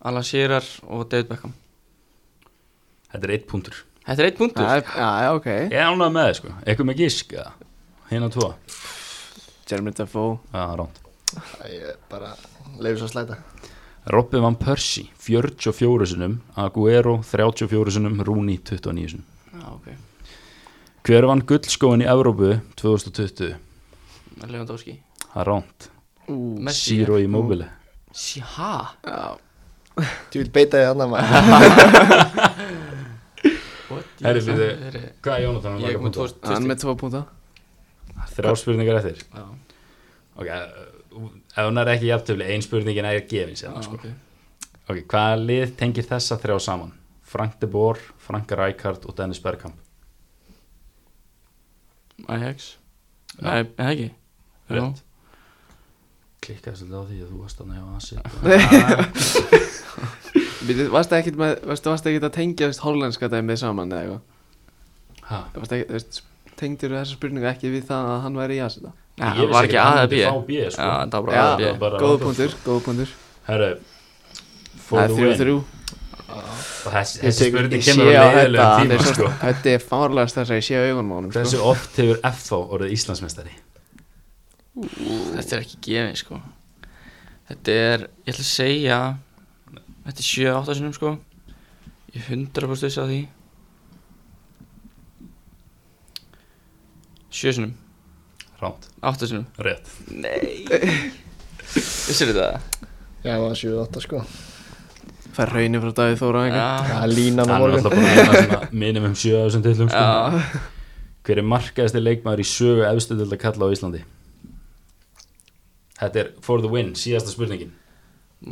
S4: Alan Shearer og David Beckham
S2: Þetta er eitt punktur
S4: Þetta er eitt punktur
S1: Það er- Já, já, ok
S2: Ég er ánægð með það sko, eitthvað með gísk eða? Hina tvo,
S1: Jeremy Dafoe
S2: já, rámt
S3: Ég bara leiði svo að slæta
S2: Robby Van Persie, 44 sinum Aguero, 34 sinum Rooney, 29 sinum
S4: Já, ok
S2: Hver vann gullskóin í Evrópu 2020?
S4: Lewandowski
S2: Það er rámt
S4: Messi
S2: Zero í móbili
S4: Sí, ha?
S3: Þú vil beita þig annar maður
S4: What?
S2: Herri, bíddu.
S4: Þetta er-
S2: Hvað er Jónatan?
S4: Ég kom með tvo
S2: Ah.
S1: [laughs] Hann með tvo púnta
S2: Þrjá spurningar eftir
S4: Já.
S2: Ok, uh, ef hún er ekki jafntöfli, ein spurningin er gefin sér,
S4: Já,
S2: sko.
S4: Ah, ok.
S2: Ok, hvaða lið tengir þessa þrjá saman? Frank de Boer, Frank Rijkaard og Dennis Bergkamp.
S4: Ajax
S2: Já.
S4: Nei, er það ekki? Jú.
S2: Rétt. Klikkaði svolítið á því að þú varst þannig á Asi.
S1: Býtu, varstu ekkit, með, varstu, varstu ekkit að tengja veist, hollenska dæmið saman eða eitthvað?
S2: Ha,
S1: Varstu ekkit, veist, tengdir þessa spurningu ekki við það að hann væri í Asita?
S4: Nei,
S2: Ég
S4: það
S2: vissi
S4: var
S2: ekki
S4: ekki
S2: að hann
S4: aðeins
S2: myndi fá
S4: B
S2: B, sko.
S4: Já, það var bara
S1: Já.
S4: aðeins B
S2: Bara
S1: Góð
S2: áfram.
S1: punktur, góð punktur
S2: herru, for
S1: Það er
S2: the
S1: þrjú
S2: win.
S1: þrjú
S2: Og Þessi,
S3: Ég
S2: þessi
S3: tek-
S2: spurning
S1: Ég sé
S2: kemur
S1: á
S2: á
S1: þetta, hann
S2: leiðilegum
S1: er
S2: tíma,
S1: svo
S2: sko.
S1: Þetta er fárlegast þess að ég sé á augum mánum
S2: Hversu
S1: sko.
S2: oft hefur FH orðið Íslandsmeistari?
S4: Þetta er ekki gefið sko Þetta er, ég ætla að segja Þetta er 7-8 sinum sko Ég er 100% viss á því 7 sinum,
S2: Ránt,
S4: 8 sinum
S2: rétt.
S4: Nei Vissir þetta?
S3: Já, það var 7-8 sko
S1: Fær raunir frá Davíð Þóra eitthvað.
S4: Já,
S3: Það er línan á
S2: Hann er
S3: morgun
S2: alltaf búin að vinna svona minimum 7000 tillum sko.
S4: já
S2: Hver er markaðasti leikmaður í sögu efstu til að kalla á Íslandi? Þetta er for the win, síðasta spurningin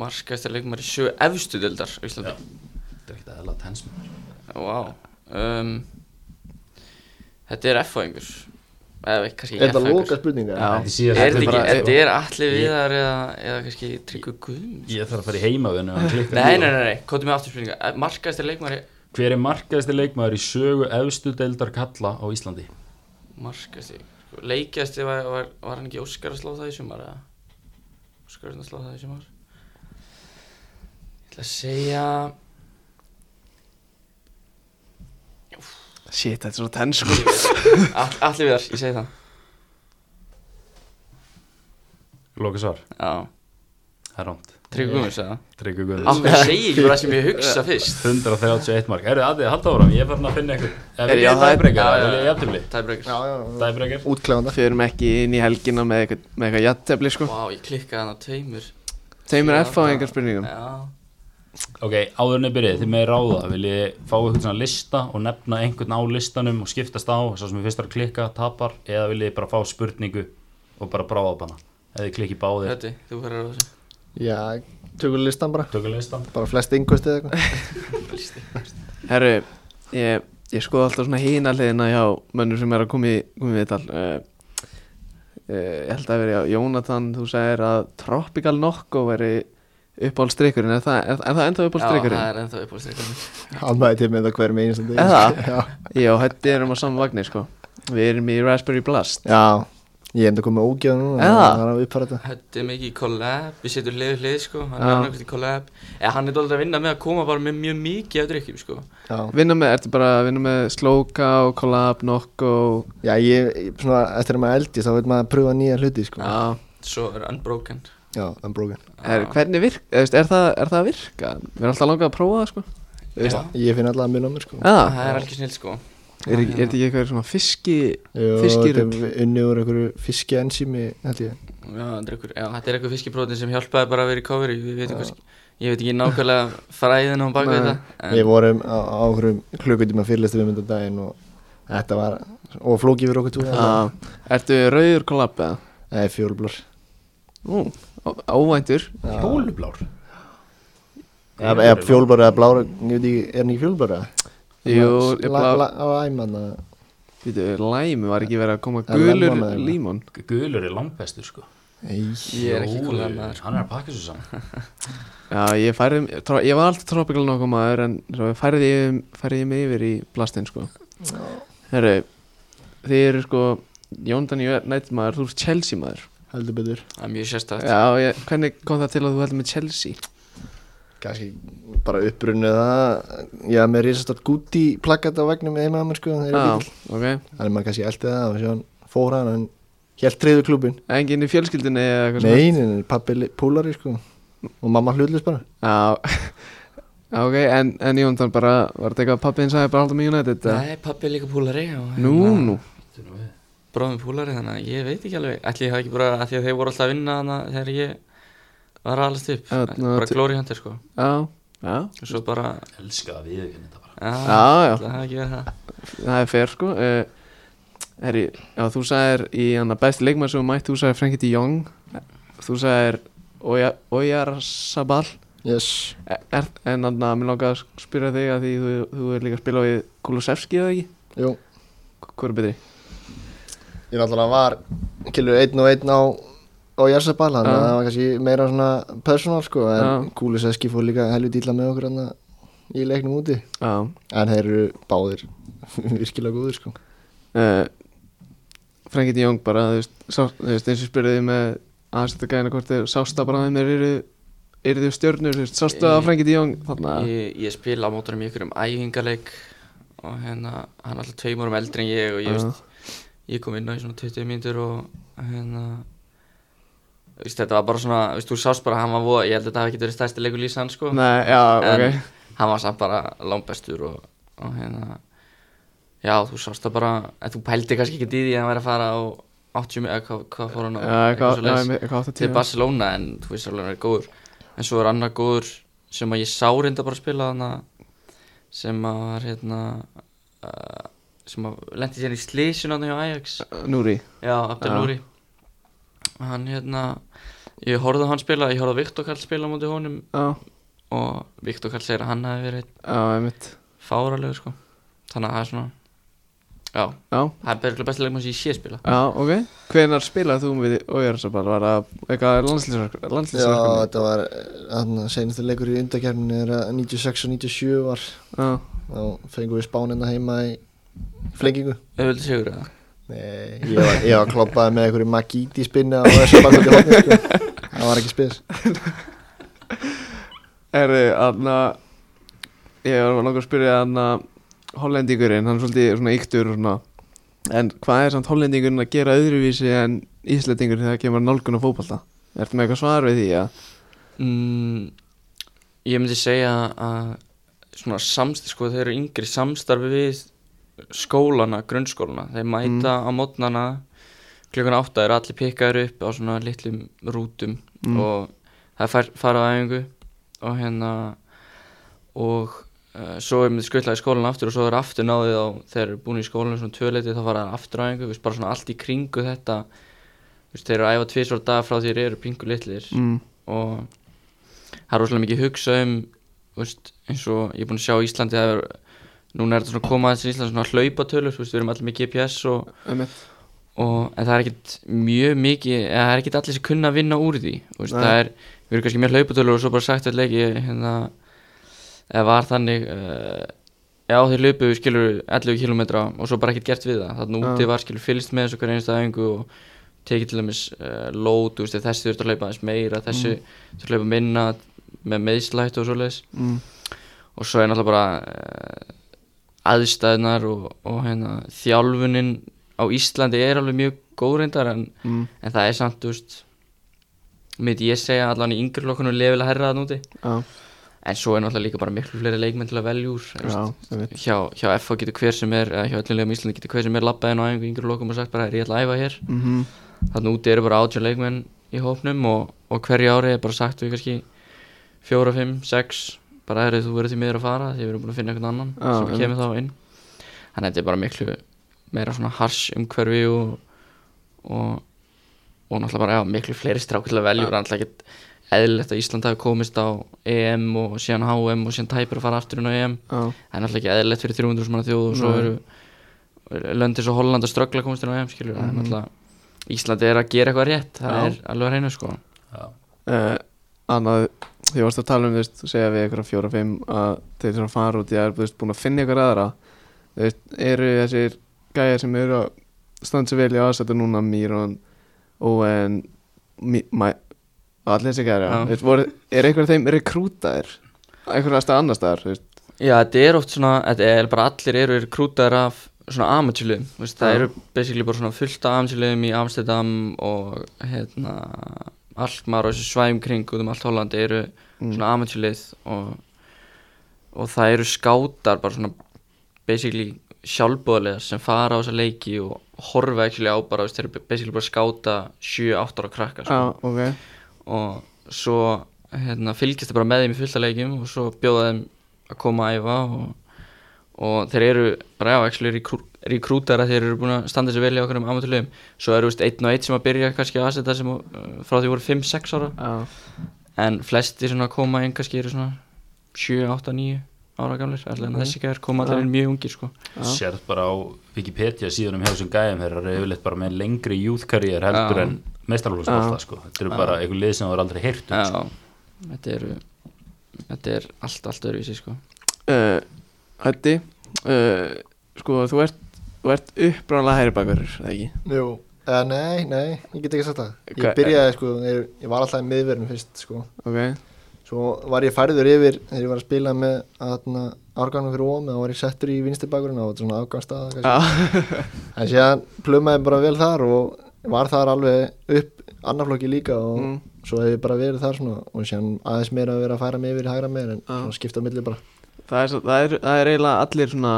S4: Markaðistar leikmar í 7 efstu dildar á Íslandi
S2: Þetta er ekkert aðeins að tensma
S4: Vá um, Þetta er F-fæðingur Eða veit, kannski
S3: Er
S4: ekki
S3: þetta loka
S4: F-fæðingur
S3: spurninga?
S1: Já.
S2: Þetta er síðasta
S4: Er þetta ekki,
S1: bara-
S2: spurningin sko.
S4: þetta er allir viðar eða, eða kannski Tryggur Guðmunds
S2: Ég þarf að fara í
S4: [laughs]
S2: heimavinu og hann klikkar
S4: Nei,
S2: í
S4: nei,
S2: það.
S4: nei, nei, kóttu með aftur spurninga Markaðistar leikmar í
S2: Hver er markaðasti leikmaður í sögu efstu deildar kalla á Íslandi?
S4: Markaðistar sko, Leikjastir var, var, var hann ekki Óskar að slá það í sumar eða Óskar að slá það í sumar Ég ætla að segja
S1: Shit, þetta er svo tens sko.
S4: all, Allir viðar, ég segi það
S2: Loka svar,
S4: Já,
S2: það er rámt
S4: Tryggur Guðmunds eða
S2: Tryggur Guðmunds
S4: Akkur segi ég ekki bara það sem ég hugsa fyrst
S2: 131 mark, eru aðið, halda áfram, ég er farin að finna ykkur Ef
S1: Er ég
S2: við
S1: á
S2: getum
S1: það?
S2: dæbreykar,
S4: Já, já,
S2: vil ég
S4: já.
S2: jafntefli
S4: Tæbreykar
S3: Já, já,
S2: Dæbreykar
S3: útklæðanda
S1: Förum ekki inn í helgina með eitthvað, með eitthvað jattefli sko.
S4: Vá, ég klikkaði hann á tveimur
S1: Teimur
S4: Já,
S1: F á
S4: það-
S1: einhver spurningum
S4: Já,
S2: Ok, áðurinn er byrjið, þið með ráða vil ég fá eitthvað svona lista og nefna einhvern á listanum og skiptast á svo sem við fyrst að klikka, tapar eða vil ég bara fá spurningu og bara bráða upp hana eða þið klikki báðir,
S4: þetta, þú verður á þessu
S3: Já, tökum listan bara
S2: tökum listan
S3: Bara flest yngvist eða eitthvað
S1: Herru, ég, ég skoða alltaf svona hína hliðina hjá mönnum sem er að koma í, koma í viðtal uh, uh, Ég held að vera Jónatan, þú segir að Tropical Nocco veri uppáhaldstrykkurinn Er það, er, er það enda
S4: Já, það
S1: uppáhaldstrykkurinn?
S4: er ennþá uppáhaldstrykkurinn
S3: Hann mæti með það hverjum einu sem
S1: Eða?
S3: Já,
S1: Já, þetta erum á saman vagnir sko Við erum í Raspberry Blast
S3: já Ég er enda komið ógjöð núna
S1: Eða?
S3: Það er að uppfæra þetta
S4: Þetta er mikið í collab, við setjum hlið við hlið sko Hann
S1: Já.
S4: er annarkvæmt í collab Eða hann er dólið að vinna með að koma bara með mjög mikið af drikkjum sko
S3: Já,
S1: Vinna með, ertu bara að vinna með Slowka og Collab, Nocco
S3: já ég, ég- svona, eftir að maður eldi þá vil maður pröfa nýja hluti, sko
S1: Já,
S4: Svo er unbroken Ah,
S3: Já, unbroken
S1: er, hvernig virk, er, er, það, er það að virka? Við erum alltaf langað að prófa það sko
S4: Já,
S3: Ég finn alltaf að muna á mér, sko
S1: Eða?
S4: það er alveg snill sko
S1: Er, ekki- er þetta ekki eitthvað svona fiski
S3: Jú,
S1: Fiskirull.
S3: þetta er unni úr einhverju fiskiensými, held ég
S4: Já, þetta er einhver- já, þetta er eitthvað fiskibrótin sem hjálpaði bara að vera í covery Við veitum hvað, ég veit ekki nákvæmlega fræðin á bak við
S1: Nei.
S4: þetta
S3: Við vorum á, á einhverjum klukkutíma fyrirlistu við mynda daginn og þetta var, og flóki fyrir okkur tvo
S1: Já, ertu rauður kollab eða?
S3: Nei, fjólblór
S1: Nú, á- óvæntur
S2: Fjólublár
S3: Eða eða fjólblár eða blár, ég veit ekki, er hann ekki fjólblár eða?
S1: Jú,
S3: La-
S1: ég blá-
S3: la- Á æman eða
S1: Býtu, læmi var ekki verið að koma
S3: Það er
S1: gulur
S3: lemon eða?
S1: límon
S2: Gulur er langbestur sko
S3: Nei,
S4: Ég er ekki
S2: Jú,
S4: collab maður sko.
S2: Hann er að pakka svo saman
S1: Já, ég færði, tro- ég var alltaf tropical nokkuð maður en svo færði ég, færði ég mig yfir í blastinn sko Herru, þið eru sko Jóndan United maður, þú ert Chelsea maður
S3: heldur betur
S4: Það er mjög sérstætt
S1: Já, ég, hvernig kom það til að þú heldur með Chelsea?
S3: Kanski bara upprunnið það Já, með risastort gúti plakkat á vegnum með heima að mér sko þegar ég
S1: Já,
S3: var lítill.
S1: ok,
S3: Þannig að maður kannski eldi það og sér hann fór hann en Helt treyðu klubin
S1: enginn í fjölskyldinni eða eitthvað svona?
S3: Nei, nei, nei, pappi li- púlari sko Og mamma hlutlust bara
S1: Já, [laughs] Já, ok, en, en Jóndan bara, var þetta eitthvað að pappiðin sagði bara alltaf með United? eða?
S4: Nei, pappi er líka púlari og-
S1: Nú, nú,
S4: bróðum púlari þannig að ég veit ekki alveg ætli ég hafi ekki bara að því að þeir voru alltaf að vinna þannig að þegar ég var allast upp
S1: Já, ná,
S4: bara
S1: til-
S4: glory hunter sko
S1: já, já,
S4: og svo bara
S2: Elska að við þetta bara
S4: já,
S1: já, já,
S4: það hafi ekki verið það
S1: það er fair sko uh, Herri, já, þú sagðir í hann að besti leikmann sem þú mætt, þú sagðir Frenkie de Jong þú sagðir Oya- Oyarzabal
S3: yes
S1: er, er- en þannig að mér langar að spyrja þig að því þú, þú er líka að spila við Kulusevski eða ekki?
S3: Jú,
S1: Hvað er betri?
S3: ég náttúrulega var kilur einn og einn á á Jarsabal, þannig að
S1: Já.
S3: það var kannski meira svona personal sko, en ja.
S1: Já.
S3: Kuliseski fór líka helviti illa með okkur hann í leiknum úti,
S1: Já
S3: en þeir eru báðir [laughs] virkilega góðir sko
S1: uh, Eh, Frankie de Jong bara, þú veist, sá, þú veist eins og ég spurði þig með aðstæðgæðina hvort þau sásta bara að þeim eru eru þau stjörnur, þú veist, sástu að Frankie de Jong þarna,
S4: ég, ég spila á mótunum í einhverjum æfingarleik og hérna, hann er alltaf tveim árum eldri en ég og ég,
S1: Já.
S4: veist, ég kom inn á í svona 20 mínútur og hérna þú veist, þetta var bara svona, þú veist, þú sást bara að hann var voða, ég held að þetta hafi ekki verið stærsti leikur lýsa hann sko
S1: nei, já,
S4: en
S1: ok
S4: hann var samt bara langbestur og, og hérna já, þú sást það bara, en þú pældi kannski ekki í því að hann væri að fara á 80, eða hvað, hvað fór hann á
S1: Já, eitthvað, já,
S4: svoleiðis
S1: einmitt, eitthvað átt að
S4: til Barcelona en þú veist alveg hann er góður en svo er annar góður sem að ég sá reynda bara að spila þarna sem að var hérna uh, sem að lendi sér í slísun hann hjá Ajax
S1: Núri
S4: já, Abdel
S1: Já.
S4: Núri hann hérna ég horfði á hann spila, ég horfði á Viktor Karl spila á móti honum
S1: Já,
S4: og Viktor Karl segir að hann hafi verið
S1: já, einmitt
S4: fáralegur sko þannig að það er svona já,
S1: Já,
S4: það er berglega bestilegum sem ég sé spila
S1: já, ok Hvenær spilaði þú með Ójarsabal? Var það eitthvað
S3: Já,
S1: landslýsverkunni?
S3: þetta var hann senastu leikur í undarkerfinu er að 96 og 97 var
S1: Já,
S3: þá fengum við spánina heima í flengingu
S4: auðvitað sigur það
S3: Nei, ég var, ég var kloppaði með einhverju Magíti spinni á þessu bakvöldi hóttni sko. það var ekki spes
S1: er þið, anna Ég var langar að spyrja anna Hollendingurinn, hann er svolítið svona yktur og svona En hvað er samt Hollendingurinn að gera öðruvísi en Íslandingur þegar það kemur að nálgun á fótbalta? Ertu með eitthvað svar við því, já?
S4: Mm, ég myndi segja að svona samstarf, sko, þeir eru yngri samstarfi við skólana, grunnskólana. Þeir mæta
S1: Mm.
S4: á mótnana, klukkan átta eru allir pikkaður upp á svona litlum rútum
S1: Mm.
S4: og það er far, farað á æfingu og hérna og uh, svo er myndi skvillað í skólan aftur og svo er aftur náðið á þeir eru búin í skólan svona töleiti þá fara það aftur á æfingu, þú veist, bara svona allt í kringu þetta, þú veist, þeir eru að æfa tvisvar dag frá því þeir eru pingu litlir
S1: Mm.
S4: og það er rosalega mikið hugsa um þú veist, eins og ég er búin að sjá á Íslandi það er, núna er þetta svona að koma aðeins í Íslandi svona hlaupatölur, þú veist, við erum allir með GPS og,
S1: Einmitt.
S4: og en það er ekkit mjög mikið, eða það er ekkit allir sem kunna að vinna úr því, þú veist,
S1: Nei.
S4: það er við erum kannski með hlaupatölur og svo bara sagt allir ekki hérna, eða var þannig uh, já, þeir löpu skilur 11 km og svo bara ekkit gert við það þannig
S1: Já.
S4: úti var skilur fylgst með þessu hver einsta æfingu og tekið til dæmis uh, lót, þú veist, ef þessi þurft að hlaupa aðeins meira, þessi mm. þurft að hlaupa minna með meðslætt og svoleiðis
S1: Mm.
S4: og svo er náttúrulega bara uh, aðstæðnar og, og hérna, þjálfunin á Íslandi er alveg mjög góðreindar en,
S1: Mm.
S4: en það er samt, þú veist mitt ég segja allan í yngri lokkunum lefilega herra það núti
S1: Já,
S4: en svo er náttúrulega líka bara miklu fleiri leikmenn til að velja úr þú
S1: já,
S4: veist.
S1: einmitt.
S4: hjá, hjá FH getur hver sem er eða hjá öllum liðum í Íslandi getur hver sem er labbaðin á einhver yngri lokum og sagt bara, "Herri, ég ætla að æfa hér
S1: Mhm.
S4: þannig úti eru bara 18 leikmenn í hópnum og, og hverju ári er bara sagt við kannski 4, 5, 6 bara eru þú verður því miður að fara því við erum búin að finna einhvern annan
S1: Já,
S4: sem kemur þá inn þannig að þetta er bara miklu meira svona hars umhverfi og og, og náttúrulega bara já, miklu fleiri strák til að velja og náttúrulega ekkert eðlilegt að Ísland hafi komist á EM og síðan HM og síðan tæpur að fara aftur inn á E EM
S1: Já,
S4: það er náttúrulega ekki eðlilegt fyrir 300 sem manna þjóð og svo
S1: Nei.
S4: eru löndis og Holland að ströggla komast inn á EM skilur, það er náttúrulega Íslandi er að gera eitthvað rétt, það
S1: Mhm. Já.
S4: er alveg að reyna sko
S2: já,
S1: uh, annað því varst að tala um þú veist, þú segja við ykkur fjóra fimm að þeir sem fara út í að þú veist, búin að finna ykkur aðra þú veist, eru þessir gæjar sem eru að standa sér vel í aðsættu núna Míron, Owen Mi- Ma- allir þessi gæjar já.
S4: Já.
S1: Þú veist, voru, er einhver af þeim rekrútaðir einhver aðstæða annar staðar þú veist?
S4: Já, þetta er oft svona, þetta er bara allir eru krútaðar af svona amatjulum, það
S1: Já.
S4: eru basically bara svona fullt af amatjulum í Amsterdam og hérna Alkmaar og þessu svæðum kring út um allt Holland eru
S1: Mm.
S4: svona amatjulið og, og það eru skátar bara svona basically sjálfbóðlega sem fara á þessa leiki og horfa actually á bara, þú veist, þeir eru basically bara skáta 7-8 ára sko. krakka
S1: já, ok
S4: og svo hérna, fylgist það bara með þeim í fullta leikjum og svo bjóða þeim að koma að æfa og, og þeir eru bara já, actually rekrú- rekrútar að þeir eru búin að standa sér vel í okkur um amatúrlegum svo eru veist, einn og einn sem að byrja kannski að setja sem uh, frá því voru 5-6 ára
S1: Já,
S4: en flesti svona koma inn kannski eru svona 7, 8, 9 ára gamlir allan
S1: Ok.
S4: mm. þessi gæðar koma
S1: Já.
S4: allir inn mjög ungir sko
S1: já,
S2: sérð bara á Wikipedia síðanum hjá þessum gæðum þeir eru yfirleitt bara með lengri júðkarriér heldur
S4: Já.
S2: en mestarlóðsbólta sko. þetta eru bara einhver lið sem það er aldrei heyrt um,
S4: já, þetta eru þetta er allt, allt öðruvísi sko
S1: Uh, Ætti uh, Sko, þú ert Þú ert uppræðanlega hægri bakverður, eða ekki?
S3: Jú, uh, nei, nei, ég get ekki sagt það
S1: Hva-
S3: Ég byrjaði, sko, ég, ég var alltaf í miðverðin fyrst, sko
S1: Ok,
S3: Svo var ég færður yfir þegar ég var að spila með aðna, árganum fyrir ómi og var ég settur í vinstibakurinn og svona afgangstaða kannski. [laughs] En síðan plumaði bara vel þar og var þar alveg upp annarflokki líka og
S1: Mm.
S3: svo hef ég bara verið þar svona og síðan aðeins meira að vera að færa mig yfir í hægra meir en
S1: Já.
S3: svona skipta á milli bara.
S1: það er, svo- það er, það er eiginlega allir svona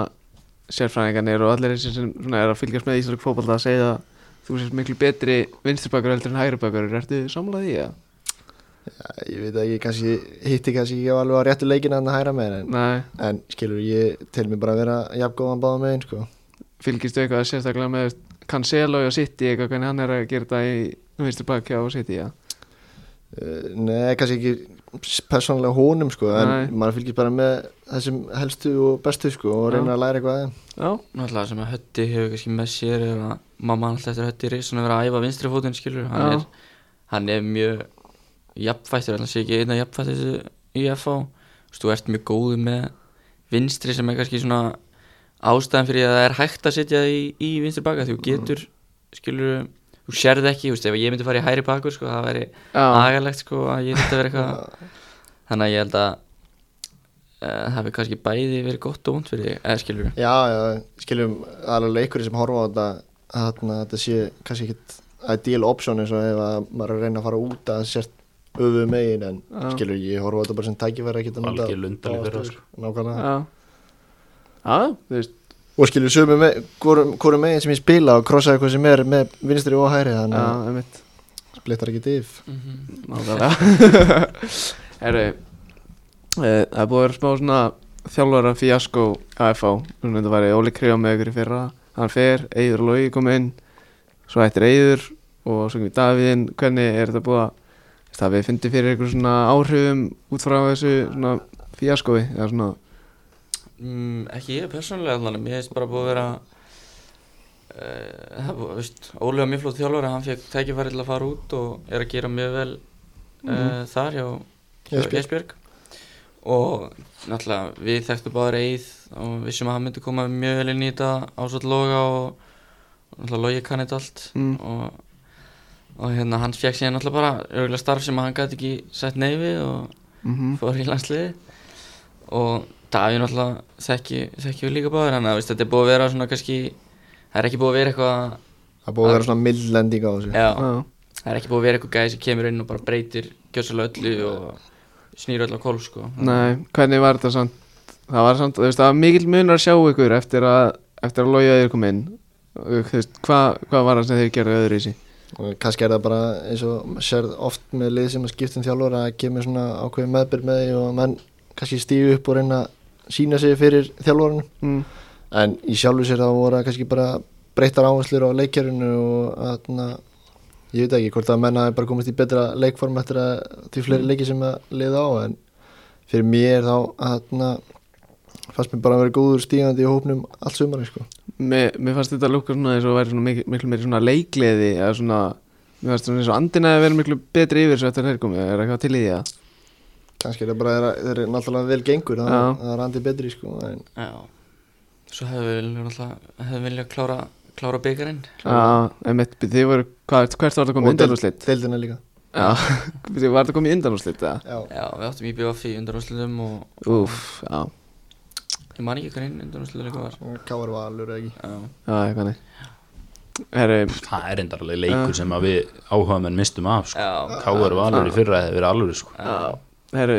S1: sérfræðingarnir og allir þessi sem svona er að fylgjast með íslensk fótbolta að segja að þú sést miklu betri vinstirbakverður heldur en hægri bakverður Ertu samlað því, eða?
S3: Ja, ég veit ekki, kannski hitti kannski ekki alveg á réttu leikina en að hægra meir en,
S1: Nei,
S3: en skilur ég til mig bara að vera jafngóðan báða megin sko.
S1: fylgistu eitthvað sérstaklega með Cancelo og City eitthvað hvernig hann er að gera þetta í vinstirbakja og City, já
S3: Uh, Nei, kannski ekki persónulega honum sko, en
S1: Nei.
S3: maður fylgist bara með þessum helstu og bestu sko og
S1: Já.
S3: reynir að læra eitthvað aðeins.
S1: Já,
S4: náttúrulega sem að Hötti hefur kannski með sér er að mamma hann alltaf eftir Hötti er svona að vera að æfa vinstri fótinn skilur hann
S1: Já.
S4: er, hann er mjög jafnfættur, hann sé ekki einn að jafnfættur þessu í FH Þú veist, þú ert mjög góð með vinstri sem er kannski svona ástæðan fyrir að það er hægt að setja í, í vinstri baka
S1: Mm.
S4: því þú getur, skilur þú sérð ekki, þú veist, ef ég myndi fara í hæri bakur sko, það væri
S1: já,
S4: agalegt sko að ég þetta
S1: [laughs]
S4: verið eitthvað þannig að ég held að eh, það hefur kannski bæði verið gott og vond fyrir þig, eða skilur
S3: Já, já, skiljum alveg leikur sem horfa á þetta þarna, þetta sé kannski ekkit ideal option eins og ef að maður er að reyna að fara út að sért öfu megin en
S1: Já.
S3: skilur ég horfa á þetta bara sem tækifæri ekkit að nota-
S2: algjör lundaleg fyrir sko.
S3: Nákvæmlega
S1: já Já, þú veist
S3: Og skilur sömu með, hvorum hvorum megin sem ég spila og krossaði hvað sem er með vinstri og hæri
S1: Já,
S3: þannig að
S1: einmitt
S3: splittar ekki div
S1: Mhm. Nákvæmlega Herru eh, Það er búið að vera smá svona þjálfara fíasko AFA Núna þetta væri Óli Kríó með ykkur í fyrra Hann fer, Eyður og Lógi kom inn Svo hættir Eyður og svo kemur Davíðin Hvernig er þetta búið að Það við fyndið fyrir ykkur svona áhrifum út frá þessu svona fíaskoi eða svona,
S4: Mm, ekki ég persónulega allan, mér hefðist bara búið að vera uh, búið, veist, Óli var mjög flott þjálfari, hann fekk tækifæri til að fara út og er að gera mjög vel uh, þar hjá
S3: Esbjörg.
S4: Jesbjörg og náttúrulega við þekktum báður Eið og vissum að hann myndi koma mjög vel inn í þetta ásvöld loga og og náttúrulega logi kann þetta allt
S1: Mm.
S4: og, og hérna hann fekk síðan náttúrulega bara örgulega starf sem hann gæti ekki sett nei við og
S1: mm
S4: fór í landsliði og Davíð náttúrulega þekki, þekki við líka báður hann að veist, þetta er búið að vera svona kannski það er ekki búið að vera eitthvað
S3: Það er búið að vera svona millending á þessu
S4: já,
S1: já,
S4: það er ekki búið að vera eitthvað gæði sem kemur inn og bara breytir gjössalega öllu og snýr öllu á kól sko
S1: Nei, hvernig var þetta samt það var samt, þú veist, það var mikill munur að sjá ykkur eftir að, eftir að Lógi Eyður kom inn Og, þú veist, hvað hvað var það sem þeir gerðu öðru í sig
S3: og kannski er það bara eins og maður sér oft með lið sem að skipta um þjálfur að kemur svona ákveðin meðbyrg með því og menn kannski stíu upp og reyna að sína sig fyrir þjálfurinn
S1: mm.
S3: en í sjálfu sér það voru kannski bara breyttar áherslur á leikjörinu og aðna, ég veit ekki hvort að menna bara komist í betra leikform eftir að því fleiri leiki sem að liða á en fyrir mér þá aðna, fannst mér bara að vera góður stígandi í hópnum allt sumari sko.
S1: mér, mér fannst þetta lúka svona eins og væri svona mikil, miklu meiri svona leikleði eða svona, mér fannst svona eins og andina að vera miklu betri yfir svo eftir að þeir komu er eitthvað til í því að
S3: kannski er það bara þeirra- þeir eru náttúrulega vel gengur það,
S1: Já.
S3: það er andið betri sko, en
S4: já. svo hefðum við viljað náttúrulega hefðum viljað klára, klára byggarinn
S1: Já, einmitt, þið voru, hvað, hvert var þetta komið
S3: Og deild-
S1: undanúslitt?
S3: Deildina líka
S1: [laughs] Já, þið var þetta komið undanúslitt, eða?
S3: Já,
S4: já, við áttum í BVF í undanúslutum og
S1: Úf, já,
S4: ég man ekki hvernig undanúslutum var
S3: Káur Valur eða ekki
S4: já,
S1: já, eitthvað nei Herru,
S2: það er endar alveg leikur sem að við áhugamenn mistum af sko.
S4: já.
S2: Káur var alveg í fyrra eða verið alveg sko.
S1: Já, herru,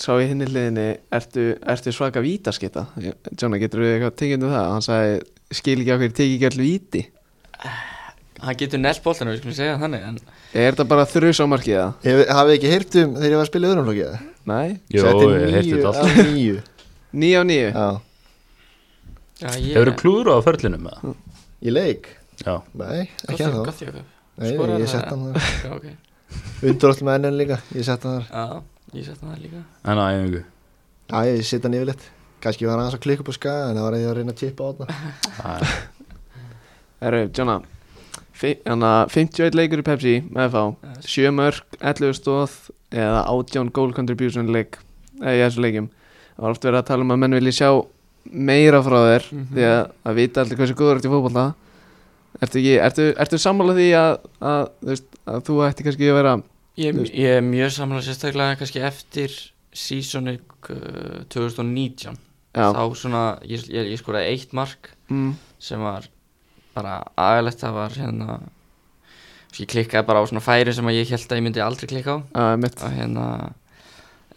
S1: sá ég henni hliðinni Ertu, ertu svaka vítaskita? Jóna, getur við eitthvað tengjandi það? Hann sagði, skil ekki okkur, teki ekki allir víti
S4: hann getur nelt bóltan við skulum segja það þannig en
S1: Er þetta bara þrjus á markið það?
S3: Hef- Hafið ekki heyrt um þegar ég var að spila í öðrum flokki
S1: Nei?
S2: Jó, ég heyrti þetta
S3: þetta
S2: alltaf
S3: alltaf Níu
S1: Níu á níu?
S3: Já
S4: Já, ég
S2: Hefur þú klúður á förlinum með það?
S3: Í leik?
S2: Já,
S3: Nei, ekki
S4: Gott
S3: ennþá
S4: gott Jakob.
S3: Nei,
S4: skoraði
S3: ég
S4: það.
S3: sett hann þar
S4: Já, ok
S3: Undurótt með ennum líka, ég sett hann þar
S4: Já, ég setna það líka
S2: en á æfingu
S3: Já, ég sett hann yfirleitt Kanski var hann aðeins að klikka upp á skaga En það var að ég að reyna að tippa á þarna
S2: Það er-
S1: Herru, Jóna fi- hérna, 51 leikur í Pepsi með FH, 7 mörg, 11 stóð eða 18 goal contribution leik, eða í þessu leikum það var oft verið að tala um að menn vilji sjá meira frá þér
S4: Mhm.
S1: því að, að vita allir hversu góður ertu í fótbolta ertu, ekki, ertu, ertu sammála því að, að, þú veist, að þú ætti kannski að vera
S4: Ég,
S1: Þú veist.
S4: ég er mjög samlega sérstaklega kannski eftir seasoni uh,
S1: já,
S4: 2019 þá svona, ég, ég, ég skoraði eitt mark
S1: mm,
S4: sem var bara aðalegt, það var hérna svo ég klikkaði bara á svona færi sem að ég held að ég myndi aldrei klikka á
S1: að mitt
S4: að hérna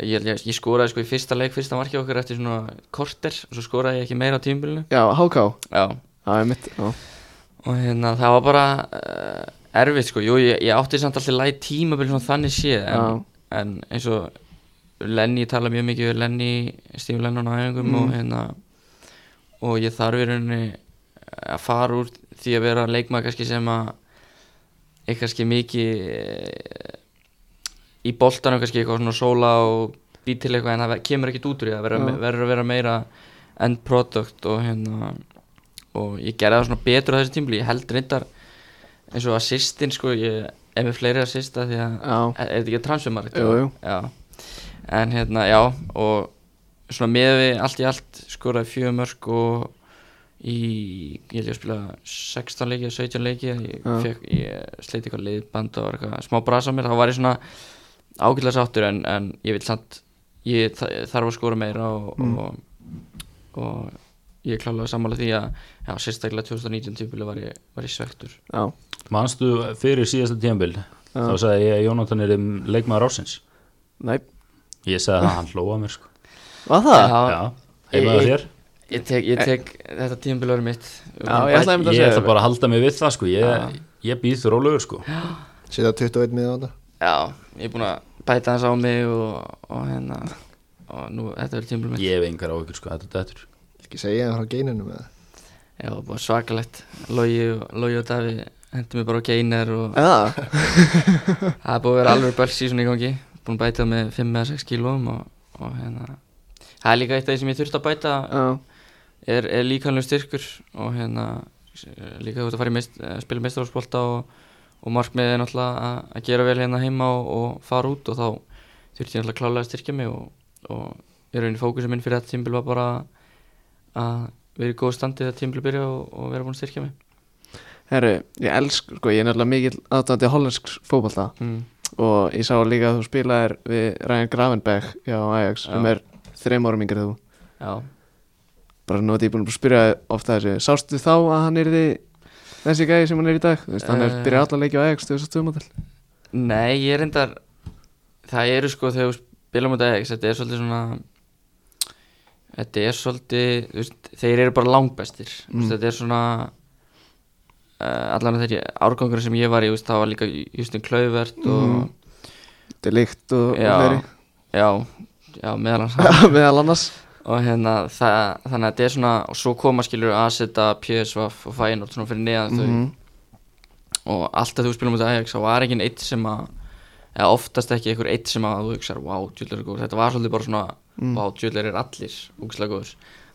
S4: ég, ég, ég skoraði sko í fyrsta leik, fyrsta marki okkar eftir svona korter og svo skoraði ég ekki meira á tímbilinu
S1: já, háká,
S4: já,
S1: að mitt já,
S4: og hérna það var bara uh, erfitt sko, jú ég, ég átti samt alltaf læg tímabil svona þannig séð en, en eins og Lenny ég tala mjög mikið við Lenny Steve Lennon á æfingum
S1: Mm.
S4: og hérna og ég þarf í rauninni að fara úr því að vera leikmaður kannski sem að er kannski mikið eh, í boltanum kannski eitthvað svona sóla og být til eitthvað en það ve- kemur ekkit út úr því það verður
S1: Já.
S4: að- verður að vera meira end product og hérna og ég gerði það svona betur á þessu tímli ég held reyndar eins og assistin sko, ég er með fleiri assista því að
S1: já,
S4: er er þetta ekki transfermarkt?
S1: Jú, jú.
S4: Já. En hérna, já, og svona með við allt í allt skoraði fjögur mörg og í, ég held ég að spila 16 leiki eða 17 leiki ég,
S1: Já.
S4: fekk, ég sleiti eitthvað liðband og var eitthvað smá brasa á mér, þá var ég svona ágætlega sáttur en, en ég vil samt ég þa- þarf að skora meira og,
S1: Mm.
S4: og, og ég er klálega sammála því að já, sérstaklega 2019 tímpili var ég, var ég svektur
S1: já,
S2: Manstu fyrir síðasta tíðanbíl Þá sagði ég að Jónatan er um leikmaður ásins
S1: næ,
S2: Ég sagði það, hann hlóa mér sko
S1: var það?
S4: Já,
S2: Já, heimaðu
S4: Ég-
S2: þér
S4: Ég tek, ég tek þetta tímabil verið mitt
S1: Eh. Já, ég ætlaði einmitt að
S2: Ég
S1: segja
S2: ætla
S1: þér.
S2: bara að halda mig við það sko
S4: Já.
S2: Ég, ég býð þú rólegur sko
S3: Setja 21 miða á þarna
S4: Já, ég er búin að bæta hans á mig og, og hérna og nú, þetta verið tímabil mitt
S2: Ég hef engar á ykkur sko, þetta er dættur
S3: Ekki segja hann frá geininu með það
S4: Já, bara svakalegt Logi og, Logi og Davi hendur mig bara á geiner og
S1: Já,
S4: það er búin að vera alveg börs í svona í gangi búin að bæta með 5 eða 6 kílóum og, og hérna það er líka eitt af því sem ég þurfti að bæta
S1: já,
S4: er, er líkanlega styrkur og hérna líka þú ert að fara í meist, eh, spila meistarhófsbolta og, og markmiðið er náttúrulega að- að gera vel hérna heima og, og fara út og þá þurfti ég náttúrulega klálega að styrkja mig og, og ég raunin fókusum minn fyrir þetta tímbil var bara að vera í góð standi þegar tímbil byrja og, og vera búin að styrkja mig
S1: herru, ég elsk, sko, ég er náttúrulega mikill aðdæmdi hollensks fótbolta
S4: mm.
S1: og ég sá líka að þú spilaðir við Ryan Gravenberg hjá Ajax
S4: Já.
S1: sem er þreim árum yngri en þú
S4: Já,
S1: bara nú að ég búin að spyrja þig ofta þessu sástu þá að hann er því þessi gæði sem hann er í dag Þú veist, hann er
S4: Eh.
S1: byrjað allar leikja á Ajax 2002 model
S4: nei ég er reyndar það eru sko þegar við spilum út aðeins þetta er svolítið svona þetta er svolítið þú veist, þeir eru bara langbestir mm.
S1: Mm.
S4: veist, þetta er svona uh, allan þeirri árgangur sem ég var í þú veist, það var líka Justin Klauvert og
S1: Mm. þetta er líkt og
S4: já,
S1: og fleiri [laughs]
S4: já, já, meðal hans
S1: meðal annars
S4: og hérna það, þannig að þetta er svona og svo koma skilur Aseta, PSV og Feyenoord svona fyrir neðan þau
S1: Mhm.
S4: og alltaf þú spilum út Ajax þá var ekki eitt sem að eða oftast ekki einhver eitt sem að þú hugsar wow, djúlar er góður, þetta var svolítið bara svona
S1: Mm.
S4: wow, djúlar er allir, úkslega góður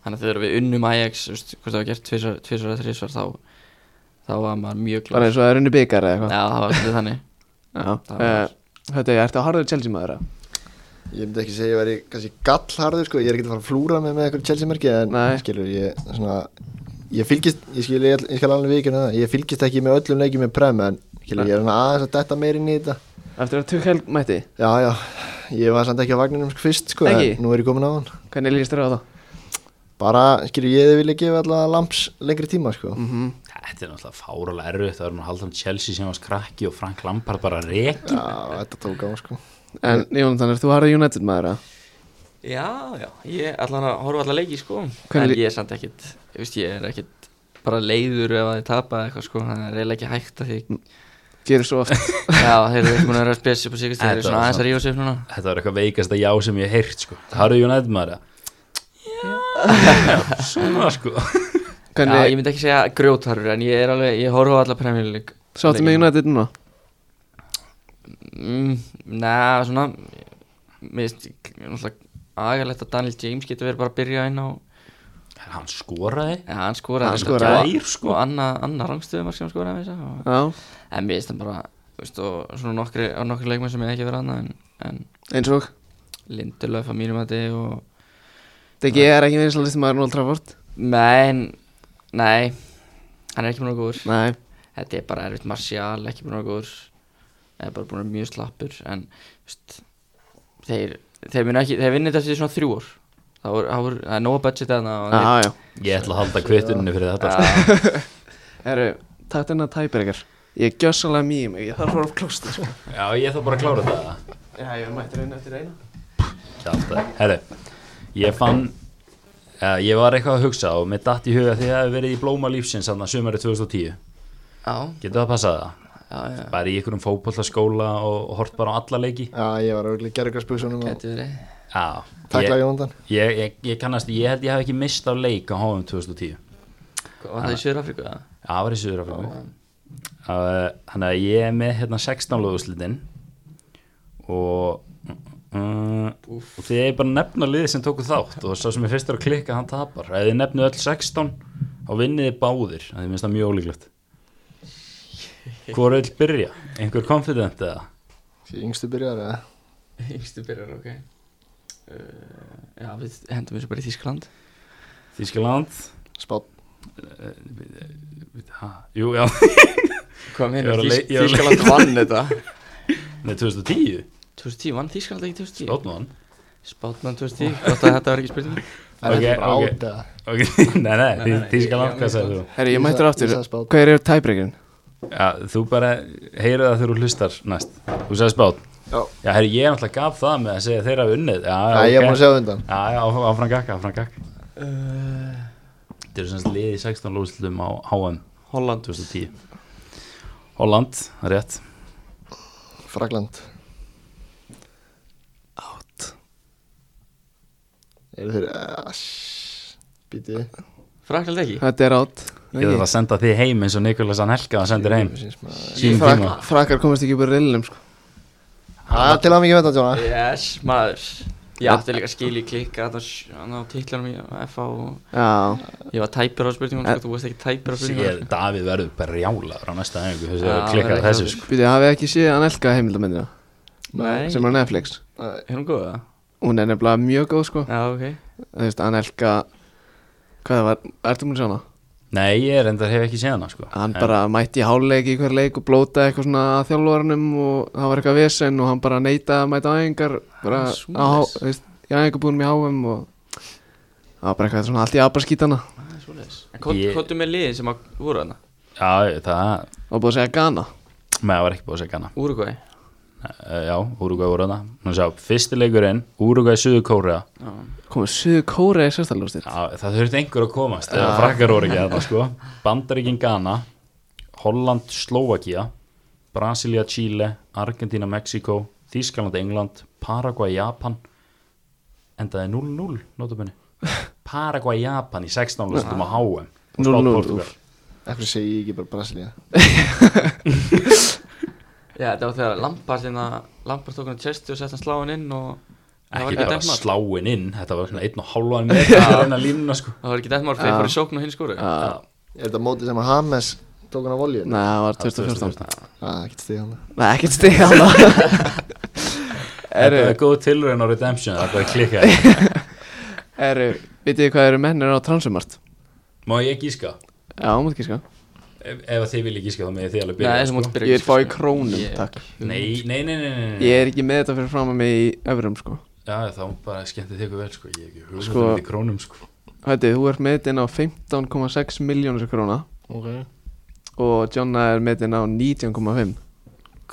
S4: þannig að þegar við unnum Ajax þú veist, hvort það var gert tvisar, tvisar að þrisvar þá þá var maður mjög
S1: bara
S4: glöð já,
S1: eins og það er unni byggar eða eitthvað
S4: það var svolítið þannig Það
S1: já.
S4: var-
S1: Eh, þetta er ertu að harður Chelsea maður eða?
S3: Ég myndi ekki segja að ég væri kannski gallharður sko, ég er ekki að fara að flúra mig með eitthvað Chelsea-merki en
S1: Nei.
S3: skilur ég svona ég fylgist, ég skil, ég, ég skal alveg vikuna það ég fylgist ekki með öllum leikjum með prem en skilur ég er svona aðeins að detta meir inn í þetta
S1: eftir að Tuchel mætti
S3: Já, já, ég var samt ekki á vagninum sko fyrst sko,
S1: Ekki?
S3: en nú er ég komin á hann
S1: hvernig líst þér á það?
S3: bara, skilur ég vil ekki gefa allavega lamps lengri tíma sko
S2: Þetta er náttúrulega fáralega erfitt Það er maður að halda um Chelsea sem var skrakki og Frank Lampard bara reik
S3: Já, þetta tók á sko
S1: en Jónatan, er þú harður United maður eða?
S4: Já, já, ég allan að horfa allar leiki sko
S1: Hvernig-
S4: En ég er samt ekkit, ég veist ég er ekkit bara leiður ef að þið tapa eða eitthvað sko Það er eiginlega ekki hægt að því
S1: Mm. gerir svo [laughs] oft
S4: Já, þeir eru ekki múin að vera að spesi upp á síkast Þeir
S2: Þetta
S4: eru svona
S2: var
S4: aðeins
S2: samt-
S4: að rífa sig upp núna
S2: Þetta var eitthvað veikasta já sem ég heirt sko Harry United maður eða? Já [laughs] Svona sko
S4: Já, ég
S1: Hvernig,
S4: myndi ekki segja grjótarur en ég er alveg, ég horfa á alla Premier League
S1: sáttu með United núna?
S4: mm, Nei, svona Mér finnst náttúrulega agalegt að Daniel James getur verið bara að byrja inn á
S2: Hann skoraði
S4: Já, hann skoraði
S1: Hann
S4: reyndar
S1: skoraði.
S4: gær, sko, anna, anna rangstöðum sem hann skoraði með þess
S1: Já,
S4: að en mér finnst hann bara, þú veist, og svona nokkri, og nokkri leikmenn sem ég ekki verið annað en, en
S1: eins og
S4: Lindelöf að mínum að þið og
S1: Degi er ekki verið svolítið maður en Old Trafford
S4: Nei, en- nei Hann er ekki búin að góður
S1: Nei,
S4: Þetta er bara erfitt marsjál, ekki búin að góður Það er bara búin að vera mjög slappur En veist, þeir, þeir, munu ekki, þeir vinna þetta í svona þrjú ár Það voru- það voru- það er nóg budget þarna og
S1: já,
S4: þeir-
S1: já
S2: Ég ætla að halda kvittunni fyrir þetta sko.
S4: Já,
S1: Herru, takk þennan tæpir ykkar Ég gjöss alveg mjög mig, ég þarf að fara á klósta sko.
S2: Já, ég þarf bara að klára þetta
S1: [laughs] Já, ég er mættur einu eftir eina
S2: Kjálta. Herru, ég fann Já, ég var eitthvað að hugsa og mér datt í huga því að það hefði verið í blóma lífsins hann að sömari 2010
S4: já,
S2: Getur það að passa það?
S4: já, já
S2: Bara í einhverjum fótbollaskóla og, og hort bara á alla leiki
S3: Já, ég var auðvitað gerðugræsbúsunum og
S4: Gæti verið
S2: Já, ég,
S3: takla ég undan
S2: ég, ég, ég kannast, ég held ég hef ekki mist á leik á HM 2010 Já,
S4: Hvað var það í Sjöðrafríku það?
S2: það var í Suðurafriku Þannig að ég er með hérna 16 löguslitin og uh, og þið er bara að nefna liðið sem tóku þátt og sá sem er fyrstur að klikka hann tapar ef þið nefnu öll 16 þá vinnið þið báðir, það er minnst það mjög ólíklegt Hvor vil byrja? Einhver confident eða?
S3: Því yngstu byrjar eða
S4: [laughs] Yngstu byrjar, ok uh, Já, við hendum þessu bara í Þískland
S2: Þískaland?
S3: Spátt
S2: Ha, jú, já, [laughs] Ég var
S4: Hvað meina,
S2: að lei- ég var að
S4: Þískaland vann [laughs] þetta
S2: með 2010
S4: 2010, vann Þískaland ekki 2010?
S2: Lótmann
S4: Spátmann 2010, gott að þetta var ekki spurning
S3: Það
S2: Ok,
S3: er bara
S2: ok.
S3: átt eða
S2: Ok, [laughs] nei, nei, nei,
S4: nei,
S2: Þískaland,
S4: ég-
S2: hvað
S4: ég-
S2: sagði þú?
S1: Herru, ég
S3: Ég
S1: mættur
S3: sa-
S1: aftur
S3: ég sagði spáð.
S1: Hver er tæpirinn?
S2: Já, þú bara heyrðu það þegar þú hlustar næst Þú sagði spátt
S3: Já.
S2: Já, herri, ég er náttúrulega gaf það með að segja þeirra hafi unnið Já, já,
S3: Já, ég er búin að segja á undan
S2: Já, já, áfram, áfram gakka, áfram gakka
S3: Eh.
S2: Þetta eru semst liðið 16 lúslum á HM
S4: Holland
S2: 2010 Holland, það er rétt
S3: Fragland Átt Eru þeir Ah, Ass Býtið
S4: Frakland ekki?
S1: Þetta er átt
S2: Ég þarf að senda þig heim eins og Nikolas hann helga að sendir heim Sýn
S1: Frak,
S2: tíma
S1: Frakkar komast ekki upp úr rillum sko.
S3: Það til að mikið með þetta Jóna
S4: Yes, maður Ég átti líka skil í klikka Þannig á titlarum í FA og
S1: Já,
S4: Ég var tæpur á spurningum sko, Þú veist ekki tæpur á
S2: Eh. Sér,
S4: spurningum
S2: Davíð verður bara rjálaður á næsta hengu Þessi
S4: Já,
S2: að klikka
S4: verður
S2: þessu
S4: ekki
S2: sko
S1: býtið, hafið þið ekki séð hann elka heimildamindina
S4: Nei,
S1: sem er á Netflix
S4: er hún góð það?
S1: Hún er nefnilega mjög góð sko
S4: Já, ok
S1: Þú veist, hann elka Hvað það var, ertu múin að sjá hana?
S2: Nei, ég reyndar hef ekki séð hana sko
S1: Hann
S2: En-
S1: bara mætti í háluleik í hver leik og blótaði eitthvað svona að þjálfvaranum og það var eitthvað vesen og hann bara neitaði að mæta á æfingar bara
S4: Ah,
S1: á,
S4: svoleiðis.
S1: þú veist, í æfingabúðum í háum og það var bara eitthvað svona allt í abraskítana
S4: Það er svoleiðis En
S2: Ég-
S4: hvað er með liðin sem að voru hana?
S2: Já, það
S1: og búið að segja Ghana
S2: Nei, það var ekki búið að segja hana
S4: Úrugvæ
S2: Eh, Já, Úrugvæ voru hana Nú sjá, fyrsti leikurinn, Úrugvæ Suður Kórea
S1: komið Suðu Kóra í sérstalúrstil
S2: Já, það þurfti einhver að komast eða frakkar voru ekki þarna sko Bandaríkin Ghana Holland Slovakia Brasilia Chile, Argentina Mexiko Þískaland England, Paraguay Japan endaði 0-0 notabene Paraguay Japan í 16 lústum á HM
S1: 0-0,
S2: 0-0
S1: úff.
S3: Ekkur segi ég ekki bara Brasilia
S4: Já, þetta var þegar Lampard hérna Lampard tók hann að tjesti og sett hann sláin inn og Það var
S2: ekki
S4: ekki
S2: bara
S4: dæmt mark.
S2: sláin inn þetta var svona einn og hálfan metra að reyna línuna sko
S4: Það var ekki dætt mál þegar
S1: Ah.
S4: fór í sókn og hinn skóru
S2: Já,
S3: Er þetta mótið sem að Hames tók hann á Ah, volju?
S1: Nei, það var 2014
S3: Það getur stigð hann
S1: Nei, ekkert stig hana
S2: Þetta
S1: Eru,
S2: er góð tilraun á Redemption Það er bara að klikka
S1: eru, vitið þið hvað eru mennir á transumart?
S2: Má ég gíska?
S1: Já, mútt ekki sko
S2: Ef, ef að þið viljið gíska þá með þið alveg byrja
S4: Nei, þessum
S2: sko.
S4: mátt byrja
S1: Ég er
S4: ekki,
S1: fá í
S4: sko.
S1: krónum,
S4: Ég-
S1: takk
S2: nei, nei, nei, nei, nei, nei.
S1: Ég er ekki með þetta fyrir fram að mig í öfrum sko
S2: Já, þá bara skemmti þig vel sko Ég er ekki hugmyndum
S1: Sko-
S2: sko... í krónum sko
S1: Hætti, þú ert metinn á 15,6 miljónir króna
S3: Ok
S1: og Jonna er metinn á 19,5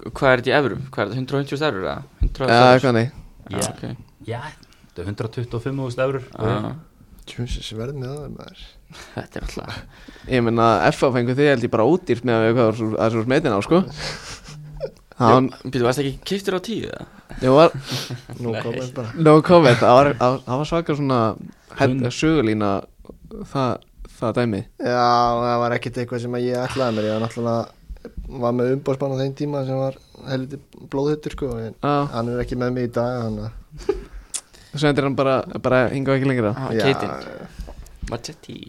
S4: Hvað er þetta í evrum? Hvað er þetta? 150 eurur eða? 100
S1: Eða eitthvað nei
S4: Já,
S2: Já.
S4: ok
S2: Já, þetta er 125.000 eurur
S4: Já.
S3: Tjónsins verðið með það maður
S4: Þetta er alltaf
S1: Ég meina, FA fengur þig held ég bara útýrt með að við hvað þú- að þú ert metinn á sko Hann,
S4: Býtu, varst ekki kiptur á tíu eða?
S1: ég var,
S3: Nú komum bara
S1: no comment, það var, það var svaka svona hætt, sögulína það, það dæmi
S3: Já, það var ekkert eitthvað sem að ég ætlaði mér Ég var náttúrulega var með umbóðsmann á þeim tíma sem var helviti blóðhuttur sko en
S1: Já,
S3: hann er ekki með mig í dag hann að
S1: svo endur hann bara, bara hingað ekki lengra
S4: ah,
S3: Já,
S4: Keitinn, Margetti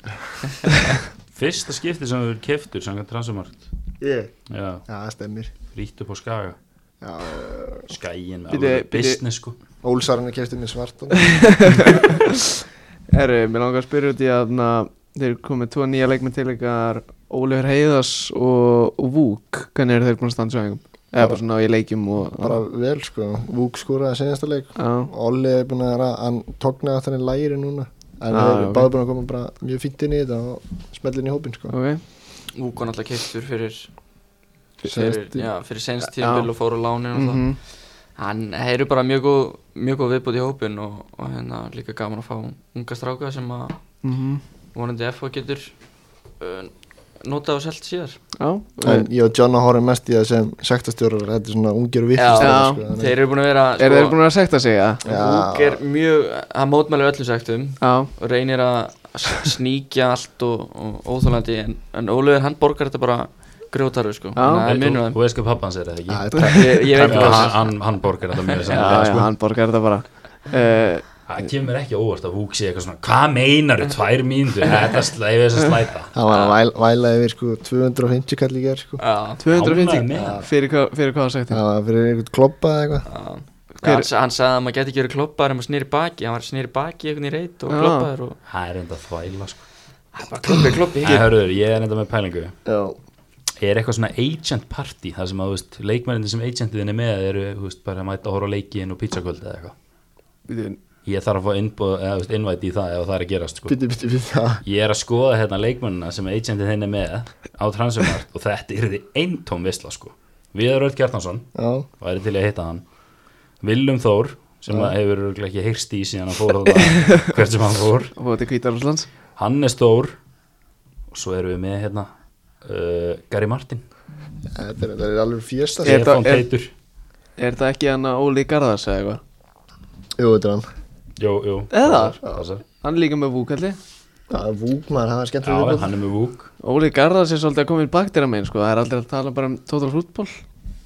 S2: Fyrsta skipti sem þú er keftur samkvæmt transumart
S3: Ég,
S2: Já,
S3: já, það stemmir
S2: frýtt upp á skaga
S3: Já, eh,
S2: Skæin með
S1: Bíddu,
S2: alveg
S1: bíddu.
S2: business sko
S3: Ólsarinn kefti mér svartan
S1: [laughs] Herru, mér langar að spyrja út í að na, þeir komið tvo nýja leikmenn til ykkar Ólífur Heiðas og, og Vúk Hvernig eru þeir búin að standa svo engum? Eða bara svona í leikjum og
S3: Bara vel sko, Vúk skoraði senasta leik
S1: Já,
S3: Olli er búin að vera, hann tóknaði aftan í læri núna En
S1: Já,
S3: ah, þeir
S1: ok.
S3: okay. báði búin að koma bara mjög fínt inn í þetta og smellin í hópinn sko
S1: ok
S4: Úkon alltaf keiftur fyrir fyrir,
S3: Senast-
S4: já, fyrir senst tímabil og fór á láni mm
S1: Mhm.
S4: hann þeir eru bara mjög góð, mjög góð viðbúti í hópin og, og hérna líka gaman að fá unga stráka sem að
S1: Mhm.
S4: vonandi FH getur uh, notað og selt síðar
S1: Já,
S3: En ég og John horfum mest í það sem sektastjórar, þetta er svona ungir og
S4: Já,
S3: vittist
S1: Já.
S3: sko, þannig-
S4: þeir eru búin að vera
S1: eru þeir búin að sekta sig eða?
S3: Já.
S4: Húk er mjög, hann mótmæli öllu sektum
S1: Já,
S4: og reynir að s- sníkja allt og, og óþólandi en, en Ólaugur hann borgar þetta bara grjótaru sko,
S1: Já.
S4: hann
S2: En
S4: munur
S2: Þú
S4: þeim
S2: þú veist hvað pappan sér eða ekki
S3: Já,
S4: ég, ég veit
S2: Já,
S4: hvað
S2: hann, hann, hann borgar þetta mjög
S1: já,
S2: sannlega
S1: já,
S2: sko.
S1: hann borgar þetta bara uh,
S2: Það kemur ekki á óvart að Vúk sé eitthvað svona Hvað meinar þau tvær mínútur? Þetta slæði þess að slæta
S3: Hann var að væla, væla yfir sko 250 kall í gerð sko
S4: Já,
S1: 250
S2: Ánægður með það.
S1: fyrir, hvað- fyrir hvað sekti?
S3: Það var fyrir einhvern kloppa eða eitthvað
S4: já.
S1: Hver-
S4: Hann, sa- hann sagði að maður geti ekki verið kloppaður en maður snýri baki, hann var snýri baki í einhvern í reyt og
S1: Já.
S4: kloppaður og
S2: Það er enda þvæla sko
S4: Það er bara kloppi, kloppi
S2: Það hörður, ég er enda með pælingu
S3: Já
S2: Er eitthvað svona agent party þar sem að þú veist, leikmærinni sem agentiðin er með eru þú veist, bara að mæta að horfa á leikin og pizzakvöld eða eitthvað
S1: Bíddu,
S2: Ég þarf að fá innbúð, eða, þú veist, innvæti í það ef það er að gerast sko.
S3: Bitti, bitti, bitti Það
S2: Ég er að skoða hérna leikmennina sem agentiðin er með á transumart og þetta er því eintóm visla sko. Viðar Öll Kjartansson
S3: Já
S2: væri til í að hitta hann Willum Þór sem að hefur örugglega ekki heyrst í síðan hann fór þarna, hvert sem hann fór
S1: Og fóðu til Kvítarúslands
S2: hann er stór og svo erum við með hérna uh, Gary Martin,
S3: Þetta er, þetta er alveg fjesta
S1: Er
S2: Stefán
S1: það- er-
S2: Teitur
S1: Er þetta ekki hann að Óli Garðars eða eitthvað?
S3: Jú, þetta er hann
S2: Jú, jú
S1: Eða?
S2: passar, passar.
S1: Hann er líka með Vúkalli
S3: Já, Vúkmaður, það er skemmt
S2: Já,
S3: að
S2: hann er með Vúk
S1: Óli Garðars er svolítið að koma inn baktir að megin sko. Það er aldrei að tala bara um total football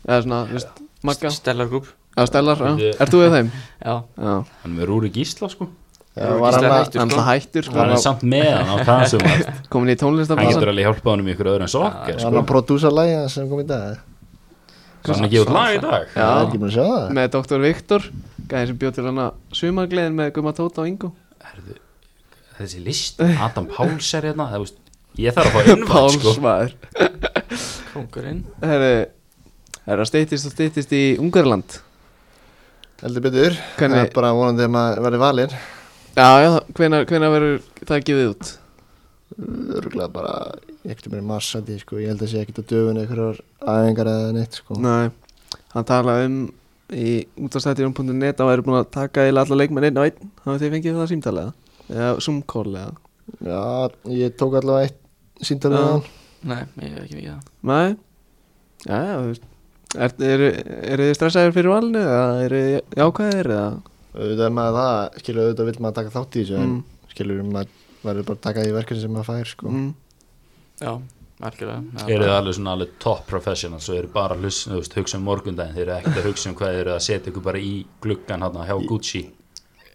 S1: Eða svona, þú veist, Magga
S4: Stellar Group
S1: Já, Stellar, já
S2: Bíddu.
S1: Ert þú
S2: [laughs]
S1: við þeim?
S4: Já,
S1: Já
S2: hann er með Rúri Gísla sko
S3: Já, var hann að
S4: Gísla hættur,
S1: Hann er alltaf hættur sko
S2: hann er samt með hann á transum hann
S1: [laughs] Komin í tónlistafansan
S2: getur alveg hjálpað hann um ykkur öðru en sokkar
S3: Var hann
S2: sko.
S3: að prodúsa lægja sem kom í dag
S2: hann er gefið lag í dag
S3: Já Það er ekki búin að sjá það
S1: Með Dr. Viktor Gæðin sem bjóð til hann að Sumargleðin með Guma Tóta og Ingo
S2: Herðu, þessi list, Adam Páls er hérna það, veist, ég
S1: [laughs]
S2: þarf að fá innvætt sko
S1: Pálsmaður
S4: kongurinn
S1: Herru Það er að steytist og steytist í Ungarland
S3: Heldur betur Það
S1: Hvernig-
S3: er bara vonandi að maður verði valinn
S1: Já, já, hvenær, hvenær verður það gefið út?
S3: Örgulega bara Ekkert mér marsandi, sko Ég held að sé ekkert að döfun einhverjar aðengar eða neitt, sko
S1: Nei, hann talaði um í útastættirum.net að væri búin að taka í alla leikmenn einn og einn hafið þið fengið það símtalega eða zoomcall eða
S3: Já, ég tók allavega eitt síntal
S1: Já.
S3: með hann
S4: Nei, ég hef ekki mikið það
S1: Nei, já, já, þú veist Er, eru er þið stressaðir fyrir valinu eða eru þið jákvæðir eða
S3: auðvitað er maður það, skilur auðvitað vil maður taka þátt í þessu en skilur maður verður bara að taka því verkefni sem maður fær sko.
S1: mm,
S4: Já, algjörlega
S2: eru það alveg svona alveg top professionals og eru bara að hlusta- þú veist, hugsa um morgundaginn þeir eru ekkert að hugsa um hvað þeir eru að setja ykkur bara í gluggan hérna hjá Gucci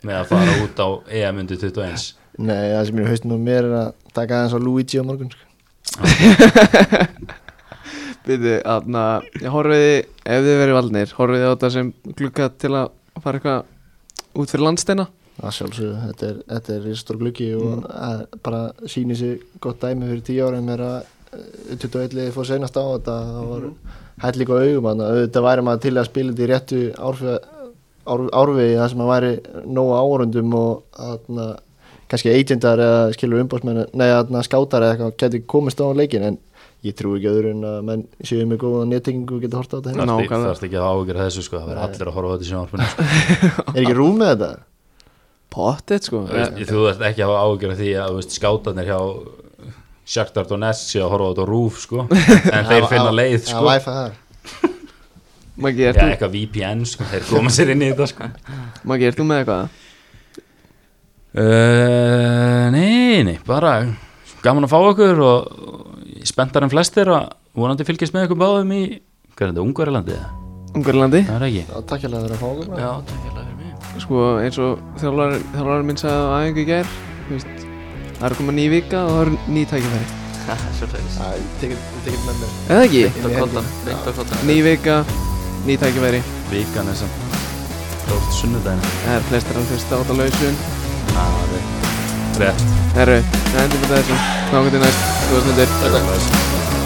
S2: með að fara út á EM undir 21
S3: Nei, það sem ég er haustin á mér er að taka aðeins á Luigi á morgun sko.
S1: byrðu, aðna, ég horfiði ef þið verið valnir, horfiði á þetta sem glugga til að fara eitthvað út fyrir landsteina
S3: að sjálfsögðu, þetta er, þetta er risastór gluggi og mm. bara síni sér gott dæmi fyrir 10 árum er að eh, 21 liði fór senast á þetta það var hætt líka augum hann auðvitað væri maður til að spila þetta í réttu árfið ár, árvegi það sem að væri nógu áhörundum og þarna, kannski eigendar eða skilur umbásmenn nei, þarna, skátar eða eitthvað geti komist á leikin en ég trú ekki öðru en að menn séu með góða nettingu og geta horta á þetta hérna.
S2: þarfti
S1: Nákvæmlega.
S2: þarfti ekki að ágjör þessu sko það verður allir að horfa á þetta í sjónvarpinu sko.
S3: er ekki rúm með þetta?
S1: pottet sko
S2: Þú veist, þú veist ekki að hafa ágjör því að þú veist, skátarnir hjá Shakhtar Donetsk sé að horfa á þetta á rúf sko en þeir finna leið
S3: að
S2: sko
S3: væfa það
S1: Maggi, ert
S2: Já,
S1: þú,
S2: eitthvað VPN sko, þeir koma sér inn í þetta sko
S1: Maggi, ert þú með eitthvað?
S2: Uh, nei, nei, Eh, bara gaman að fá okkur og og spenntar en flestir að vonandi fylgjast með ykkur báðum í hvað er þetta, Ungverjalandi eða?
S1: Ungarlandi
S2: Það er ekki
S3: Já, takk hérlega fyrir að fá okkur bara.
S4: Já, takk hérlega fyrir mig [laughs]
S1: sko eins og þjálfar, þjálfar minn sagði á æfingu í gær þú veist, það er að koma ný vika og það er ný tækifæri
S4: Haha, svolítið
S3: Já, ég tek ég tek þetta með mér
S1: eða ekki?
S4: Beint á koddan, beint á koddan
S1: ný vika, ný tækifæri
S2: vikan þess að það er sunnudaginn
S1: það er flestir að fyrsta átt á lausun
S2: Það er rétt. rétt
S1: herru, það endur fyrir þessu nákvæmdi næst, þú veist
S2: Takk fyrir.